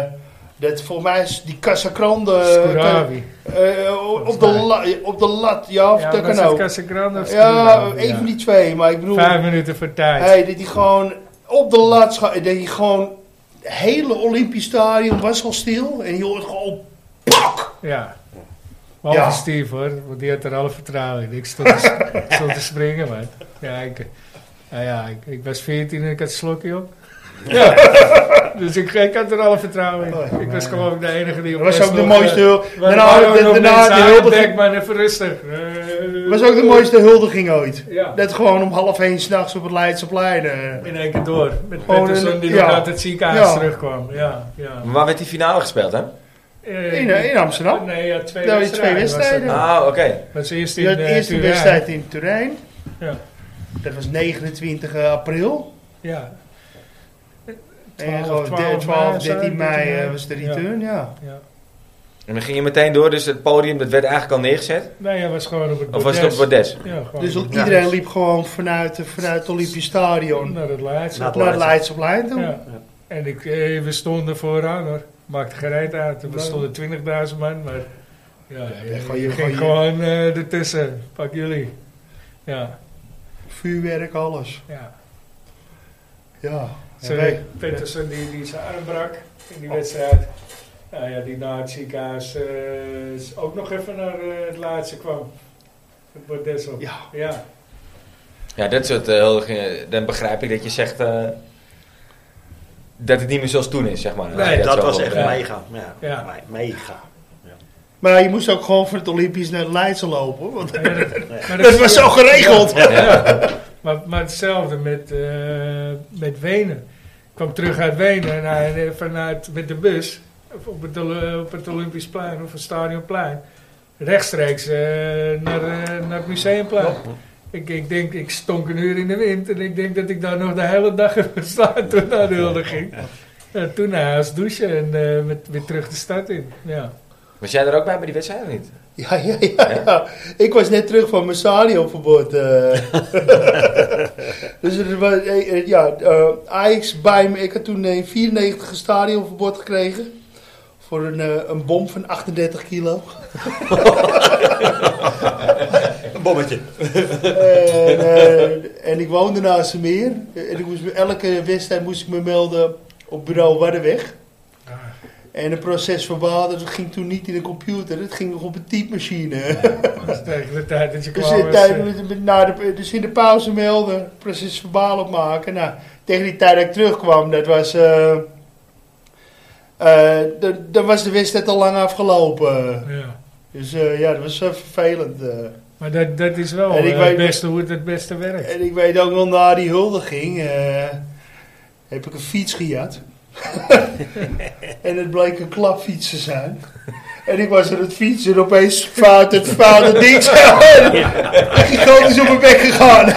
S3: dat voor mij is die Casagrande eh,
S2: Scorabi.
S3: eh, op, de
S2: Volgens
S3: la- op de lat, ja, of
S2: Ja,
S3: dat
S2: was
S3: kan
S2: het
S3: ook.
S2: Casagrande of
S3: Ja,
S2: Scorabi?
S3: een van die twee, maar ik bedoel,
S2: Vijf minuten voor tijd.
S3: hey, dat hij gewoon op de lat scha- dat hij gewoon, het hele Olympisch stadion was al stil en je hoort gewoon pak!
S2: Ja. Behalve
S3: Ja.
S2: Steve hoor, want die had er alle vertrouwen in. Ik stond te, ik
S3: [LAUGHS]
S2: stond te springen, man. Ja, ik, nou ja, ik, ik was 14 en ik had een slokje
S3: [LAUGHS]
S2: op. Ja. dus ik, ik had er alle vertrouwen in. Ik was geloof ik de enige die op
S3: Oh, Dat was ook de
S2: slok,
S3: mooiste
S2: eh,
S3: huldiging.
S2: waar-
S3: Daarna,
S2: waar ook nog
S3: daarna
S2: mensen
S3: de
S2: aan
S3: huldiging.
S2: Denk maar even rustig. Eh,
S3: was ook de mooiste huldiging ooit.
S2: Ja.
S3: Dat gewoon om half één s'nachts op het Leidseplein. eh.
S2: In één keer door. Met
S3: Gewoon
S2: Pettersson
S3: een-
S2: die
S3: ja.
S2: nog uit het ziekenhuis
S3: Ja.
S2: terugkwam. Ja, ja.
S1: Maar waar werd die finale gespeeld, hè?
S2: Eh,
S3: In, eh, in Amsterdam.
S2: Nee, ja, twee
S3: Nou, die
S2: wedstrijden.
S3: twee
S2: was dat.
S3: wedstrijden.
S1: Ah, oké.
S2: Dat is eerst in
S3: De
S2: eh,
S3: eerste
S2: Turijn.
S3: wedstrijd in Turijn.
S2: Ja.
S3: Dat was 29 april.
S2: Ja.
S3: En
S2: 12,
S3: gewoon de- 12,
S2: 12,
S3: 13 mei eh,
S2: mei.
S3: was de
S2: Ja.
S3: return, ja.
S2: Ja.
S1: En dan ging je meteen door, dus het podium dat werd eigenlijk al neergezet.
S2: Nee, hij was gewoon op het
S1: Of was het op het
S2: bordes.
S1: bordes?
S2: Ja, gewoon
S3: Dus
S2: op-
S3: iedereen liep gewoon vanuit, eh, vanuit het Olympisch Stadion
S2: naar het laatste.
S4: Nou,
S3: naar het Leids op Lijn toe.
S2: Ja. En ik, eh, we stonden vooraan hoor. Maakte geen reet uit. We stonden 20.000 man, maar ja, je,
S3: gewoon- je-
S2: je ging
S3: gewoon-
S2: gewoon eh, ertussen. Pak jullie. Ja,
S3: Vuurwerk, alles.
S2: ja.
S3: Ja. Oh.
S2: Zo,
S3: Wij-
S2: Petersen die, die zijn arm brak in die wedstrijd. Nou ja, die na het ziekenhuis eh, is ook nog even naar eh, het laatste kwam. Het bordes op.
S3: Ja. [LAUGHS]
S2: ja.
S1: Ja, dat soort, eh, heel erg, eh, dan begrijp ik dat je zegt eh, dat het niet meer zoals toen is, zeg maar.
S2: Nee,
S1: Ja,
S4: dat
S1: is
S4: was
S1: wel-
S4: echt
S1: ja.
S4: mega. Ja,
S2: Ja.
S4: me- mega.
S3: Maar je moest ook gewoon van het Olympisch naar het Leidse lopen. hoor, Want
S2: Maar dat- maar
S3: [LAUGHS] dat was zo geregeld.
S2: Maar, maar hetzelfde met, eh, met Wenen. Ik kwam terug uit Wenen en hij- eh, vanuit, met de bus op- op het, Ol- op het Olympisch plein of het Stadionplein. Rechtstreeks eh, naar, eh, naar het museumplein. Ik, ik denk, ik stonk een uur in de wind en ik denk dat ik daar nog de hele dag heb gestaan toen naar de huldiging. Ja, toen naar huis douchen en eh, met, weer terug de stad in. Ja.
S1: [LAUGHS] Was jij er ook bij bij die wedstrijd of niet?
S3: Ja, ja, ja, ja. Ik was net terug van mijn stadionverbod. eh. dus er was, eh, eh, ja, eh, Ajax bij me. Ik had toen in 94 een stadionverbod gekregen. Voor een, eh, een bom van 38 kilo.
S4: Een bommetje.
S3: en, eh, en ik woonde naast een meer. En ik moest, me- elke wedstrijd moest ik me melden op bureau Wardenweg. En het proces verbaal, dat ging toen niet in de computer. Het ging nog op een typemachine.
S2: Dus tegen de tijd dat je
S3: Dus,
S2: kwam
S3: in,
S2: was, eh,
S3: tijd- na de, dus in de pauze melden, precies verbaal opmaken. Nou, tegen die tijd dat ik terugkwam, dat was. eh, eh, d- dan was de wedstrijd al lang afgelopen.
S2: ja.
S3: Dus eh, ja, dat was eh, vervelend. eh.
S2: Maar dat, dat is wel
S3: En ik
S2: eh,
S3: weet-
S2: het beste hoe het het beste werkt.
S3: En ik weet ook nog na die huldiging eh, heb ik een fiets [LAUGHS] gejat. en het bleek een klapfiets te zijn. En ik was aan het fietsen en opeens fout het fout het ding. [LAUGHS] Gigantisch op mijn bek gegaan.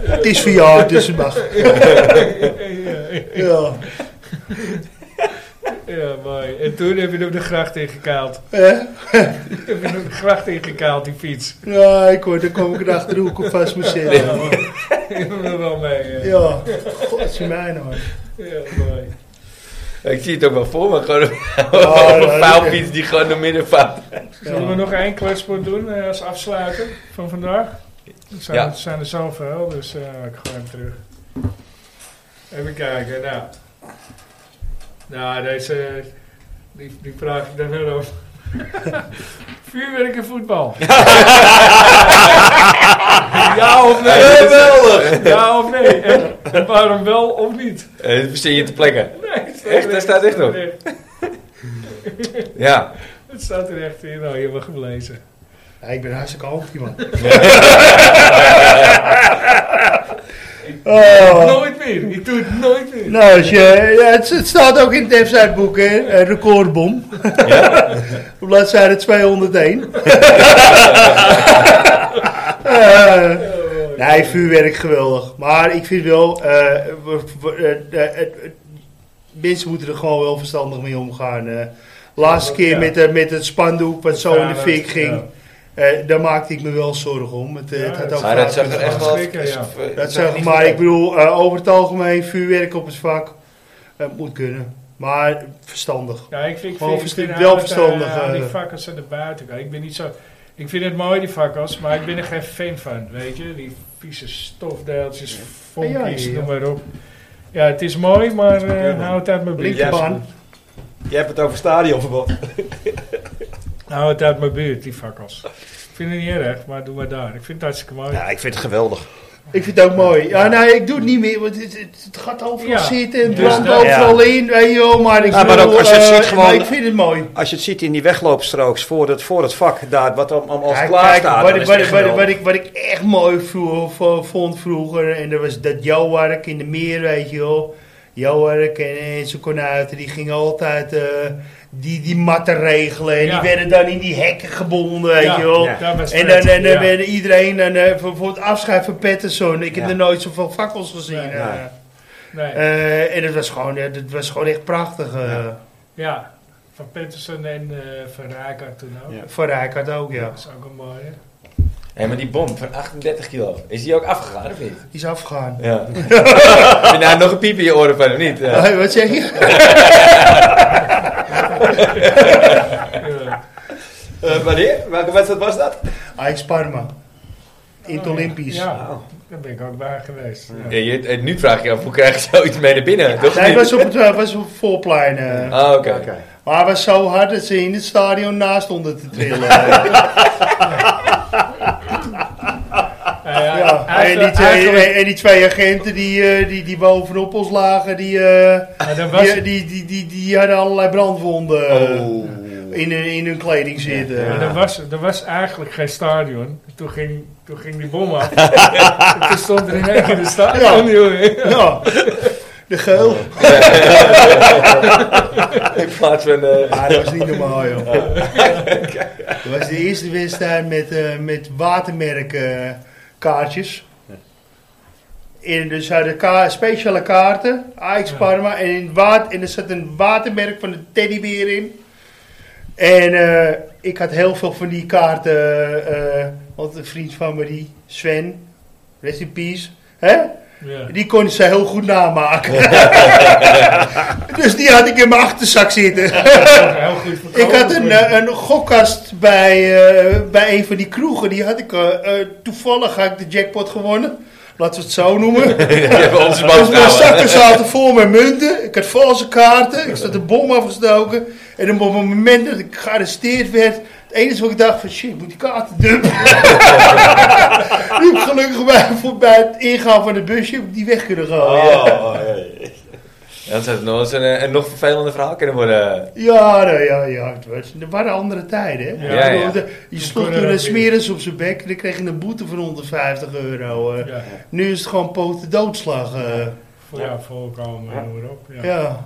S3: het is verjaard, dus het mag.
S2: [LAUGHS]
S3: Ja.
S2: Ja, mooi. En toen heb je hem de gracht ingekaald.
S3: Eh?
S2: heb je hem de gracht ingekaald, die fiets.
S3: Ja, ik hoor, dan kwam ik erachter hoe ik hem vast moest zetten.
S2: Ik heb er wel mee. eh. Ja,
S3: Ja, god, nou. is mijn hoor.
S2: mooi.
S1: Ik zie het ook wel voor me, gewoon [LAUGHS] een
S3: Ja,
S1: een
S3: ja,
S1: paalfiets die gewoon door midden vaart. [LAUGHS]
S2: Zullen we nog één kletspot doen eh, als afsluiter van vandaag? Er zijn,
S1: Ja.
S2: er zijn er zoveel, dus eh, ik gooi hem terug. Even kijken, nou. Nou, deze, die, die vraag ik dan weer over. [LAUGHS] Vuurwerk en voetbal. ja of nee?
S1: Geweldig! [LAUGHS]
S2: Ja of nee? En waarom wel of niet?
S1: Eh, Dat verzin je te plekken.
S2: Nee, het
S1: Echt?
S2: er
S1: Daar staat echt op.
S2: Het staat er echt.
S1: Ja.
S2: Het staat er echt in. Nou, je mag hem lezen.
S3: Ja, ik ben hartstikke hoofd, man. [LAUGHS] Oh.
S2: Nooit meer. Ik doe het nooit meer.
S3: Nou, als je, ja, het, het staat ook in het websiteboek, hè? Een recordbom. Ja? [LAUGHS] Op bladzijde 201. [LAUGHS] Eh,
S2: Oh,
S3: nee, vuurwerk geweldig. Maar ik vind wel, eh, we- we- eh, eh, het- het- mensen moeten er gewoon wel verstandig mee omgaan. eh. laatste keer
S2: Ja.
S3: met, de- met het spandoek wat zo in de
S2: Ja,
S3: fik
S2: dat-
S3: ging,
S2: ja.
S3: eh, daar maakte ik me wel zorgen om. Het, eh,
S2: Ja,
S3: het had
S2: dat-
S3: ook
S1: Maar dat
S3: vaker
S1: zag er echt wel...
S2: Schrikken, ja.
S1: eh,
S3: dat
S1: zag er
S3: zeg
S1: niet
S3: maar,
S1: goed
S3: ik
S1: uit.
S3: bedoel, eh, over het algemeen, vuurwerk op het vak eh, moet kunnen. Maar verstandig.
S2: Ja, ik vind, ik
S3: Gewoon
S2: vind, ik
S3: verstand-
S2: vind
S3: wel
S2: aan het, eh,
S3: verstandig,
S2: aan die
S3: eh.
S2: vakkers aan de buitenkant. Ik ben niet zo... Ik vind het mooi, die vakkers, maar ik ben er geen fan van, weet je. Die vieze stofdeeltjes, vonkies,
S3: Ja, ja, ja.
S2: noem maar op. Ja, het is mooi, maar eh hou het uit mijn buurt.
S3: Linkerbaan.
S4: Je hebt het over stadionverbod.
S3: Oh
S2: Hou het uit mijn buurt, die vakkers. Ik vind het niet erg, maar doe maar daar. Ik vind het hartstikke mooi.
S4: Ja, ik vind het geweldig.
S3: Ik vind het ook mooi. Ja, nee, ik doe het niet meer, want het, het, het gaat overal
S2: Ja.
S3: zitten en het
S2: Dus
S3: brandt
S4: dat-
S3: overal in. Weet je wel, maar ik
S4: Ja, maar
S3: bedoel,
S4: ook als je het
S3: eh,
S4: ziet gewoon-
S3: maar ik vind het mooi.
S4: Als je het ziet in die wegloopstrooks voor het, voor het vak daar, wat dan allemaal
S3: Kijk,
S4: klaar
S3: kijk,
S4: staat.
S3: wat,
S4: dan
S3: ik-
S4: is
S3: wat,
S4: het
S3: ik-
S4: echt
S3: wat, ik-
S4: geweldig.
S3: wat ik, wat ik echt mooi vroeger, v- vond vroeger, en dat was dat Jouwark in de meer, weet je wel. Jouwark en, en zijn konuiten, die gingen altijd eh, die, die matten regelen. En
S2: Ja.
S3: die werden dan in die hekken gebonden, weet
S2: Ja,
S3: je wel.
S4: ja.
S2: daar was
S3: En dan,
S2: Fred,
S3: en dan
S2: ja.
S3: werd iedereen, dan, eh, voor, voor het afscheid van Patterson, ik heb
S4: Ja.
S3: er nooit zoveel fakkels gezien.
S2: Nee.
S3: eh.
S4: Nee.
S2: Nee.
S3: Eh, en dat was, gewoon, eh, dat was gewoon echt prachtig. eh.
S2: Ja, Van Pettersson en eh, van Rijkaard toen ook.
S4: Ja.
S3: Voor Rijkaard ook, ja.
S2: Dat is ook een mooie.
S1: Hé, maar die bom van 38 kilo, is die ook afgegaan of niet?
S3: Die is afgegaan.
S1: Ja. [LAUGHS] Heb je nou nog een piep in je oren van of niet? Ja.
S3: Hey, wat zeg je?
S2: Ja.
S1: Eh, wanneer? Welke wedstrijd was dat?
S3: Ajax Parma. In het Olympisch.
S2: Oh, Ja, daar ben ik ook bij geweest. Ja.
S1: Ja, je, eh, nu vraag je af, hoe krijg je zoiets mee naar binnen? Toch
S3: Nee, het
S1: niet?
S3: was op het eh, was op het voorplein. eh.
S1: Ah, oké.
S3: Maar het was zo hard dat ze in het stadion naast stonden te trillen. ja,
S2: Nou ja, eh,
S3: en, die
S2: eigenlijk-
S3: twee,
S2: eigenlijk-
S3: en die twee agenten die, eh, die, die bovenop ons lagen, die, eh,
S2: maar dat was-
S3: die, die, die, die, die hadden allerlei brandwonden eh, in, hun- in hun kleding zitten.
S2: maar
S3: Ja.
S2: Er was, er was eigenlijk geen stadion. Toen ging, toen ging die bom [LAUGHS] af. toen stond er in één keer de stadion,
S3: Ja.
S2: jongen.
S3: De geul.
S1: In plaats van... eh,
S3: [LAUGHS] Ja, Ah, dat was niet normaal, joh. Dat was de eerste wedstrijd met, eh met watermerkkaartjes. en dus ze hadden ka- speciale kaarten, Ajax Parma, en, in water, en er zat een watermerk van de teddybeer in. En eh, ik had heel veel van die kaarten, eh, want een vriend van me, die Sven, rest in peace, hè?
S2: Ja.
S3: Die kon ze heel goed namaken. [LAUGHS] dus die had ik in mijn achterzak zitten.
S2: Heel goed verkopen.
S3: Ik had een, eh, een gokkast bij, eh, bij een van die kroegen. Die had ik eh, eh, toevallig had ik de jackpot gewonnen. Laten we het zo noemen.
S1: [LAUGHS] je hebt onze bal
S3: Dus mijn
S1: gehouden.
S3: zakken zaten vol met munten. Ik had valse kaarten. Ik zat de bom afgestoken. En dan op het moment dat ik gearresteerd werd. Het enige wat ik dacht van shit, ik moet die kaarten dumpen. [LAUGHS] Nu heb ik gelukkig bij, voor- bij het ingaan van de busje heb ik die weg kunnen gaan. Ja,
S4: Oh,
S1: Dan zou het nog eens een, eh, een nog vervelender verhaal kunnen worden.
S3: ja, nou ja, ja. Het was, er waren andere tijden. Hè?
S2: Ja,
S3: Ik bedoel,
S1: ja.
S3: de- Je sloeg
S2: kunnen
S3: door
S2: we
S3: een
S2: dat weer.
S3: smeris op zijn bek en dan kreeg je een boete van 150 euro. eh.
S2: Ja,
S3: Nu is het gewoon poten doodslag. eh.
S2: voor, ja, voorkomen, en noem maar op. Ja.
S3: ja.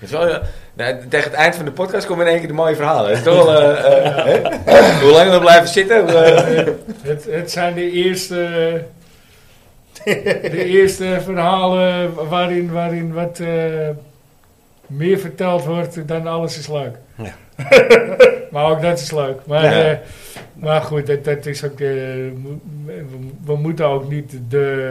S1: Het is wel, eh, nou, tegen het eind van de podcast komen in één keer de mooie verhalen. Het is toch wel, eh, eh,
S3: [LAUGHS]
S1: hè? Hoe lang we blijven zitten? hoe, eh,
S2: [LAUGHS] Het, het zijn de eerste, de eerste verhalen waarin, waarin wat eh, meer verteld wordt dan alles is leuk.
S4: Ja.
S2: [LAUGHS] maar ook dat is leuk. Maar,
S1: Ja.
S2: eh, maar goed, dat, dat is ook, eh, mo- we, we moeten ook niet de...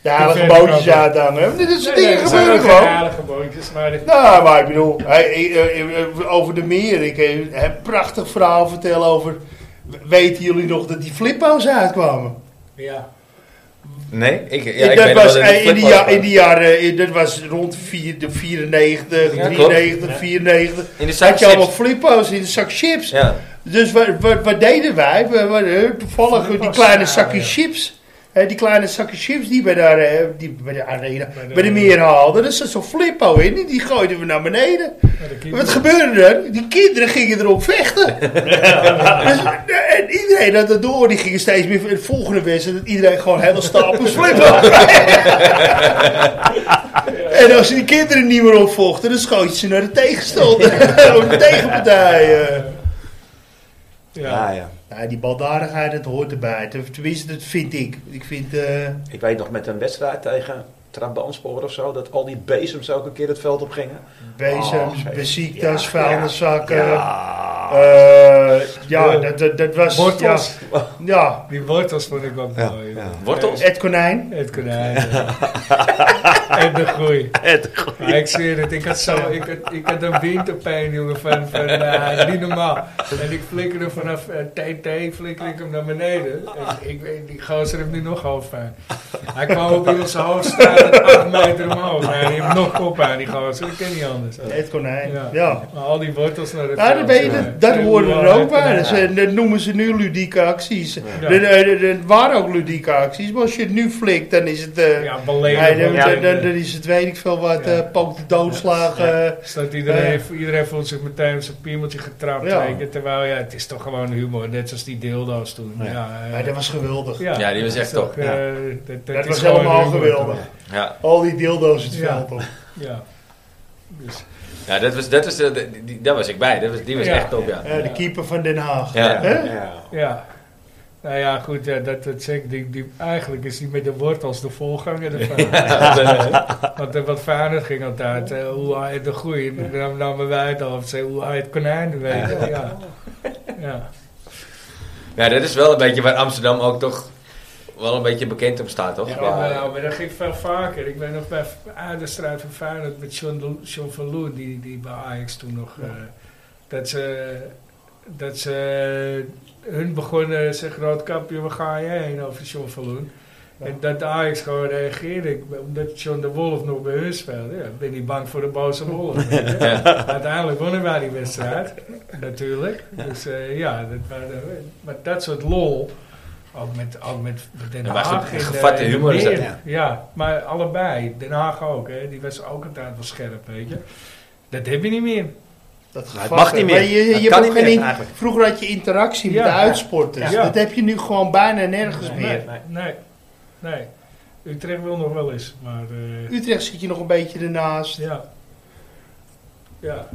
S3: Ja, de
S2: Hoeveel
S3: gebouwtjes
S2: vrouwen?
S3: uithangen. Dit soort
S2: Nee,
S3: dingen
S2: er zijn
S3: gebeuren
S2: ook geen
S3: gewoon.
S2: aardige boontjes, maar het-
S3: Nou, maar ik bedoel, hij- eh, eh, eh, over de meer. Ik eh, heb een prachtig verhaal vertellen over. Weten jullie nog dat die flippo's uitkwamen?
S2: ja.
S1: Nee, ik, ja, ik
S3: dat
S1: weet nog
S3: was
S1: wel
S3: eh, in,
S1: flip
S3: die
S1: was,
S3: ja,
S1: maar-
S3: in die jaren, eh, dat was rond vier, de 94,
S1: Ja,
S3: 93, 94.
S1: in de
S3: Had je allemaal
S1: zakjes.
S3: flippo's in een zak chips.
S1: Ja.
S3: Dus wat, wat, wat deden wij? We, we- eh, toevallig die
S2: Flippo's,
S3: kleine
S2: ja,
S3: zakken
S2: ja.
S3: chips. hè, die kleine zakken chips die bij de, eh, die bij de arena,
S2: Bij
S3: bij
S2: de-
S3: de, meer haalden. Er zat zo'n flippo in en die gooiden we naar beneden.
S2: maar de
S3: Wat
S2: kinderen-
S3: gebeurde er? Die kinderen gingen erop vechten. Dus, eh, en iedereen had dat door. Die gingen steeds meer... Het volgende wedstrijd dat iedereen gewoon hele stapels flippen. en als die kinderen niet meer opvochten... dan schoot je ze naar de tegenstander. [LAUGHS] of de tegenpartij. eh.
S2: Ja.
S4: Ah, ja.
S3: Ja, Nou, die baldadigheid, dat hoort erbij. Tenminste, dat vind ik. Ik vind... eh,
S4: Ik weet nog met een wedstrijd tegen Trabantsporen of zo, dat al die bezems ook een keer het veld op gingen.
S3: bezems,
S4: Oh,
S3: beziektas,
S4: ja,
S3: vuilniszakken... Ja.
S4: Ja.
S3: ja, dat, dat, dat was...
S2: Wortels.
S3: Ja, ja,
S2: Die wortels vond ik ook
S4: Ja,
S2: mooi.
S4: ja.
S1: Wortels?
S3: het konijn.
S2: Het konijn. en de groei.
S4: Eh.
S2: Maar ik zweer het, ik had, zo, ik had, ik had een winterpijn, jongen, van, van eh, niet normaal. En ik flikkerde vanaf eh, TT, flikker ik hem naar beneden. En ik weet, die gozer heeft nu nog hoofdpijn. Hij kwam op in zijn hoofd staan, en acht meter omhoog. Hij heeft nog koppijn, die gozer, dat kan niet anders.
S3: Het konijn,
S2: Ja.
S3: ja.
S2: Maar al die wortels naar de
S3: Nou, dat, ben je, dat, dat hoorde er ook bij. Dat,
S2: eh, Ja.
S3: zijn- dat noemen ze nu ludieke acties. Dat- eh, dat- dat waren ook ludieke acties, maar als je het nu flikt, dan is het... eh,
S2: Ja,
S3: nee,
S2: beleden.
S3: dan,
S2: Ja,
S3: dan, dan- dan is het weet ik veel wat,
S2: Ja.
S3: eh poot doodslagen.
S2: Zodat iedereen, iedereen voelt zich meteen op zijn piemeltje getrapt.
S3: Ja.
S2: weet je, Terwijl ja, het is toch gewoon humor, net zoals die dildo's toen. Ja, eh,
S3: Maar dat was geweldig.
S1: Ja, die was
S2: dat
S1: echt
S2: is toch,
S1: top,
S2: eh,
S4: ja.
S2: dat- dat
S3: Dat,
S2: is
S3: was
S2: gewoon
S3: helemaal
S2: humor,
S3: geweldig.
S2: toch?
S1: Ja.
S3: Al die dildo's het
S2: Ja.
S3: veld op.
S2: Ja. Dus,
S1: ja, dat was, dat was, eh, die- die- daar was ik bij. Dat was, die was
S2: Ja.
S1: echt top, ja.
S3: Eh,
S2: Ja.
S3: De keeper van Den Haag.
S1: Ja.
S3: Hè?
S2: ja. Nou ja, goed, ja, dat, dat zeg ik. Die, die, eigenlijk is die met de wortels de voorganger
S1: [LAUGHS]
S2: ervan. Want eh, wat verder ging altijd. eh, hoe hij de groei nam, namen wij het al. Of zei, hoe hij het konijn, weet je. Ja. Ja.
S1: Ja, dat is wel een beetje waar Amsterdam ook toch wel een beetje bekend om staat, toch?
S2: Ja, maar, nou, maar dat ging veel vaker. Ik ben nog bij Aardenstraat van Feyenoord met John, de, John van Loer, die, die bij Ajax toen nog... eh, dat ze... Dat ze eh, hun begonnen, zeg roodkapje, waar ga je heen over John van Loer? En dat de Ajax gewoon reageerde, Ik ben- omdat John de Wolf nog bij hun speelde. Ja, ben niet bang voor de boze
S1: [LAUGHS]
S2: Wolf. weet je. Uiteindelijk wonnen wij die wedstrijd, natuurlijk. Dus eh, ja, dat, waren- maar dat soort lol, ook met, ook met Den
S1: Ja, maar
S2: Haag.
S1: goed,
S2: in de-
S1: gevatte
S2: in de
S1: humor is dat,
S2: meer.
S4: ja.
S2: Ja, maar allebei. Den Haag ook, hè. die was ook altijd wel scherp, weet je. Dat heb je niet meer.
S3: Dat
S4: Maar het
S3: gevatte.
S4: mag niet meer.
S3: Maar je, je
S4: Het
S3: hebt
S4: kan
S3: ook
S4: niet
S3: geen
S4: meer,
S3: in-
S4: eigenlijk.
S3: Vroeger had je interactie
S2: Ja.
S3: met de uitsporters.
S2: Ja.
S3: Dat heb je nu gewoon bijna nergens
S2: Nee,
S3: meer.
S2: nee, nee, nee. Utrecht wil nog wel eens, maar... eh,
S3: Utrecht zit je nog een beetje ernaast.
S2: ja. Ja.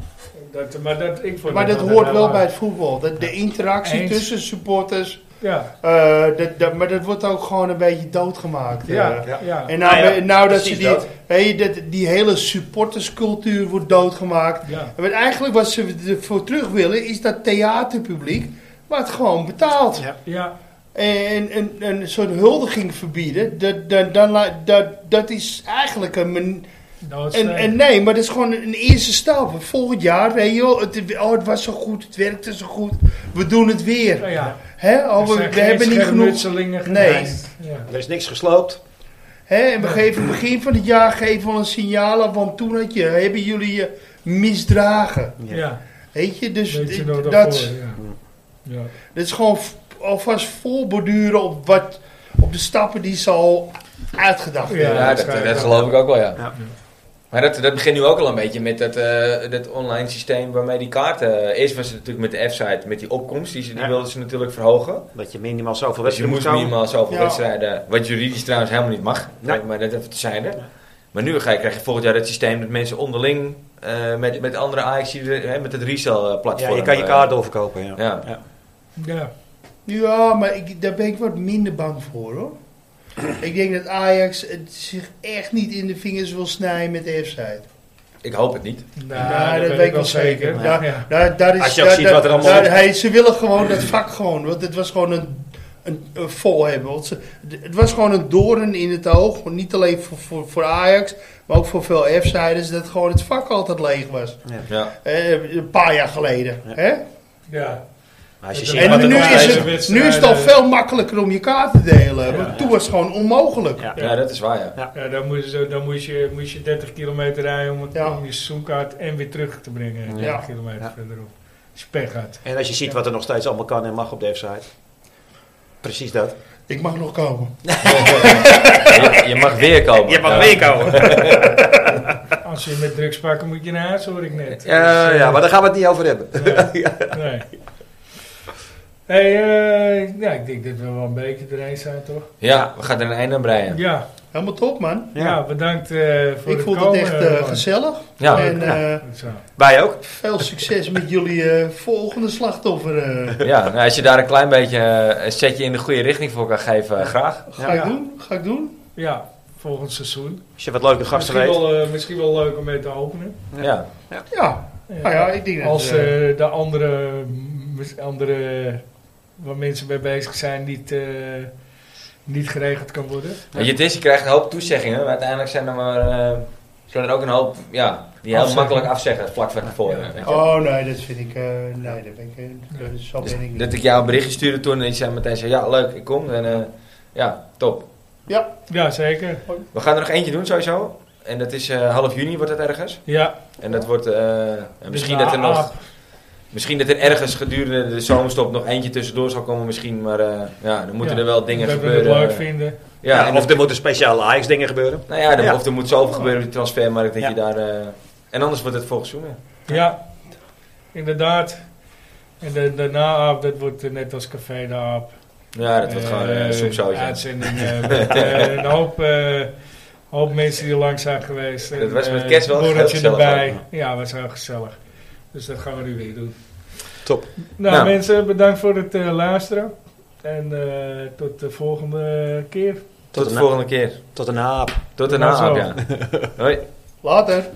S2: Dat, maar dat, ik vond
S3: Maar dat
S2: altijd
S3: hoort
S2: heel
S3: wel bij
S2: leuk.
S3: het voetbal. Dat de interactie
S2: Eens.
S3: tussen supporters.
S2: Ja,
S3: eh, dat, dat, maar dat wordt ook gewoon een beetje doodgemaakt.
S2: ja,
S3: eh.
S2: ja.
S4: Ja.
S2: ja.
S3: En nou,
S4: Nou ja,
S3: nou dat ze
S4: precies
S3: die,
S4: dat.
S3: Hey, dat, die hele supporterscultuur wordt doodgemaakt. En wat eigenlijk wat ze ervoor terug willen is dat theaterpubliek wat gewoon betaalt.
S4: Ja.
S2: Ja,
S3: En, en, en een soort huldiging verbieden, dat, dat, dan la- dat, dat is eigenlijk een, men- en,
S2: doodsteen.
S3: en nee, maar dat is gewoon een eerste stap. Volgend jaar, hey joh, het, oh, het was zo goed, het werkte zo goed, we doen het weer.
S2: Nou ja,
S3: Hè?
S2: er
S3: Oh, we,
S2: zijn
S3: we
S2: geen
S3: hebben niet genoeg.
S2: schermutselingen
S3: Nee.
S2: geweest. Ja.
S4: Er is niks gesloopt.
S3: Hè? En we geven begin van het jaar geven we al een signaal af, want toen had je, hebben jullie je misdragen.
S4: Ja.
S2: Ja,
S3: Weet je, dus
S2: weet je
S3: dit-
S2: nog
S3: dat,
S2: daarvoor, ja. Ja.
S3: dat is gewoon v- alvast voorborduren op, wat, op de stappen die ze al uitgedacht hebben.
S1: Ja, dat, dat geloof ik ook wel, ja.
S4: Ja.
S1: Maar dat, dat begint nu ook al een beetje met dat, eh, dat online systeem waarmee die kaarten... eh, eerst was het natuurlijk met de F-site, met die opkomst, die, ze- die
S4: Ja.
S1: wilden ze natuurlijk verhogen.
S4: Dat je minimaal zoveel
S1: Dus je
S4: wedstrijden
S1: moest
S4: moet komen.
S1: minimaal zoveel
S3: Ja.
S1: wedstrijden, wat juridisch trouwens helemaal niet mag,
S4: Ja.
S1: maar dat even tezijde. Maar nu ga je, krijg je volgend jaar het systeem dat mensen onderling eh, met, met andere Ajax, eh, met het
S4: Ja,
S1: resell-platform...
S4: je kan je kaart doorverkopen. eh, Ja.
S1: eh, ja.
S2: Ja.
S3: Ja, maar ik, daar ben ik wat minder bang voor hoor. ik denk dat Ajax het zich echt niet in de vingers wil snijden met de F-side.
S1: Ik hoop het niet.
S2: Nou,
S3: Ja, dat weet ik wel zeker.
S2: Ja. Ja.
S3: Daar, daar is,
S4: Als je ook
S3: daar-
S4: ziet
S3: daar-
S4: wat er allemaal
S3: daar-
S4: op-
S3: hij, Ze willen gewoon dat vak gewoon, want het was gewoon een, een, een vol hebben. Want ze- d- het was gewoon een doorn in het oog, niet alleen voor, voor, voor Ajax, maar ook voor veel F-siders, dat gewoon het vak altijd leeg was.
S1: Ja.
S3: Eh, een paar jaar geleden.
S4: Ja.
S3: Hè?
S2: Ja.
S4: Maar als je
S2: En
S4: ziet wat
S3: En
S4: er
S3: nu
S4: nog steeds- eh,
S3: is,
S2: deze
S3: het, nu is het
S2: wedstrijden-
S3: al veel makkelijker om je kaart te delen. Want toen was het gewoon onmogelijk.
S4: Ja.
S1: ja, dat is waar,
S4: [LAUGHS]
S1: ja.
S2: Ja, dan moest je, dan moest je, moest je 30 kilometer rijden om, het,
S3: Ja.
S2: om je seizoenkaart en weer terug te brengen. 30 kilometer
S4: Ja.
S2: verderop. Als je pech had.
S4: En als je ziet wat er nog steeds allemaal kan en mag op de website. Precies dat.
S3: Ik mag nog komen.
S1: Je, je mag weer komen.
S4: Je mag
S1: Ja.
S4: weer komen.
S2: Als je met drugs pakken moet je naar huis, hoor ik net.
S4: Ja,
S2: Dus, eh,
S4: ja, maar daar gaan we het niet over hebben.
S2: Nee. Hey, eh, ja, ik denk dat we wel een beetje erheen zijn, toch?
S1: Ja, we gaan er een einde aan breien.
S2: Ja,
S3: Helemaal top, man.
S2: ja. bedankt eh, voor
S3: Ik
S2: het
S3: vond
S2: komen.
S3: het echt eh,
S2: man.
S3: gezellig.
S1: Ja.
S3: en eh,
S2: Zo.
S4: Wij ook.
S3: veel succes met jullie eh, volgende slachtoffer. eh.
S1: Ja, nou, als je daar een klein beetje eh, een setje in de goede richting voor kan geven, eh, graag.
S3: Ga
S2: Ja.
S3: ik doen? Ga ik doen?
S2: Ja, volgend seizoen.
S4: Als je wat leuke gasten
S2: Misschien
S4: weet.
S2: wel, eh, misschien wel leuk om mee te openen.
S1: Ja.
S3: Ja. Nou ja, ik denk dat...
S2: Als
S3: eh,
S2: eh, de andere, mis- andere waar mensen mee bezig zijn niet, eh, niet geregeld kan worden.
S1: Weet je, het is, je krijgt een hoop toezeggingen, maar uiteindelijk zijn er maar eh, zijn er ook een hoop ja, die heel
S2: Afzeggen.
S1: makkelijk afzeggen, vlak van tevoren.
S2: Ja.
S1: weet je.
S3: Oh nee, dat vind ik... eh, nee, dat ben ik... eh, dat- zo ben ik niet.
S1: Dus Dat ik jou een berichtje stuurde toen en je zei meteen, zei, ja leuk, ik kom. En eh, ja, top.
S2: Ja, zeker.
S1: We gaan er nog eentje doen sowieso. En dat is eh, half juni wordt het ergens.
S2: Ja,
S1: En dat wordt, eh, en misschien
S2: Dus
S1: dat er
S2: na
S1: nog...
S2: aap.
S1: Misschien dat er ergens gedurende de zomerstop nog eentje tussendoor zal komen misschien, maar eh, ja, dan moeten
S2: Ja,
S1: er wel dingen
S2: dat
S1: gebeuren.
S2: we het leuk vinden.
S1: Ja,
S4: Ja,
S1: en
S4: of er moeten speciale Ajax dingen gebeuren.
S1: Nou ja, er,
S4: Ja.
S1: of er moet zoveel gebeuren op die transfermarkt dat
S4: Ja.
S1: je daar... eh, en anders wordt het volgens seizoen. hè.
S2: Ja, inderdaad. En de, de na-aap, dat wordt eh, net als café de aap.
S1: Ja, dat wordt
S2: Eh,
S1: gewoon eh soepsausje.
S2: Uitzending eh, met
S1: [LAUGHS]
S2: eh, een hoop, eh, hoop mensen die lang zijn geweest.
S1: Dat was
S2: En,
S1: met
S2: eh,
S1: kerst wel heel
S2: borreltje
S1: gezellig
S2: erbij.
S1: ook.
S2: Ja, was heel gezellig. Dus dat gaan we nu weer doen.
S4: Top.
S2: Nou,
S1: Nou.
S2: mensen, bedankt voor het eh, luisteren. En eh, tot de volgende keer.
S1: Tot
S4: een-
S1: de volgende keer.
S4: Tot een haap.
S1: Tot de
S2: Nou,
S1: naam. Ja. Hoi.
S3: Later.